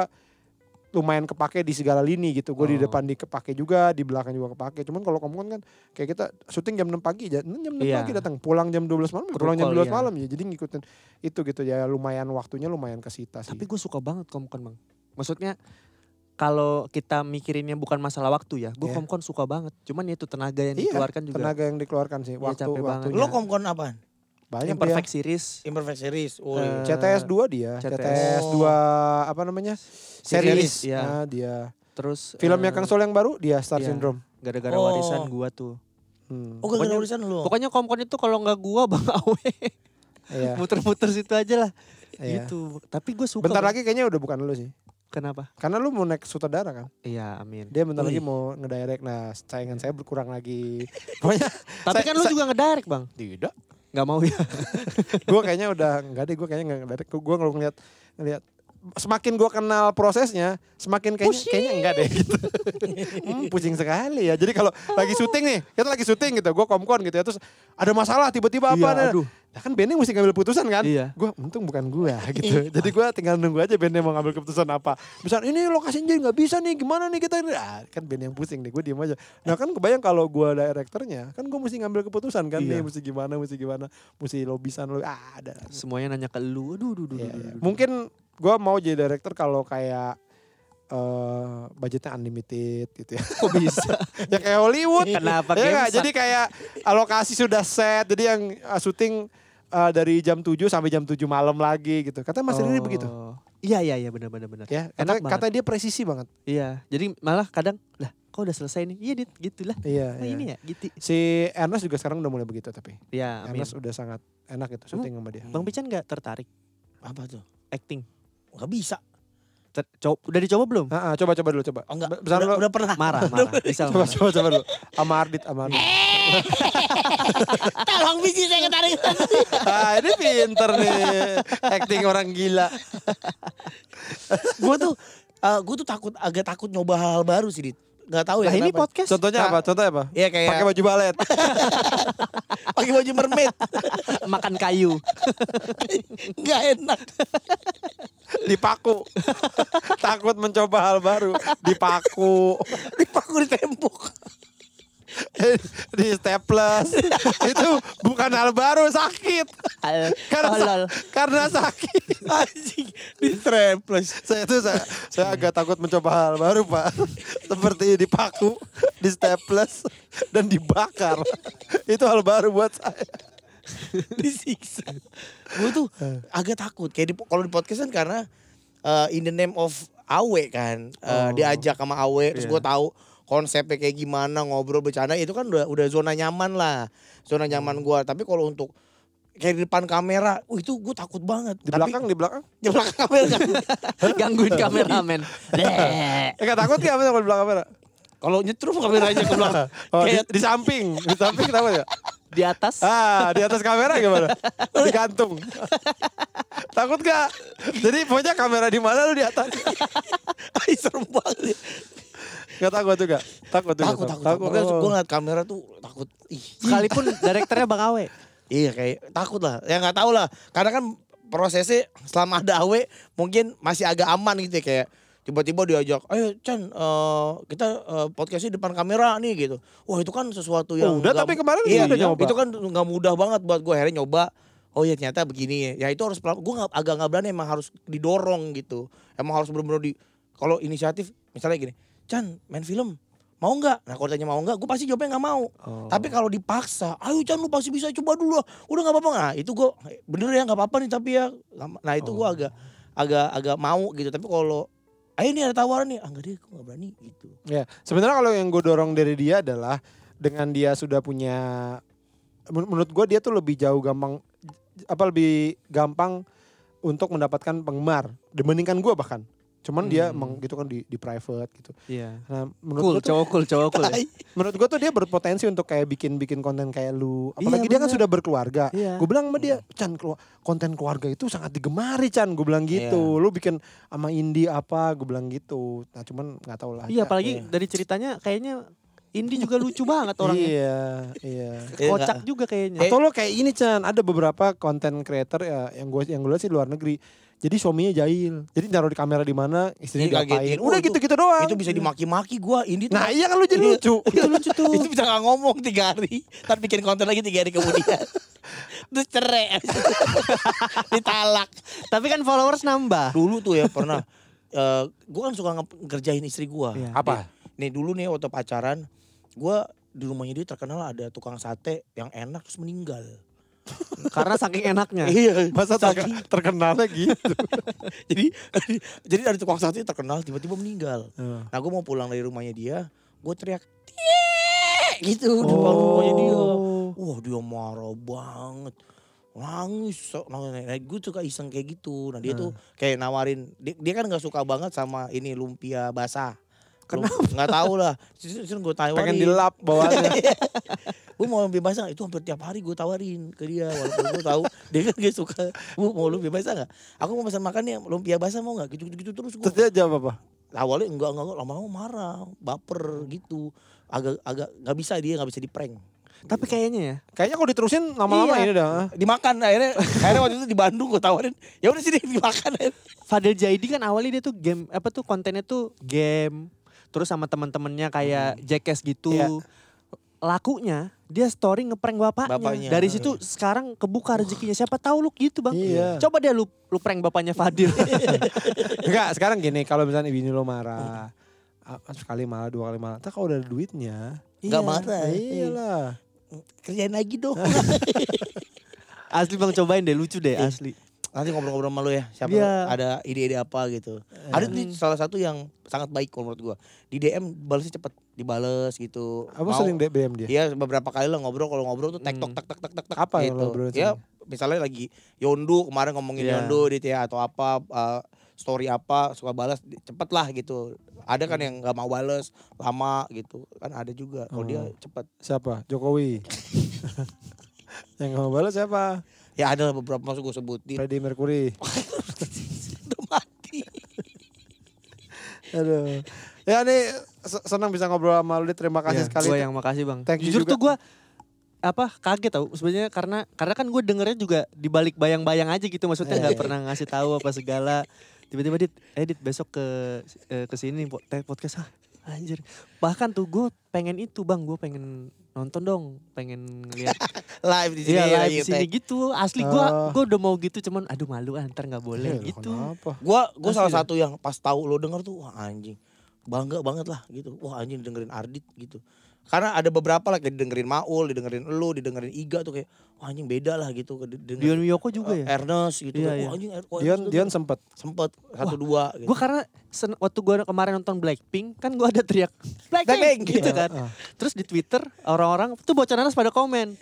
Speaker 1: lumayan kepake di segala lini gitu gue di
Speaker 3: Oh.
Speaker 1: depan di kepake juga di belakang juga kepake cuman kalau komkon kan kayak kita syuting jam 6 pagi jam 6 jam 6
Speaker 3: Iya.
Speaker 1: pagi datang pulang jam 12 malam ya
Speaker 3: Kru
Speaker 1: pulang jam 12
Speaker 3: call, iya.
Speaker 1: malam ya jadi ngikutin itu gitu ya lumayan waktunya lumayan kesita sih
Speaker 3: Tapi gue suka banget komkon bang. Maksudnya kalau kita mikirinnya bukan masalah waktu ya, gue
Speaker 1: Iya.
Speaker 3: komkon suka banget. Cuman ya itu tenaga yang
Speaker 1: Iya,
Speaker 3: dikeluarkan juga.
Speaker 1: tenaga yang dikeluarkan sih
Speaker 3: Iya,
Speaker 1: waktu
Speaker 3: capek banget.
Speaker 1: waktunya
Speaker 2: Lo komkon apaan?
Speaker 1: banyak dia
Speaker 3: Imperfect series.
Speaker 2: Imperfect series. Oh,
Speaker 3: Eh,
Speaker 1: CTS 2 dia
Speaker 3: CTS.
Speaker 1: CTS 2 apa namanya series,
Speaker 3: Iya.
Speaker 1: Nah, dia
Speaker 3: Terus
Speaker 1: filmnya
Speaker 3: eh,
Speaker 1: Kang Sol yang baru dia Star
Speaker 3: iya.
Speaker 1: Syndrome
Speaker 3: gara-gara
Speaker 2: Oh.
Speaker 3: warisan gua tuh.
Speaker 1: hmm.
Speaker 2: oh gara-gara
Speaker 3: pokoknya-
Speaker 2: urusan lo.
Speaker 3: Pokoknya komkon itu kalau nggak gua bang Awe
Speaker 1: iya,
Speaker 3: muter-muter situ aja lah.
Speaker 1: iya.
Speaker 3: Gitu. Tapi gue suka.
Speaker 1: bentar
Speaker 3: Bang.
Speaker 1: lagi kayaknya udah bukan lu sih
Speaker 3: Kenapa?
Speaker 1: karena lu mau naik sutradara kan
Speaker 3: Iya, amin.
Speaker 1: dia bentar lagi
Speaker 2: Wih.
Speaker 1: mau ngedirect nah saingan
Speaker 3: Iya.
Speaker 1: saya berkurang lagi pokoknya
Speaker 3: Tapi
Speaker 1: Saya-
Speaker 3: kan lu
Speaker 1: saya-
Speaker 3: juga ngedirect bang.
Speaker 1: tidak
Speaker 3: Nggak mau ya.
Speaker 1: gue kayaknya udah nggak deh gue kayaknya nggak ngedirect gue kalau ngeliat ngeliat semakin gua kenal prosesnya, semakin kayaknya
Speaker 3: Pusing.
Speaker 1: kayaknya enggak deh gitu. Hmm, pusing sekali ya. Jadi kalau lagi syuting nih, kita lagi syuting gitu, gua komkon gitu ya, terus ada masalah tiba-tiba apa
Speaker 3: Iya,
Speaker 1: nah.
Speaker 3: aduh.
Speaker 1: Nah, kan Bene mesti ngambil putusan kan?
Speaker 3: Iya.
Speaker 1: Gue untung bukan gua gitu. Jadi gua tinggal nunggu aja Bene mau ngambil keputusan apa. Misal ini lokasinya jadi nggak bisa nih, gimana nih kita? Ah, kan Bene yang pusing nih, gue diem aja. Nah kan kebayang kalau gua direkturnya, kan gue mesti ngambil keputusan kan nih,
Speaker 3: Iya.
Speaker 1: mesti gimana, mesti gimana, mesti lobisan lo. Ah, ada.
Speaker 3: Semuanya nanya ke lu. Aduh, aduh, aduh.
Speaker 1: Iya,
Speaker 3: aduh,
Speaker 1: iya.
Speaker 3: aduh.
Speaker 1: Mungkin gue mau jadi director kalau kayak eh budgetnya unlimited gitu ya.
Speaker 3: kok bisa?
Speaker 1: ya kayak Hollywood.
Speaker 3: Kenapa
Speaker 1: ya nggak?
Speaker 3: Gemsak?
Speaker 1: Jadi kayak alokasi sudah set. Jadi yang eh, syuting eh, dari jam 7 sampai jam 7 malam lagi gitu. Katanya Mas Riri
Speaker 3: Oh.
Speaker 1: begitu.
Speaker 3: Iya, iya, iya benar benar benar.
Speaker 1: Ya, kata,
Speaker 3: Enak banget.
Speaker 1: kata dia presisi banget.
Speaker 3: Iya. Jadi malah kadang lah kok udah selesai nih. Iya, Dit, gitulah.
Speaker 1: Iya.
Speaker 3: Oh,
Speaker 1: iya.
Speaker 3: ini ya, gitu.
Speaker 1: Si Ernest juga sekarang udah mulai begitu tapi.
Speaker 3: Ya, amin.
Speaker 1: Ernest udah sangat enak itu syuting sama dia.
Speaker 3: Bang Pican gak tertarik
Speaker 2: Apa tuh?
Speaker 3: acting?
Speaker 2: Gak bisa.
Speaker 3: Ter- co- udah dicoba belum?
Speaker 1: Ah, ah, coba coba dulu coba.
Speaker 2: Oh, enggak.
Speaker 1: Be- Besar
Speaker 2: udah,
Speaker 1: lo.
Speaker 2: udah pernah.
Speaker 3: Marah, marah. Bisa
Speaker 1: Ah, Coba
Speaker 3: marah.
Speaker 1: coba coba dulu. Sama Ardit, sama Ardit.
Speaker 2: Eh, Tolong biji saya ketarik.
Speaker 1: Ah, ini pinter nih. Acting orang gila.
Speaker 2: gue tuh gue tuh takut agak takut nyoba hal baru sih dit nggak tahu ya
Speaker 3: Nah, ini
Speaker 2: kenapa.
Speaker 3: podcast.
Speaker 1: Contohnya
Speaker 2: Nah,
Speaker 1: apa? Contohnya apa?
Speaker 2: Iya kayak
Speaker 1: Pakai baju balet.
Speaker 2: pakai baju mermaid
Speaker 3: Makan kayu.
Speaker 2: nggak enak
Speaker 1: Dipaku. Takut mencoba hal baru. Dipaku.
Speaker 2: dipaku di tembok
Speaker 1: Di staples. Itu bukan hal baru. Sakit.
Speaker 3: Al-
Speaker 1: Karena,
Speaker 2: Oh,
Speaker 1: sa-
Speaker 3: Eh, tolol.
Speaker 1: karena sakit.
Speaker 2: Ah, anjing di trampless
Speaker 1: Saya itu saya, saya agak takut mencoba hal baru pak. Seperti dipaku. Di staples. Dan dibakar. Itu hal baru buat saya.
Speaker 2: disiksa gue tuh
Speaker 1: Eh.
Speaker 2: agak takut kayak di kalau di podcast kan karena eh, in the name of Awe kan Eh,
Speaker 1: Oh.
Speaker 2: diajak sama Awe terus
Speaker 3: Iya.
Speaker 2: gue tahu konsepnya kayak gimana ngobrol bercanda itu kan udah udah zona nyaman lah zona
Speaker 1: Hmm.
Speaker 2: nyaman gua tapi kalau untuk kayak di depan kamera, oh itu gue takut banget.
Speaker 1: Di
Speaker 2: Tapi-
Speaker 1: belakang, di belakang.
Speaker 2: di belakang kamera.
Speaker 3: Gangguin kameramen. Bleh.
Speaker 1: Eh, nggak takut nggak kalau di belakang kamera?
Speaker 2: Kalau nyetrum kameranya ke belakang.
Speaker 1: Oh, di,
Speaker 2: Kayak
Speaker 1: di samping, di samping kenapa ya?
Speaker 3: Di atas.
Speaker 1: Ah, di atas kamera gimana? Digantung. Takut gak? Jadi pokoknya kamera di mana lu di atas?
Speaker 2: Ay, serem banget.
Speaker 1: Gak takut juga. Takut juga.
Speaker 2: Takut, takut. takut. Iya, Makanya
Speaker 1: Oh.
Speaker 2: gue ngeliat kamera tuh takut. Ih,
Speaker 3: Sekalipun direkturnya Bang Awe.
Speaker 2: iya kayak takut lah. Ya nggak tahu lah. Karena kan prosesnya selama ada awe mungkin masih agak aman gitu ya. Kayak tiba-tiba diajak, ayo Chan eh, kita eh, podcastnya depan kamera nih gitu. Wah itu kan sesuatu yang...
Speaker 1: Udah,
Speaker 2: nggak-
Speaker 1: tapi kemarin
Speaker 2: iya,
Speaker 1: udah
Speaker 2: iya.
Speaker 1: nyoba.
Speaker 2: Itu kan nggak mudah banget buat gue akhirnya nyoba. Oh iya ternyata begini ya. Ya itu harus pelan. Gue nggak- agak nggak berani emang harus didorong gitu. Emang harus benar-benar di. Kalau inisiatif misalnya gini, Chan main film mau nggak? Nah kalau tanya mau nggak, gue pasti jawabnya nggak mau.
Speaker 1: Oh.
Speaker 2: Tapi kalau dipaksa, ayo Chan lu pasti bisa coba dulu. lah. Udah nggak apa-apa nggak? Itu gue bener ya nggak apa-apa nih tapi ya. nggak- Nah itu gue agak agak agak mau gitu. Tapi kalau ayo nih ada tawaran nih, ah nggak deh gue nggak berani gitu.
Speaker 1: Ya, sebenarnya kalau yang gue dorong dari dia adalah dengan dia sudah punya men- menurut gue dia tuh lebih jauh gampang apa lebih gampang untuk mendapatkan penggemar dibandingkan gue bahkan. Cuman dia
Speaker 3: Hmm.
Speaker 1: emang gitu kan di, di private gitu.
Speaker 3: Iya.
Speaker 1: Nah, menurut gua tuh-
Speaker 3: Cool,
Speaker 1: Iya,
Speaker 3: cowok cool, cowok cool. ya.
Speaker 1: menurut gue tuh dia berpotensi untuk kayak bikin bikin konten kayak lu apalagi
Speaker 3: Iya,
Speaker 1: dia kan
Speaker 3: bener.
Speaker 1: sudah berkeluarga
Speaker 3: Iya.
Speaker 1: gue bilang sama dia Chan kelu- konten keluarga itu sangat digemari Chan gue bilang
Speaker 3: Iya.
Speaker 1: gitu lu bikin sama indie apa gue bilang gitu nah cuman nggak tahu lah
Speaker 3: Iya, apalagi
Speaker 2: Iya.
Speaker 3: dari ceritanya kayaknya Indi juga lucu banget orangnya.
Speaker 1: iya iya Eh.
Speaker 2: Iya,
Speaker 3: Kocak
Speaker 2: nggak-
Speaker 3: juga kayaknya.
Speaker 1: atau lo kayak ini Chan ada beberapa konten creator ya, yang gue yang gue lihat sih luar negeri jadi suaminya jahil jadi naruh di kamera di mana istrinya
Speaker 2: Jadi kagetin.
Speaker 1: diapain
Speaker 2: Oh,
Speaker 1: udah
Speaker 2: itu-
Speaker 1: gitu gitu doang
Speaker 2: Itu bisa dimaki-maki gue. Ini tuh
Speaker 1: nah iya kan lu jadi lucu
Speaker 3: Itu lucu tuh.
Speaker 2: itu bisa gak ngomong tiga hari tapi bikin konten lagi tiga hari kemudian terus cerai ditalak
Speaker 3: Tapi kan followers nambah.
Speaker 2: dulu tuh ya pernah eh gue kan suka nge- ngerjain istri gue
Speaker 3: Iya.
Speaker 1: Apa?
Speaker 2: nih dulu nih waktu pacaran gue di rumahnya dia terkenal ada tukang sate yang enak terus meninggal
Speaker 3: Karena saking enaknya.
Speaker 1: Nah,
Speaker 2: iya
Speaker 1: masa terke-
Speaker 2: saking-
Speaker 1: terkenalnya gitu
Speaker 2: jadi jadi ada tukang sate terkenal tiba-tiba meninggal nah gue mau pulang dari rumahnya dia gue teriak "Tie!" gitu di
Speaker 1: Oh.
Speaker 2: depan rumahnya dia Wah dia marah banget nangis so- nangis nah, gue suka iseng kayak gitu nah dia tuh kayak nawarin dia, dia kan nggak suka banget sama ini lumpia basah Lum- nggak tahu lah terus gue tawarin
Speaker 1: pengen dilap bawaannya
Speaker 2: gue mau bebas nggak itu hampir tiap hari gue tawarin ke dia walaupun gue tahu dia kan gak suka bu mau lu bebas nggak aku mau pesan makan ya lumpia basah mau nggak gitu gitu terus gue
Speaker 1: Terus dia jawab apa?
Speaker 2: awalnya enggak enggak enggak, lama-lama marah baper gitu agak agak nggak bisa dia nggak bisa di prank
Speaker 3: Tapi kayaknya ya.
Speaker 1: Kayaknya kalau diterusin lama-lama
Speaker 3: Iya.
Speaker 1: ini dah.
Speaker 2: dimakan akhirnya akhirnya waktu itu di Bandung gue tawarin ya udah sini dimakan akhirnya.
Speaker 3: Fadel Jaidi kan awalnya dia tuh game apa tuh kontennya tuh game terus sama teman-temannya kayak jackass gitu.
Speaker 1: Iya.
Speaker 3: Lakunya dia story ngeprank bapaknya.
Speaker 2: Bapaknya.
Speaker 3: Dari situ sekarang kebuka rezekinya. Siapa tahu lu gitu, Bang.
Speaker 1: Iya.
Speaker 3: Coba deh lu lu prank bapaknya Fadil.
Speaker 1: Enggak, sekarang gini, kalau misalnya bini lo marah, ah, sekali malah dua kali malah. Tak kalau udah ada duitnya.
Speaker 2: Nggak
Speaker 1: Iya,
Speaker 2: marah.
Speaker 1: Iyalah.
Speaker 2: kerjain lagi dong
Speaker 3: asli Bang cobain deh lucu deh
Speaker 2: Iya.
Speaker 3: asli.
Speaker 2: nanti ngobrol-ngobrol sama lu ya siapa
Speaker 3: Iya.
Speaker 2: ada ide-ide apa gitu ada tuh salah satu yang sangat baik kalau menurut gua di DM balasnya cepet dibales gitu
Speaker 1: Aku
Speaker 2: Mau-
Speaker 1: sering DM dia.
Speaker 2: Iya beberapa kali lah ngobrol kalau ngobrol tuh tek tok tak tak tak tak tak
Speaker 1: Apa yang
Speaker 2: gitu.
Speaker 1: lo ngobrolin
Speaker 2: Ya misalnya lagi Yondu kemarin ngomongin
Speaker 3: Iya.
Speaker 2: Yondu di ya atau apa uh, story apa suka balas di- cepet lah gitu. Ada kan yang nggak mau balas lama gitu kan ada juga kalau dia
Speaker 3: Oh.
Speaker 2: cepet.
Speaker 1: Siapa? Jokowi. Yang gak mau balas siapa?
Speaker 2: Ya ada lah beberapa masuk gue sebutin
Speaker 1: Freddie Mercury.
Speaker 2: udah mati.
Speaker 1: Aduh. Ya nih se- senang bisa ngobrol sama lu. Dit. Terima kasih
Speaker 3: Iya,
Speaker 1: sekali.
Speaker 3: Gua yang makasih bang.
Speaker 1: Thank you
Speaker 3: Jujur
Speaker 1: juga.
Speaker 3: tuh gue apa kaget tau sebenarnya karena karena kan gue dengernya juga di balik bayang-bayang aja gitu
Speaker 1: Iya,
Speaker 3: maksudnya nggak pernah ngasih tahu apa segala tiba-tiba dit edit besok ke eh, ke sini po- tag podcast ah anjir bahkan tuh gue pengen itu bang gue pengen nonton dong pengen lihat
Speaker 2: Live di sini. ya,
Speaker 3: iya live
Speaker 2: lagi
Speaker 3: di sini
Speaker 2: tag.
Speaker 3: gitu asli gue
Speaker 1: Oh.
Speaker 3: gue udah mau gitu cuman aduh malu ah, ntar nggak
Speaker 1: Eh,
Speaker 3: boleh
Speaker 1: lu
Speaker 3: gitu
Speaker 1: Kenapa?
Speaker 2: Gua gua
Speaker 3: Asli
Speaker 2: salah
Speaker 3: dah.
Speaker 2: satu yang pas tahu lo denger tuh wah anjing. Bangga banget lah gitu. Wah anjing dengerin Ardit gitu. Karena ada beberapa lah kayak dengerin Maul, didengerin lo, didengerin Iga tuh kayak wah anjing beda lah gitu dengerin
Speaker 3: Dion Miyoko juga ya
Speaker 2: Ernest gitu.
Speaker 3: Iya,
Speaker 2: kan.
Speaker 3: iya.
Speaker 2: Wah anjing Er- wah,
Speaker 1: Dion,
Speaker 2: Ernest
Speaker 1: Dion
Speaker 2: tuh
Speaker 1: sempet.
Speaker 2: sempet satu dua gitu.
Speaker 3: Gue karena sen- waktu gue kemarin nonton Blackpink kan gue ada teriak
Speaker 2: Blackpink, Iya,
Speaker 3: Blackpink gitu kan. Terus di Twitter orang-orang tuh bocah nanas pada komen.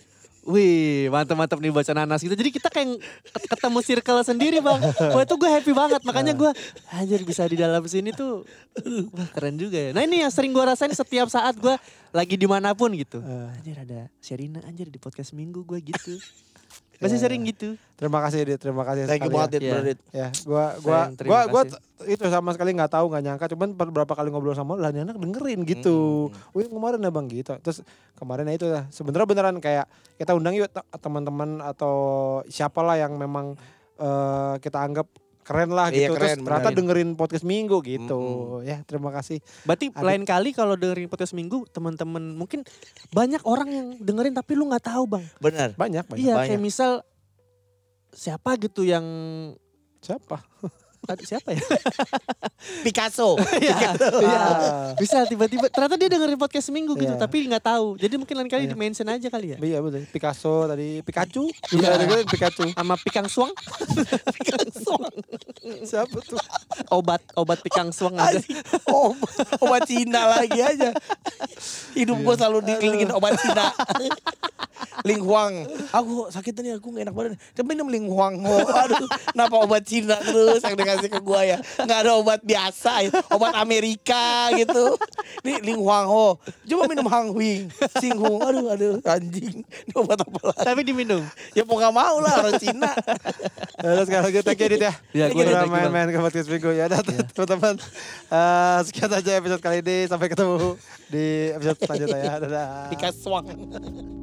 Speaker 3: Wih mantep-mantep nih bocah nanas gitu. Jadi kita kayak ket- ketemu circle sendiri bang. Wah itu gue happy banget. Makanya gue anjir bisa di dalam sini tuh. Wah keren juga ya. Nah ini yang sering gue rasain setiap saat gue lagi dimanapun gitu. Anjir ada Sherina anjir di podcast minggu gue gitu. Masih
Speaker 2: Iya,
Speaker 3: sering gitu.
Speaker 1: Terima kasih Dit. Terima kasih
Speaker 2: Thank you
Speaker 1: sekali. ya.
Speaker 2: banget Dit,
Speaker 3: Iya.
Speaker 2: bener, Dit.
Speaker 1: Ya, gua gua
Speaker 3: Sayang, terima
Speaker 1: gua gua
Speaker 3: kasih.
Speaker 1: t- itu sama sekali nggak tahu nggak nyangka cuman per- berapa kali ngobrol sama lu, lah ini anak dengerin gitu. Wih, kemarin abang gitu. Terus kemarin ya itu lah sebenarnya beneran kayak kita undang yuk te- teman-teman atau siapalah yang memang eh, kita anggap keren lah
Speaker 2: Iya,
Speaker 1: gitu. Terus
Speaker 2: keren,
Speaker 1: ternyata
Speaker 2: benerin.
Speaker 1: dengerin podcast Minggu gitu. Ya, terima kasih.
Speaker 3: Berarti
Speaker 1: Ada-
Speaker 3: lain kali kalau dengerin podcast minggu teman-teman mungkin banyak orang yang dengerin tapi lu nggak tahu bang.
Speaker 2: Bener.
Speaker 1: Banyak banyak.
Speaker 3: Iya
Speaker 2: banyak.
Speaker 3: kayak misal siapa gitu yang
Speaker 1: Siapa?
Speaker 3: aduh, siapa ya?
Speaker 2: Picasso.
Speaker 3: Iya. Iya.
Speaker 1: Ah.
Speaker 3: Bisa tiba-tiba ternyata dia dengerin podcast minggu gitu
Speaker 1: Iya.
Speaker 3: tapi nggak tahu. Jadi mungkin lain kali
Speaker 1: Iya.
Speaker 3: di mention aja kali ya.
Speaker 1: Iya betul. Picasso tadi Pikachu. Juga ada dengerin Pikachu.
Speaker 3: Sama pikang suang. pikang suang.
Speaker 1: Siapa tuh?
Speaker 3: Obat obat pikang suang ada.
Speaker 2: Anjing, obat, obat Cina lagi aja. Hidup
Speaker 3: Iya.
Speaker 2: gue selalu dikelilingin obat Cina. Ling Huang. Aku sakit nih, aku gak enak badan. Coba minum Ling Huang. Ho. Aduh, kenapa obat Cina terus yang dikasih ke gue ya. Gak ada obat biasa ya. Obat Amerika gitu. Ini Ling Huang Ho. Coba minum Hang Huing. Sing Hung. Aduh, aduh, anjing. Ini obat apa lagi?
Speaker 3: tapi diminum.
Speaker 2: Ya mau gak mau lah orang Cina.
Speaker 1: Ya, udah sekarang kita thank you Dit ya.
Speaker 3: Iya, gua
Speaker 1: Udah
Speaker 3: thank you, Bang. Iya.
Speaker 1: main-main ke podcast minggu ya. Udah teman-teman. Eh, sekian aja episode kali ini. Sampai ketemu di episode selanjutnya. ya. Dadah.
Speaker 2: Dikasih suang.